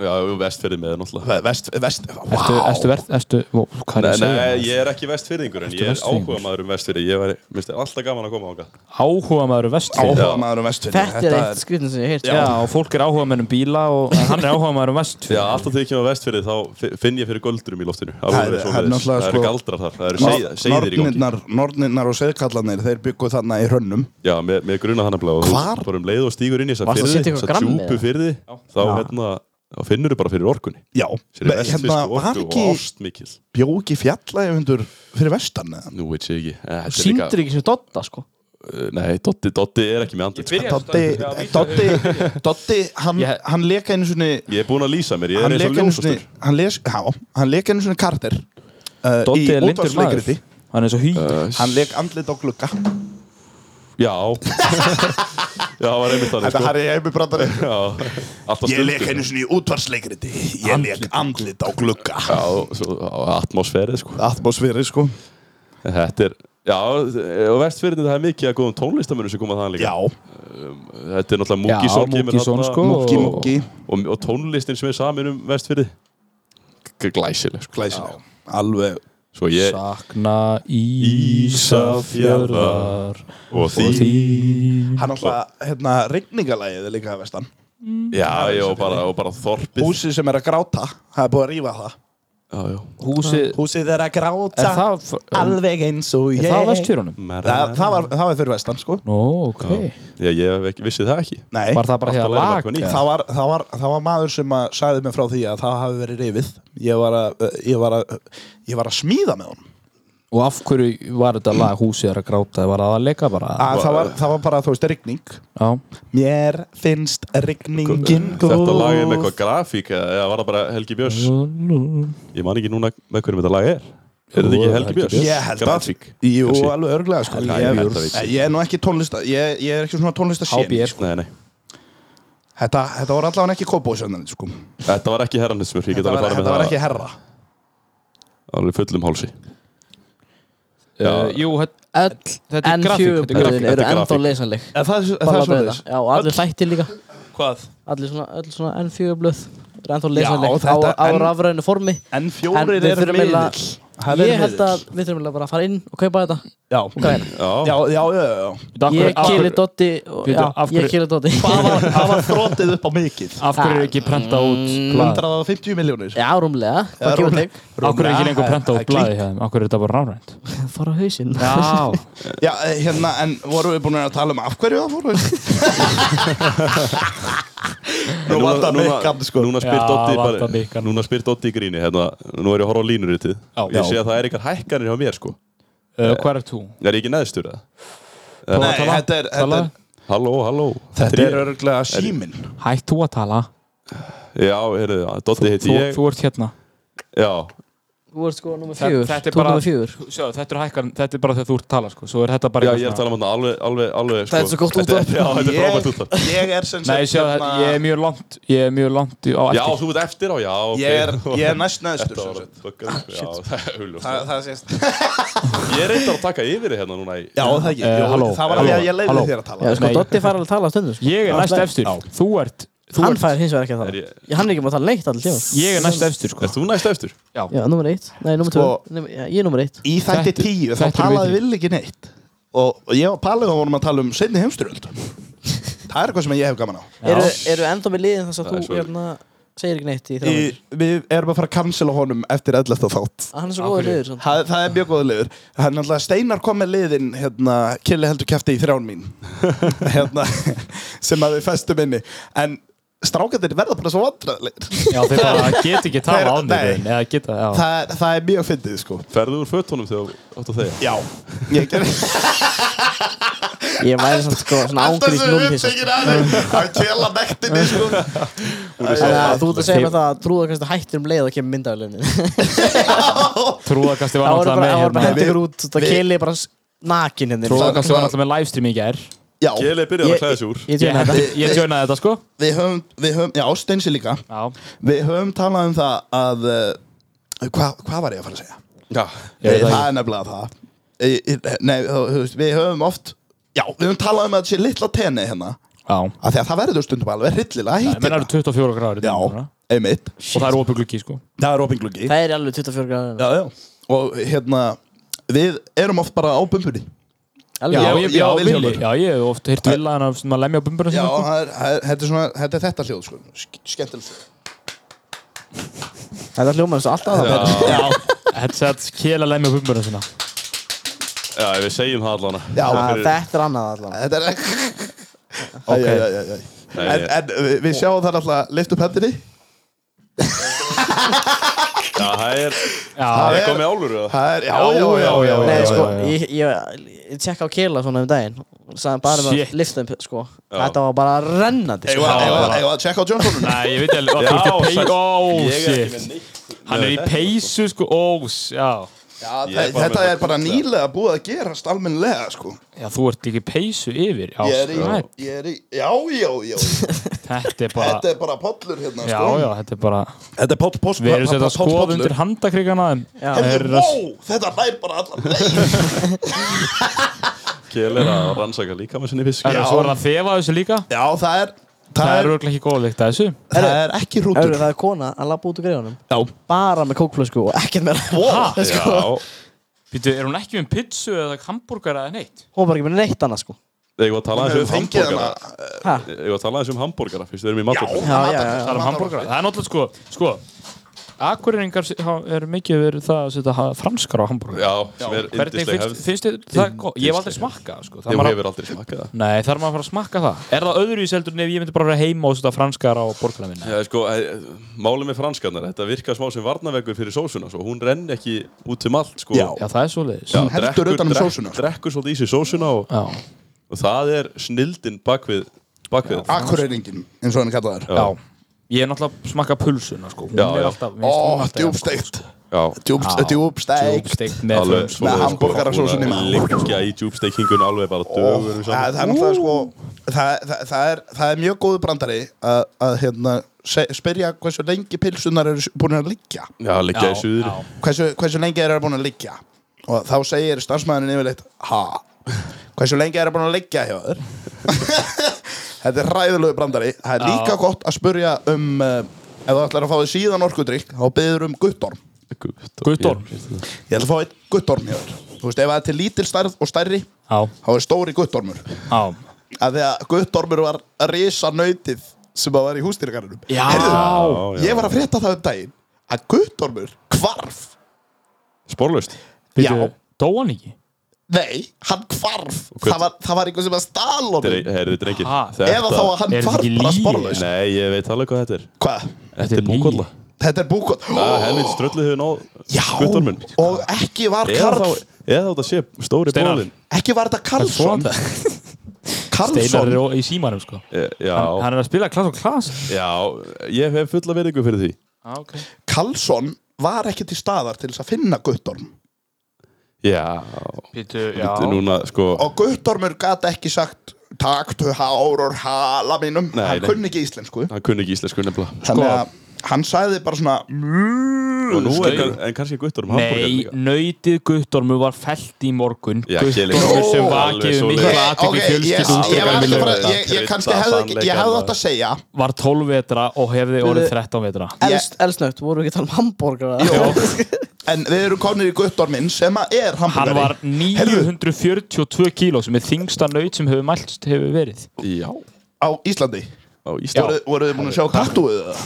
[SPEAKER 3] Já, vestfyrir með náttúrulega
[SPEAKER 4] Ve- Vest, vest,
[SPEAKER 1] Ertu,
[SPEAKER 4] vá
[SPEAKER 1] ertu verð, ertu, ó, hvað er
[SPEAKER 3] Nei,
[SPEAKER 1] ég að
[SPEAKER 3] nei,
[SPEAKER 1] segja?
[SPEAKER 3] ég er ekki vestfyrðingur en
[SPEAKER 1] Ertu
[SPEAKER 3] ég er
[SPEAKER 1] Vestfirðingur?
[SPEAKER 3] áhuga maður um vestfyrði Ég væri, minnst, er alltaf gaman að koma áhuga
[SPEAKER 1] Áhuga maður vestfyrir
[SPEAKER 4] Áhuga maður um vestfinn
[SPEAKER 2] Þetta er eitt skritin sem ég heilt
[SPEAKER 1] Já, og fólk er áhuga um bíla og en hann er áhuga maður um vestfyrir
[SPEAKER 3] Já, alltaf þegar ég kemur að vestfyrði þá fi- finn ég fyrir göldurum í loftinu Alveg
[SPEAKER 4] Það er-
[SPEAKER 3] svoleiðis.
[SPEAKER 4] það er náttúrulega,
[SPEAKER 3] Það eru
[SPEAKER 4] sko,
[SPEAKER 3] galdrar þar, það eru seiða- seiðir í gangi
[SPEAKER 4] Nornirnar, nornirnar og seðkallanir Þeir byggu þarna í hrönnum
[SPEAKER 3] Já, með, með gruna hann nefnilega og þú
[SPEAKER 4] Hvar?
[SPEAKER 3] bara um leið og stígur inn í þessa
[SPEAKER 2] Varstu að
[SPEAKER 3] fyrði,
[SPEAKER 2] setja eitthvað
[SPEAKER 3] þessa
[SPEAKER 2] gramm
[SPEAKER 3] djúpu
[SPEAKER 2] eða?
[SPEAKER 3] fyrði þá hérna, þá finnur þú bara fyrir orkunni
[SPEAKER 4] Já,
[SPEAKER 3] Sér
[SPEAKER 4] Be-
[SPEAKER 3] er vestfyrsku
[SPEAKER 4] hérna var
[SPEAKER 3] orku og
[SPEAKER 4] ekki
[SPEAKER 3] ást mikil
[SPEAKER 4] bjóki fjallægundur fyrir vestan eða?
[SPEAKER 3] Nú veit ég ekki Eh, þetta er
[SPEAKER 2] Sýndur ekki sem dotta, sko
[SPEAKER 3] líka- Nei, Dotti, Dotti er ekki með andlit
[SPEAKER 8] byrja-
[SPEAKER 3] sko.
[SPEAKER 4] Doddi, Doddi, Doddi, hann,
[SPEAKER 1] Ég-
[SPEAKER 4] hann leka einu svona
[SPEAKER 3] Ég er búinn að lýsa mér, ég
[SPEAKER 4] hann
[SPEAKER 3] er eins og
[SPEAKER 4] leka einu svona
[SPEAKER 3] ljósastur
[SPEAKER 4] hann, les, já, hann leka einu svona karter uh,
[SPEAKER 1] Doddi
[SPEAKER 4] í Uh,
[SPEAKER 1] er lindur maður
[SPEAKER 4] útvarsleikriti
[SPEAKER 1] Hann er svo hýtur
[SPEAKER 4] hann lek andlit á glugga
[SPEAKER 3] Já (laughs) Já, það var einmitt þannig
[SPEAKER 4] þetta
[SPEAKER 3] sko.
[SPEAKER 4] har ég heimi brandari
[SPEAKER 3] Já, alltaf
[SPEAKER 4] ég
[SPEAKER 3] stundum.
[SPEAKER 4] lek einu svona í útvarsleikriti ég lek andlit á glugga
[SPEAKER 3] Já, svo, á atmosfæri sko.
[SPEAKER 4] atmosfæri sko
[SPEAKER 3] En Þetta er Já, og vestfyrirni það er mikið að góðum tónlistamönnum sem koma þaðan líka
[SPEAKER 4] já,
[SPEAKER 3] Þetta er náttúrulega
[SPEAKER 1] Já,
[SPEAKER 3] Múkisson kemur
[SPEAKER 1] Múkisson,
[SPEAKER 3] þarna.
[SPEAKER 1] sko,
[SPEAKER 4] múki
[SPEAKER 1] Og-
[SPEAKER 4] múki
[SPEAKER 3] og, og tónlistin sem er samin um vestfyrði glæsileg sko.
[SPEAKER 4] glæsileg alveg
[SPEAKER 3] svo ég
[SPEAKER 1] Sakna Ísafjörðar
[SPEAKER 3] og
[SPEAKER 1] og
[SPEAKER 3] því
[SPEAKER 1] þín
[SPEAKER 4] hann alltaf, hérna, rigningalægið er líka að vestan
[SPEAKER 3] já, já, og bara, og bara þorpið
[SPEAKER 4] húsið sem er að gráta, það er búið að rífa það
[SPEAKER 3] já, já.
[SPEAKER 1] Húsið,
[SPEAKER 4] húsið er að gráta
[SPEAKER 1] er það,
[SPEAKER 4] alveg eins og
[SPEAKER 1] er
[SPEAKER 4] ég
[SPEAKER 1] það vestfjörunum?
[SPEAKER 4] það, það, var, það var fyrir vestan sko
[SPEAKER 1] Nó, ok
[SPEAKER 3] já, ég hef ekki, vissi það ekki
[SPEAKER 4] Nei,
[SPEAKER 1] Var það bara hér
[SPEAKER 3] Alltaf
[SPEAKER 1] að
[SPEAKER 3] læra
[SPEAKER 1] lag?
[SPEAKER 3] eitthvað nýtt.
[SPEAKER 4] það, var, það, var, það var maður sem að sagði mér frá því að það hafi verið rifið ég var að, ég var að, ég var að smíða með honum
[SPEAKER 1] Og af hverju var þetta lag Húsið er að gráta? Var það að leika bara?
[SPEAKER 4] að það var, það var bara, þú veist, rigning
[SPEAKER 1] Já,
[SPEAKER 4] Ah, mér finnst rigningin góð
[SPEAKER 3] þetta lag er með eitthvað grafík eða eða var það bara Helgi Björns ég man ekki núna með hverjum þetta lag er er þetta ekki Helgi Björns?
[SPEAKER 4] Ég held að-
[SPEAKER 3] grafík
[SPEAKER 4] Jú,
[SPEAKER 3] Kannski.
[SPEAKER 4] alveg örglega sko.
[SPEAKER 3] Helga,
[SPEAKER 4] ég,
[SPEAKER 3] ég veit það
[SPEAKER 4] ég,
[SPEAKER 3] ekki.
[SPEAKER 4] er nú ekki tónlista Ég, ég er ekki svona tónlista séni
[SPEAKER 1] HBF.
[SPEAKER 4] sko.
[SPEAKER 3] nei, nei
[SPEAKER 4] þetta, þetta var allavega ekki kópósjöndin sko.
[SPEAKER 3] þetta var ekki herranismur ég get
[SPEAKER 4] Þetta
[SPEAKER 3] alveg
[SPEAKER 4] var,
[SPEAKER 3] farið
[SPEAKER 4] þetta var
[SPEAKER 3] með
[SPEAKER 4] ekki
[SPEAKER 3] það
[SPEAKER 4] herra
[SPEAKER 3] alveg fullum hálsi
[SPEAKER 1] Uh, Jú, þetta-
[SPEAKER 2] Öll
[SPEAKER 1] þetta er
[SPEAKER 2] enn
[SPEAKER 1] grafík, þetta er grafík
[SPEAKER 2] fjögubröðin
[SPEAKER 3] þetta
[SPEAKER 2] eru
[SPEAKER 3] er
[SPEAKER 2] ennþá
[SPEAKER 3] grafík.
[SPEAKER 2] lesanleg
[SPEAKER 4] En það, er- það
[SPEAKER 2] Bara
[SPEAKER 4] er
[SPEAKER 2] láta
[SPEAKER 4] svona
[SPEAKER 2] þetta. Já, og allir þættir líka
[SPEAKER 1] Hvað?
[SPEAKER 2] Allir svona, öll svona N4-blöð er ennþá
[SPEAKER 4] Já,
[SPEAKER 2] lesanleg á,
[SPEAKER 4] þetta-
[SPEAKER 2] á
[SPEAKER 4] en-
[SPEAKER 2] rafræðinu formi
[SPEAKER 4] En
[SPEAKER 2] En
[SPEAKER 4] fjórir
[SPEAKER 2] við
[SPEAKER 4] er
[SPEAKER 2] þurfum
[SPEAKER 4] miðill
[SPEAKER 2] eiginlega-
[SPEAKER 4] Það er
[SPEAKER 2] Ég held
[SPEAKER 4] miðill.
[SPEAKER 2] að við þurfum eiginlega bara að fara inn og kaupa þetta
[SPEAKER 4] Já,
[SPEAKER 2] Græn.
[SPEAKER 4] já,
[SPEAKER 3] já,
[SPEAKER 4] já, já, já.
[SPEAKER 2] Ég kýli Dotti og-
[SPEAKER 1] Bíddu,
[SPEAKER 2] Já,
[SPEAKER 1] af
[SPEAKER 2] ég
[SPEAKER 1] hverju-
[SPEAKER 2] kýli Dotti
[SPEAKER 4] Hvað var, hvað var þróttið upp á mikið?
[SPEAKER 1] Af hverju er ekki prenta út blað?
[SPEAKER 4] 150 miljónir
[SPEAKER 2] Já, rúmlega Hvað kemur
[SPEAKER 4] rúmlega.
[SPEAKER 2] þig?
[SPEAKER 1] Af hverju er ekki lengur prenta
[SPEAKER 4] Það
[SPEAKER 1] út
[SPEAKER 4] er
[SPEAKER 1] blaði hjá þeim? Af hverju er þetta bara rafrænt?
[SPEAKER 2] Fara á hausinn
[SPEAKER 1] Já,
[SPEAKER 4] Já, eh, hérna, en vorum við búin að tala um af hverju (laughs) það fóru? Nú
[SPEAKER 3] En
[SPEAKER 4] vantar mikkan, sko.
[SPEAKER 3] Núna spyr
[SPEAKER 1] Já,
[SPEAKER 3] Doddi
[SPEAKER 1] vantar
[SPEAKER 3] bara
[SPEAKER 1] mikkan.
[SPEAKER 3] Núna spyr Doddi í gríni hérna, Nú er ég að horfa á línuritið
[SPEAKER 1] Já.
[SPEAKER 3] Ég sé að það er ykkar hækkanir hjá mér sko
[SPEAKER 1] uh, hvað er þú?
[SPEAKER 3] Er ég ekki neðstur eða?
[SPEAKER 4] Nei, þetta er, þetta er,
[SPEAKER 3] Halló, halló
[SPEAKER 4] þetta er
[SPEAKER 3] ég.
[SPEAKER 4] örglega símin
[SPEAKER 1] Hætt þú að tala
[SPEAKER 3] Já, heyrðu, Doddi heiti
[SPEAKER 1] þú,
[SPEAKER 3] ég
[SPEAKER 1] þú ert hérna
[SPEAKER 3] Já,
[SPEAKER 2] Þú ert sko nummer
[SPEAKER 1] Þetta-
[SPEAKER 2] fjögur
[SPEAKER 1] þetta er
[SPEAKER 2] Þú ert
[SPEAKER 1] bara-
[SPEAKER 2] nummer fjögur
[SPEAKER 1] Sjá, þetta er hækkan, þetta er bara þegar þú ert að tala sko. Svo er þetta bara
[SPEAKER 3] já
[SPEAKER 1] eitthvað
[SPEAKER 3] ég er að
[SPEAKER 1] svona-
[SPEAKER 3] tala um þarna alveg, alveg, alveg sko.
[SPEAKER 2] Það er svo gott
[SPEAKER 3] Þetta er-
[SPEAKER 2] útvarp.
[SPEAKER 3] Já, þetta er frábært út af
[SPEAKER 4] Ég, ég er sem
[SPEAKER 1] Nei,
[SPEAKER 4] sagt
[SPEAKER 1] sjá, hérna... ég er mjög langt Ég er mjög langt í- á
[SPEAKER 3] Já,
[SPEAKER 1] eftir
[SPEAKER 3] þú ert eftir á, já ok.
[SPEAKER 4] ég er, ég er næst neðstur
[SPEAKER 3] Þetta
[SPEAKER 4] sem
[SPEAKER 3] var
[SPEAKER 4] sagt. Ah,
[SPEAKER 3] buggar, sko, Já, það er huljós
[SPEAKER 4] Það, það sést
[SPEAKER 3] Ég er reyndar að taka yfir þig hérna núna í
[SPEAKER 4] Já, það ekki,
[SPEAKER 1] Eh,
[SPEAKER 4] Jó,
[SPEAKER 1] halló,
[SPEAKER 4] það var
[SPEAKER 1] halló,
[SPEAKER 4] alveg að ég leiði
[SPEAKER 1] halló.
[SPEAKER 4] þér að
[SPEAKER 2] Já,
[SPEAKER 4] tala
[SPEAKER 2] sko,
[SPEAKER 1] Nei.
[SPEAKER 2] Dotti fara alveg að tala á stundum sko.
[SPEAKER 1] Ég er næst
[SPEAKER 2] Já.
[SPEAKER 1] eftir Þú ert
[SPEAKER 7] Þú
[SPEAKER 2] Hann
[SPEAKER 7] ert-
[SPEAKER 2] fær hins vegar ekki að
[SPEAKER 3] Er
[SPEAKER 2] tala
[SPEAKER 3] ég-
[SPEAKER 2] Já, Hann er ekki maður að tala neitt allir tíma
[SPEAKER 7] Ég er næst efstur sko
[SPEAKER 3] Ert þú næst eftir?
[SPEAKER 2] Já, nummer eitt Nei, nummer tvö
[SPEAKER 4] Sko-
[SPEAKER 2] Númer- já, Ég er nummer eitt
[SPEAKER 4] Í þætti
[SPEAKER 7] Þetta-
[SPEAKER 4] tíu þá
[SPEAKER 7] þetta eru
[SPEAKER 4] talaði
[SPEAKER 7] vitri.
[SPEAKER 4] Vill ekki neitt Og, og ég var palið á honum að tala um seinni heimsturöld Það er eitthvað sem ég hef gaman á
[SPEAKER 2] Eru eru ennþá með liðin þess að
[SPEAKER 3] Það er
[SPEAKER 2] þú
[SPEAKER 3] svo-
[SPEAKER 2] hérna, segir ekki neitt í
[SPEAKER 4] í,
[SPEAKER 2] þrjá
[SPEAKER 4] Við erum að fara að cancela honum eftir 11. þátt
[SPEAKER 2] Hann er svo góður liður samt.
[SPEAKER 4] Það, það er mjög góða liður Hann alltaf Steinar kom með liðin hérna, Kili heldur kæfti í þrján (laughs) mín hérna, sem að við festum inni en strákandir verða bara svo vandræðilegir
[SPEAKER 1] Já, þeir bara get ekki tala
[SPEAKER 4] Þeir-
[SPEAKER 1] án
[SPEAKER 4] nei.
[SPEAKER 1] þeir Eða geta, já
[SPEAKER 4] það, það er mjög fyndið sko
[SPEAKER 3] Ferðu úr fötunum þegar þú átt að þegja?
[SPEAKER 4] Já, ég gerði
[SPEAKER 2] Ég væri samt sko svona
[SPEAKER 4] alltaf
[SPEAKER 2] ángríns
[SPEAKER 4] sem við
[SPEAKER 2] númpissa
[SPEAKER 4] uppsegir aðeins að kela nektinni sko
[SPEAKER 2] Þannig að Þú ert að segja mér það að trúða kannski hættir um leið og kemur myndaflöfni
[SPEAKER 1] Trúðakasti var
[SPEAKER 2] Það
[SPEAKER 1] náttúrulega
[SPEAKER 2] voru bara,
[SPEAKER 1] með
[SPEAKER 2] það voru
[SPEAKER 1] hérna
[SPEAKER 2] bara
[SPEAKER 4] Nei,
[SPEAKER 2] hendur
[SPEAKER 4] við-
[SPEAKER 2] ykkur út Það
[SPEAKER 4] við-
[SPEAKER 2] kelið bara nakin hérna. henni
[SPEAKER 1] Trúðakasti var náttúrulega með livestream í gær
[SPEAKER 4] Já,
[SPEAKER 3] Keli er byrjað að klæða sig úr
[SPEAKER 2] Ég
[SPEAKER 1] Ég
[SPEAKER 2] tjóna þetta
[SPEAKER 1] (laughs) ég- ég tjónaði þetta sko
[SPEAKER 4] við höfum, við höfum Já, Steinsi líka
[SPEAKER 1] Já
[SPEAKER 4] Við höfum talað um það að uh, Hvað hva var ég að fara að segja?
[SPEAKER 3] Já
[SPEAKER 1] Ég veit
[SPEAKER 4] það,
[SPEAKER 1] það
[SPEAKER 4] er nefnilega það Í- í- Nei, þú þú veist, við höfum oft Já, við höfum talað um að þetta sé litla tenni hérna
[SPEAKER 1] Já
[SPEAKER 4] af því að það verður stundum alveg hryllilega
[SPEAKER 1] Það
[SPEAKER 4] hýttir
[SPEAKER 1] menn eru 24 gráður í dag
[SPEAKER 4] Já,
[SPEAKER 1] núna.
[SPEAKER 4] einmitt
[SPEAKER 1] Og það er opið gluggi sko
[SPEAKER 4] Það er opingluggi
[SPEAKER 2] Það er í alveg 24 gráður
[SPEAKER 4] Já, já Og hérna Við erum oft bara á bumbunni
[SPEAKER 1] Já,
[SPEAKER 2] Alveg
[SPEAKER 1] ég,
[SPEAKER 4] Já, já,
[SPEAKER 1] já,
[SPEAKER 4] Vilhjálmur.
[SPEAKER 1] villi Já, ég hef oft hýrt vilja hann að- sem að lemja á bumbuna
[SPEAKER 4] Já,
[SPEAKER 1] sinna (laughs) sko.
[SPEAKER 4] það er, það er, þetta, er svona, þetta er þetta hljóð sko. Sk- Skemmtilegt hljóð.
[SPEAKER 2] Þetta hljómaður svo alltaf það
[SPEAKER 1] Já, headset kela lemja á bumbuna sinna
[SPEAKER 3] Já, við segjum það allan
[SPEAKER 4] Já,
[SPEAKER 2] Að Þetta er annað allavega
[SPEAKER 4] Þetta er Ok æ, æ, æ, æ, æ. En, en við- við sjáum það alltaf Lift upp hendinni
[SPEAKER 3] Já, það er
[SPEAKER 1] Já,
[SPEAKER 4] Það
[SPEAKER 3] Það
[SPEAKER 4] er-
[SPEAKER 3] er komið álur eða?
[SPEAKER 4] Það er, já, já, já, já, já,
[SPEAKER 2] Nei,
[SPEAKER 4] já,
[SPEAKER 2] sko,
[SPEAKER 4] já.
[SPEAKER 2] ég, ég, ég tjekka á Kela svona um daginn Sæðan bara með
[SPEAKER 1] Shit.
[SPEAKER 2] að lifta upp, sko
[SPEAKER 3] Já.
[SPEAKER 2] Þetta var bara rennandi, sko
[SPEAKER 4] Eigum við að- eigum við að- eigum við að checka á Johnsonun
[SPEAKER 1] Nei, ég veit alveg Þú ert að
[SPEAKER 3] sæll.
[SPEAKER 1] peysu Ó,
[SPEAKER 3] Ég er ekki með
[SPEAKER 1] shit
[SPEAKER 3] neitt
[SPEAKER 1] Hann er í peysu sko Ó, s- já
[SPEAKER 3] Ég
[SPEAKER 4] Já,
[SPEAKER 3] er bara
[SPEAKER 4] þetta
[SPEAKER 3] með-
[SPEAKER 4] er bara nýlega búið að gerast almennilega sko.
[SPEAKER 1] Já, þú ert ekki í peysu yfir Já,
[SPEAKER 4] Ég er í,
[SPEAKER 1] snæ-
[SPEAKER 4] ég er í Já, já, já
[SPEAKER 1] Þetta er bara
[SPEAKER 4] Þetta er bara pollur hérna
[SPEAKER 1] Já,
[SPEAKER 4] sko.
[SPEAKER 1] já, þetta er bara
[SPEAKER 4] Þetta er poll, poll
[SPEAKER 1] Við erum þetta að skoða undir handakrikana
[SPEAKER 2] Já.
[SPEAKER 1] er,
[SPEAKER 4] Herðu, wow, þetta nær bara allar leið.
[SPEAKER 3] Kjell er að rannsaka líka með sinni fisk
[SPEAKER 1] er, Svo er það að þefa þessu líka
[SPEAKER 4] Já, það er
[SPEAKER 1] Það
[SPEAKER 4] Það
[SPEAKER 1] er
[SPEAKER 4] er,
[SPEAKER 1] örgulega ekki góð líkt að þessu
[SPEAKER 4] það er ekki hrútur
[SPEAKER 2] Örðu, það er kona að labba út úr greiðunum
[SPEAKER 4] Já.
[SPEAKER 2] Bara með kókflösku og ekkert meira sko.
[SPEAKER 1] Vá.
[SPEAKER 3] Já,
[SPEAKER 1] Býtu, er hún ekki með pizzu eða hambúrgar eða neitt?
[SPEAKER 2] Hún var bara ekki með neitt annað, sko
[SPEAKER 3] Ég var að tala
[SPEAKER 4] Hún
[SPEAKER 3] aðeins um
[SPEAKER 4] hefur fengið
[SPEAKER 3] hambúrgara
[SPEAKER 4] hana
[SPEAKER 2] Ha?
[SPEAKER 3] Ég var að tala aðeins um hambúrgara Fyrst við erum í matur
[SPEAKER 2] Já, já, já, já.
[SPEAKER 1] Það er hambúrgar Það er náttúrulega sko Sko Akureyringar se- ha- er mikið verið það að setja ha- franskar á hambúrgar
[SPEAKER 3] Já, sem er
[SPEAKER 1] Hvernig
[SPEAKER 3] yndisleg
[SPEAKER 1] finnst,
[SPEAKER 3] hefð
[SPEAKER 1] finnst þið það góð? Ég hef aldrei
[SPEAKER 3] Yndisleg hefð.
[SPEAKER 1] smakkað sko. Það
[SPEAKER 3] Ég
[SPEAKER 1] maður-
[SPEAKER 3] hefur aldrei smakað það
[SPEAKER 1] Nei, þarf maður að fara að smakka það Er það öðru í seldur en ef ég myndi bara vera heima og setja franskar á borgarna minna?
[SPEAKER 3] Já, sko, eh, málið með franskarnar Þetta virkar smá sem varnaveggur fyrir sósuna svo. Hún renn ekki út um allt sko.
[SPEAKER 4] Já.
[SPEAKER 1] Já, það er svoleiðis
[SPEAKER 3] Já,
[SPEAKER 4] Hún heldur
[SPEAKER 3] drekkur-
[SPEAKER 4] utan um
[SPEAKER 3] drek-
[SPEAKER 4] sósuna, sko.
[SPEAKER 3] Drekkur svolítið í sig sósuna og,
[SPEAKER 1] Já,
[SPEAKER 3] og það er snildin bakvið Bakvið
[SPEAKER 4] Akureyringin, eins og hann kallar það
[SPEAKER 1] já. Ég er náttúrulega smakka pulsuna sko. Hún
[SPEAKER 3] Já,
[SPEAKER 1] er
[SPEAKER 3] já.
[SPEAKER 1] alltaf mér finnst hún
[SPEAKER 4] Ó,
[SPEAKER 1] alltaf-
[SPEAKER 4] djúbsteikt
[SPEAKER 3] Já,
[SPEAKER 4] Djúbst- Djúbsteikt
[SPEAKER 1] Djúbsteikt með
[SPEAKER 3] alveg
[SPEAKER 1] frönsku.
[SPEAKER 3] svoleiðis,
[SPEAKER 4] Með
[SPEAKER 3] sko.
[SPEAKER 4] hambúrgarasósunni.
[SPEAKER 3] Hún að Liggja í djúbsteikingun alveg bara dögur
[SPEAKER 4] Það er það er náttúrulega sko það, það, það, er, það er mjög góðu brandari að, að hérna, se, spyrja hversu lengi pilsunar eru búin að liggja
[SPEAKER 3] Já, liggja í suðri
[SPEAKER 1] já.
[SPEAKER 4] hversu, hversu lengi þeir eru búin að liggja og þá segir starfsmæðurinn yfirleitt ha, hversu lengi þeir eru búin að liggja hjá þér (laughs) þetta er ræðilegu brandari það er líka gott að spurja um uh, ef þú ætlar að fá þér síðan orkudrykk þá beður um guttorm
[SPEAKER 1] Guttorm.
[SPEAKER 4] ég ætla að fá eitt guttorm hjá þér þú veist, ef það er til lítil stærð og stærri
[SPEAKER 1] Já,
[SPEAKER 4] þá er stóri guttormur
[SPEAKER 1] já
[SPEAKER 4] að því að guttormur var risa nautið sem að var í hústýringarnum
[SPEAKER 1] Já.
[SPEAKER 3] Já, já.
[SPEAKER 4] ég var að frétta það um daginn að guttormur hvarf
[SPEAKER 3] Sporlaust
[SPEAKER 1] Býtu,
[SPEAKER 4] Já.
[SPEAKER 1] Dó hann ekki?
[SPEAKER 4] Nei, hann hvarf
[SPEAKER 3] hvað-
[SPEAKER 4] það var, það var einhver sem að stala honum
[SPEAKER 3] Herði drengir
[SPEAKER 1] Ha,
[SPEAKER 3] þetta-
[SPEAKER 4] Eða þá að hann
[SPEAKER 1] Er þetta
[SPEAKER 4] hvarf
[SPEAKER 1] ekki
[SPEAKER 4] bara
[SPEAKER 1] lygi?
[SPEAKER 4] sporlaust
[SPEAKER 3] Nei, ég veit alveg hvað þetta er
[SPEAKER 4] Hvað?
[SPEAKER 1] Þetta er lygi.
[SPEAKER 3] búkolla
[SPEAKER 4] Þetta er búkot
[SPEAKER 3] Helvit ströllið hefur náð
[SPEAKER 4] Já,
[SPEAKER 3] Guttorminn
[SPEAKER 4] og ekki var
[SPEAKER 3] Eða
[SPEAKER 4] Karl
[SPEAKER 3] þá Eða þá þetta sé stóri
[SPEAKER 1] Steinar.
[SPEAKER 3] bólinn
[SPEAKER 4] Ekki var þetta Karlsson
[SPEAKER 1] Svona. Steinar
[SPEAKER 4] Karlsson
[SPEAKER 1] er ó- í símanum sko
[SPEAKER 3] E, Já,
[SPEAKER 1] Hann er að spila klass og klass
[SPEAKER 3] já Ég hef fulla verðingu fyrir því
[SPEAKER 1] ah, okay.
[SPEAKER 4] Karlsson var ekki til staðar til þess að finna Guttorm
[SPEAKER 3] Já
[SPEAKER 1] Býtu, já
[SPEAKER 3] Þetta er núna sko
[SPEAKER 4] og Guttormur gat ekki sagt taktu hárur hala mínum
[SPEAKER 3] Nei,
[SPEAKER 4] hann
[SPEAKER 3] nei.
[SPEAKER 4] kunni ekki íslensku
[SPEAKER 1] Sko-
[SPEAKER 3] Hann kunni ekki íslensku nefnilega
[SPEAKER 4] þannig að hann sagði bara svona "Mú",
[SPEAKER 3] Og nú er kann- en kannski gutturum
[SPEAKER 1] Nei,
[SPEAKER 3] hamburger líka.
[SPEAKER 1] nöytið Guttormur var felt í morgun
[SPEAKER 3] Já,
[SPEAKER 1] Guttormur
[SPEAKER 3] Kjelli-
[SPEAKER 1] sem
[SPEAKER 3] Ó,
[SPEAKER 1] vakið
[SPEAKER 3] alveg
[SPEAKER 1] um
[SPEAKER 3] svoleiðis.
[SPEAKER 1] mikla
[SPEAKER 3] Mikla
[SPEAKER 4] Ok,
[SPEAKER 1] aðtekli
[SPEAKER 4] ég, ég,
[SPEAKER 1] fjölskyldu
[SPEAKER 3] út
[SPEAKER 4] ég,
[SPEAKER 3] af
[SPEAKER 4] var
[SPEAKER 3] gamla
[SPEAKER 4] alltaf bara,
[SPEAKER 3] daga.
[SPEAKER 4] ég, ég kannski hefði ekki, ég hefði átt að segja
[SPEAKER 1] var 12 vetra og hefði orðið 13 vetra
[SPEAKER 2] Elst, elstnögt, voru við ekki að tala um hambúrgara?
[SPEAKER 4] Jó.
[SPEAKER 2] (laughs)
[SPEAKER 4] En við erum konir í guttorminn sem að er
[SPEAKER 1] Hann
[SPEAKER 4] hamburgari
[SPEAKER 1] var 942 kíló sem er þingsta nöyt sem hefur mælt hefur verið
[SPEAKER 3] Já,
[SPEAKER 4] Á Íslandi
[SPEAKER 3] á Íslandi
[SPEAKER 4] Voruð voru þið búin að sjá tattúið það?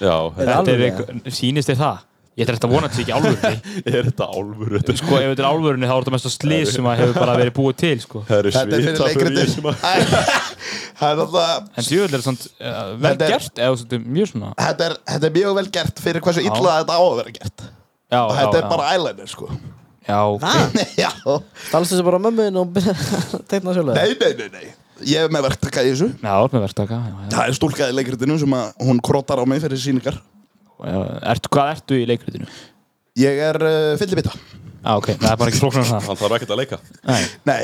[SPEAKER 3] Já, þetta-
[SPEAKER 1] Þetta er
[SPEAKER 2] alveg?
[SPEAKER 1] eitthvað, sínist þér það? Ég ætla þetta að vona þetta sé ekki (laughs) álvörni
[SPEAKER 3] er þetta álfur Þetta er
[SPEAKER 1] Sko, ef þetta er álvörni þá er þetta mesta slís sem að hefur bara verið búið til, sko
[SPEAKER 3] Það eru
[SPEAKER 4] Þetta er fyrir
[SPEAKER 3] svita fyrir
[SPEAKER 4] leikritin.
[SPEAKER 3] ég sem að
[SPEAKER 4] (laughs) Það er alltaf
[SPEAKER 1] En djúvel er svona uh, vel
[SPEAKER 4] Þetta er-
[SPEAKER 1] gert eða svona mjög svona
[SPEAKER 4] þetta er, þetta er mjög vel gert fyrir hversu illa þetta á að vera gert
[SPEAKER 1] Já,
[SPEAKER 4] og
[SPEAKER 1] já,
[SPEAKER 4] þetta er
[SPEAKER 1] já. Ah.
[SPEAKER 4] bara eyeliner sko
[SPEAKER 1] Já, ok.
[SPEAKER 4] (laughs) Já,
[SPEAKER 2] Stalst þessu bara á mömmuðin (laughs) og byrja að teikna sjálf
[SPEAKER 4] nei, nei, nei, nei Ég hef með verktaka í þessu
[SPEAKER 1] Já, orð með verktaka já, já.
[SPEAKER 4] Það er stúlkaði leikritinu sem að hún krotar á mig fyrir síningar
[SPEAKER 1] Já, Ertu, Hvað ertu í leikritinu?
[SPEAKER 4] Ég er uh, fyllibita
[SPEAKER 1] Já, ok, það er bara ekki flóknar en það
[SPEAKER 4] (laughs)
[SPEAKER 3] Hann þarf ekkert að leika
[SPEAKER 1] Nei,
[SPEAKER 4] Nei,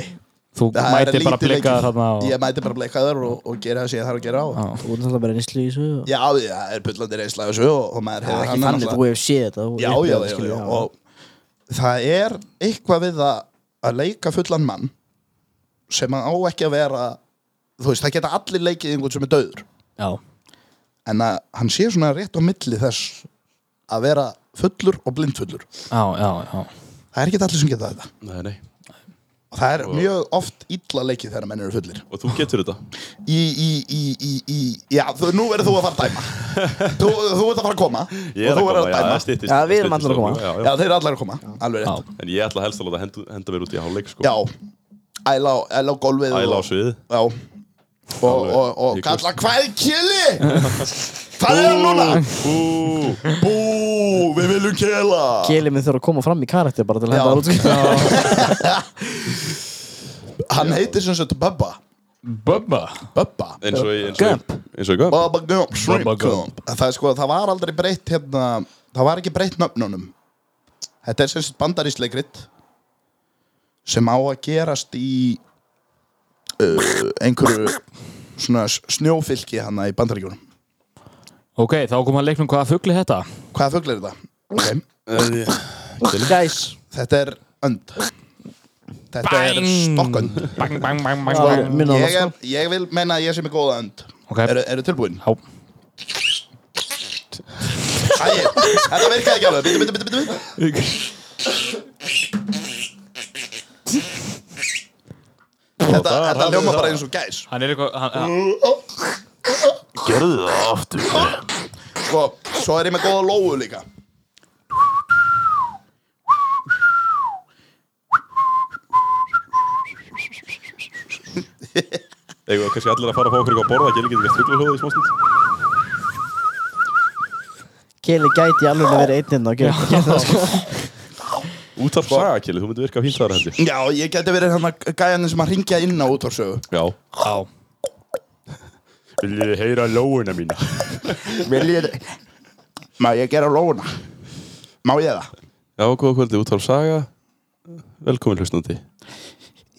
[SPEAKER 1] þú
[SPEAKER 4] það er
[SPEAKER 1] mætir
[SPEAKER 4] lítið
[SPEAKER 1] bara blikkaðar þarna og...
[SPEAKER 4] Ég mæti bara blekaður og, og gera það sem ég þarf að gera á
[SPEAKER 1] Já.
[SPEAKER 2] Þú voru alltaf bara einslu í þessu og-
[SPEAKER 4] Já, það er pullandi reynsla af þessu og, og maður
[SPEAKER 2] Það
[SPEAKER 4] hefur
[SPEAKER 2] er ekki
[SPEAKER 4] hana
[SPEAKER 2] þannig,
[SPEAKER 4] náttúrulega.
[SPEAKER 2] þú hefur séð þetta þú
[SPEAKER 4] já,
[SPEAKER 2] hefur
[SPEAKER 4] já,
[SPEAKER 2] upplifað þetta,
[SPEAKER 4] já, já,
[SPEAKER 2] skilur,
[SPEAKER 4] og það er eitthvað við að, að leika fullan mann sem að á ekki að vera þú veist, það geta allir leikið einhvern sem er döður
[SPEAKER 1] Já.
[SPEAKER 4] en að hann sé svona rétt á milli þess að vera fullur og blindfullur
[SPEAKER 1] já, já, já
[SPEAKER 4] það er ekki allir sem geta þetta
[SPEAKER 3] Nei, nei
[SPEAKER 4] og það er mjög oft illa leikið þegar menn eru fullir
[SPEAKER 3] Og þú getur þetta
[SPEAKER 4] í, í, í, í, í já, þú, nú verður þú að fara
[SPEAKER 3] (laughs)
[SPEAKER 4] að dæma þú, þú ert að fara að koma
[SPEAKER 3] Ég
[SPEAKER 4] og
[SPEAKER 3] er
[SPEAKER 4] þú
[SPEAKER 3] að koma,
[SPEAKER 4] verður að
[SPEAKER 3] já, það
[SPEAKER 4] dæma
[SPEAKER 3] styttist
[SPEAKER 2] Já, við erum
[SPEAKER 3] styttist
[SPEAKER 2] allir að
[SPEAKER 3] á-
[SPEAKER 2] koma.
[SPEAKER 3] já, já.
[SPEAKER 4] já, þeir eru allir að koma, alveg rétt
[SPEAKER 3] En ég ætla helst að láta henda, henda mér út í hálfleik sko.
[SPEAKER 4] já, æla á- æla á gólfið
[SPEAKER 3] Æla á
[SPEAKER 4] og-
[SPEAKER 3] sviði
[SPEAKER 4] Já Og,
[SPEAKER 3] Alveg.
[SPEAKER 4] og, og
[SPEAKER 3] Ég
[SPEAKER 4] kalla hvað kjeli Það er hann núna
[SPEAKER 3] Ú,
[SPEAKER 4] Bú, við viljum kjela
[SPEAKER 2] Kjelið minn þurfa að koma fram í karakter bara til að
[SPEAKER 4] Já.
[SPEAKER 2] henda það út sko.
[SPEAKER 4] (laughs) Hann heitir sem sagt Bubba
[SPEAKER 1] Bubba
[SPEAKER 4] Bubba
[SPEAKER 3] eins og í eins og í- eins og í Gump
[SPEAKER 4] Bubba Gump Shrimp
[SPEAKER 1] Bubba Gump.
[SPEAKER 4] Gump Það, er sko, það var aldrei breytt hérna Það var ekki breytt nöfnunum Þetta er sem sagt bandarísleikrit Sem á að gerast í uh, Einhverju Svona s- snjófylki hana í bandaríkjunum
[SPEAKER 1] Ok, þá kom hann leiknum hvaða fugli þetta
[SPEAKER 4] Hvaða fugl er þetta? Okay.
[SPEAKER 2] Gæs
[SPEAKER 4] Þetta er önd Þetta er stokkund
[SPEAKER 1] Bang, bang, bang, bang,
[SPEAKER 2] Já,
[SPEAKER 1] bang
[SPEAKER 2] minna á það
[SPEAKER 4] ég,
[SPEAKER 2] sko
[SPEAKER 4] er- ég vil menna að ég sem er góða önd
[SPEAKER 1] Ok,
[SPEAKER 4] Eru, eru tilbúin?
[SPEAKER 1] Já.
[SPEAKER 4] Æ, þetta virkaði ekki alveg Bitu, bitu, bitu, bitu Þetta, þetta ljóma bara eins og gæs
[SPEAKER 1] hann er eitthvað hann-
[SPEAKER 4] Mm.
[SPEAKER 1] hann-
[SPEAKER 4] Sko, svo er ég með góða lóu líka
[SPEAKER 3] Eða kannski allir að fara að fá okkur eitthvað að borða Geli getur ekki strullu hljóði í smástund
[SPEAKER 2] Kjelið gæti alveg að vera einn hérna og gera- gera það, sko.
[SPEAKER 3] Útarp saga Geli, þú myndir virka fínt þar held ég
[SPEAKER 4] Já, ég geti verið hann að gæðan sem að ringja inn á útvarsögu
[SPEAKER 3] Já
[SPEAKER 1] Já,
[SPEAKER 3] Viljið þið heyra lóuna mína
[SPEAKER 4] Viljið Má ég gera lóuna? Má ég það?
[SPEAKER 3] Já, góða kvöldi, útarp saga Velkomin hlustandi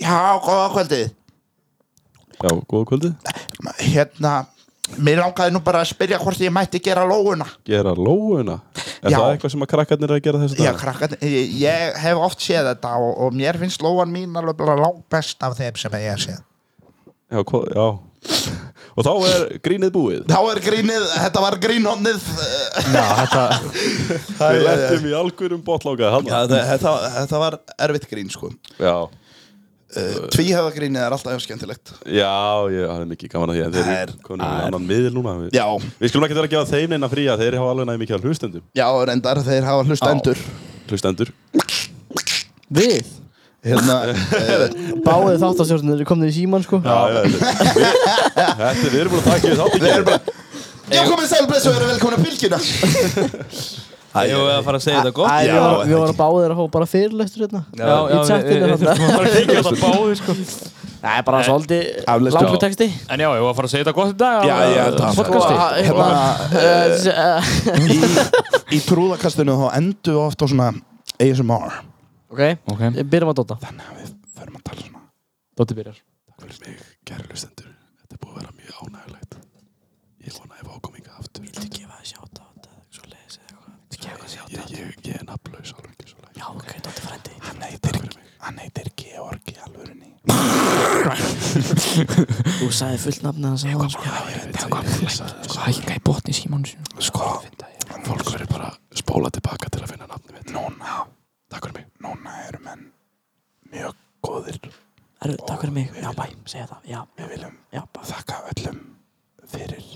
[SPEAKER 4] Já, góða kvöldið
[SPEAKER 3] Já, góða kvöldi
[SPEAKER 4] Hérna, mér langaði nú bara að spyrja hvort ég mætti gera lóuna
[SPEAKER 3] Gera lóuna Er
[SPEAKER 4] Já.
[SPEAKER 3] það eitthvað sem að krakkarnir eru að gera þessu
[SPEAKER 4] Já,
[SPEAKER 3] dag?
[SPEAKER 4] krakkan, ég, ég hef oft séð þetta og, og mér finnst lóan mín alveg bara langt best af þeim sem ég hef séð
[SPEAKER 3] Já, hvað- já Og þá er grínið búið
[SPEAKER 4] Þá er grínið, þetta var eh, grínhonnið
[SPEAKER 1] já, þetta
[SPEAKER 3] Við lettum í algjörum botláka
[SPEAKER 4] Já,
[SPEAKER 3] hann.
[SPEAKER 4] þetta, þetta, þetta var erfitt grín, sko
[SPEAKER 3] Já,
[SPEAKER 4] Tvíhöfagrínið Eh, er alltaf skemmtilegt
[SPEAKER 3] já, ég það er mikið gaman að því en Þeir
[SPEAKER 4] Það er-
[SPEAKER 3] eru konum í annan miðil núna Við,
[SPEAKER 4] Já,
[SPEAKER 3] við skulum ekki vera að gefa þeim neina fría Þeir hafa alveg næði mikið að hlustendum
[SPEAKER 4] já, reyndar, þeir hafa hlusta endur
[SPEAKER 3] Hlustendur
[SPEAKER 2] Við
[SPEAKER 4] (laughs) Hérna, eh,
[SPEAKER 2] Báðið þáttastjórnir komnir í síman sko
[SPEAKER 3] Já, (laughs) já, þetta er- við- Þetta, við erum búin að taka við þátt
[SPEAKER 4] þeir eru bara Já, komið sælblessu og eru velkomin að bylgjuna
[SPEAKER 1] Ég var að fara að segja þetta gott
[SPEAKER 2] Æ,
[SPEAKER 4] Já,
[SPEAKER 2] við varum- við
[SPEAKER 4] það
[SPEAKER 2] varum báðir að fá bara fyrirlestur hérna
[SPEAKER 1] Já, já,
[SPEAKER 2] Í
[SPEAKER 1] við-
[SPEAKER 2] chatinu
[SPEAKER 1] við- við
[SPEAKER 2] hérna
[SPEAKER 1] þurfum að fara að
[SPEAKER 4] (laughs)
[SPEAKER 1] kíkja á þetta báðir, sko.
[SPEAKER 2] (laughs) Það er bara svolítið
[SPEAKER 4] Aflestur.
[SPEAKER 2] langur texti
[SPEAKER 1] En já, ég var að fara að segja þetta gott í dag
[SPEAKER 4] Já,
[SPEAKER 1] á-
[SPEAKER 4] já, þetta-
[SPEAKER 1] podcasti.
[SPEAKER 2] Og, hérna,
[SPEAKER 1] Hérna.
[SPEAKER 2] eh, eh,
[SPEAKER 4] Í trúðakastinu þá endur oft á svona ASMR
[SPEAKER 2] Ok,
[SPEAKER 4] Sko-
[SPEAKER 1] Ok,
[SPEAKER 2] byrjum að dota
[SPEAKER 4] Förum að tala svona
[SPEAKER 1] Dóttir byrjar
[SPEAKER 3] Fyrir mig, kæru hlustendur Þetta er búið að vera mjög
[SPEAKER 2] eh,
[SPEAKER 3] ánægilegt Ég vona að ég fá að koma inga aftur Viltu gefa það sjátt á þetta Svo leiðis eða eitthvað
[SPEAKER 2] Þú sagði fullt nafna hans áðan, sko.
[SPEAKER 9] Sko hækka í botni símánu sinu
[SPEAKER 7] Sko, fólk verður bara að spóla tilbaka til að finna nafnum mitt Núna, takk fyrir mig Núna eru menn mjög góðir
[SPEAKER 2] Herru, takk fyrir mig, já bæ, segja það Já,
[SPEAKER 7] Við viljum
[SPEAKER 2] já bæ
[SPEAKER 7] þakka öllum fyrir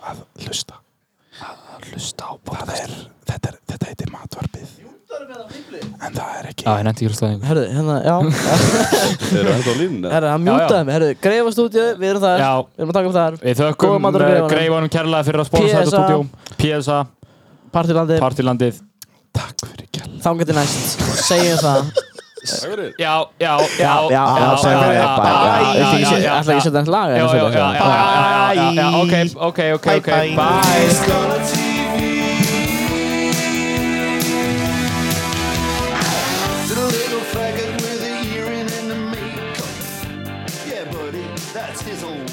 [SPEAKER 7] að hlusta Að hlusta á bóð er, þetta, er, þetta heitir matvarpið En það er ekki
[SPEAKER 9] Já, ég nefndi ekki hlustaði einhver
[SPEAKER 2] Herru, hérna, já
[SPEAKER 3] Eru þetta á línunni?
[SPEAKER 2] Herru, hann
[SPEAKER 1] Já,
[SPEAKER 2] mjútaði
[SPEAKER 1] já.
[SPEAKER 2] mig, herru, greifa stúdíu, við erum þar
[SPEAKER 1] Já,
[SPEAKER 2] Við erum að taka upp þar,
[SPEAKER 1] við
[SPEAKER 2] Góða
[SPEAKER 1] þökkum
[SPEAKER 2] matur á
[SPEAKER 1] eh,
[SPEAKER 2] Greifanum.
[SPEAKER 1] greifanum kærlega fyrir að sponsa
[SPEAKER 2] PSA.
[SPEAKER 1] þetta stúdjum PSA,
[SPEAKER 2] partylandi,
[SPEAKER 1] Partilandið
[SPEAKER 7] Takk fyrir kjall
[SPEAKER 2] þangat til næst Segjum það
[SPEAKER 3] Takk fyrir
[SPEAKER 1] Já, já, já
[SPEAKER 2] Já, já, já,
[SPEAKER 1] já,
[SPEAKER 2] segja
[SPEAKER 1] já,
[SPEAKER 2] það Bæ,
[SPEAKER 1] já, já,
[SPEAKER 2] já,
[SPEAKER 1] já, já,
[SPEAKER 2] já Ætla ekki að
[SPEAKER 1] já.
[SPEAKER 2] setja hans lag
[SPEAKER 1] Já,
[SPEAKER 2] eða
[SPEAKER 1] já,
[SPEAKER 2] setja
[SPEAKER 1] já,
[SPEAKER 2] hans
[SPEAKER 1] já,
[SPEAKER 2] lag?
[SPEAKER 1] já, já, já, ok, ok, ok, ok, bye
[SPEAKER 4] little faggot with a urine and a makeup. Yeah, buddy, that's his own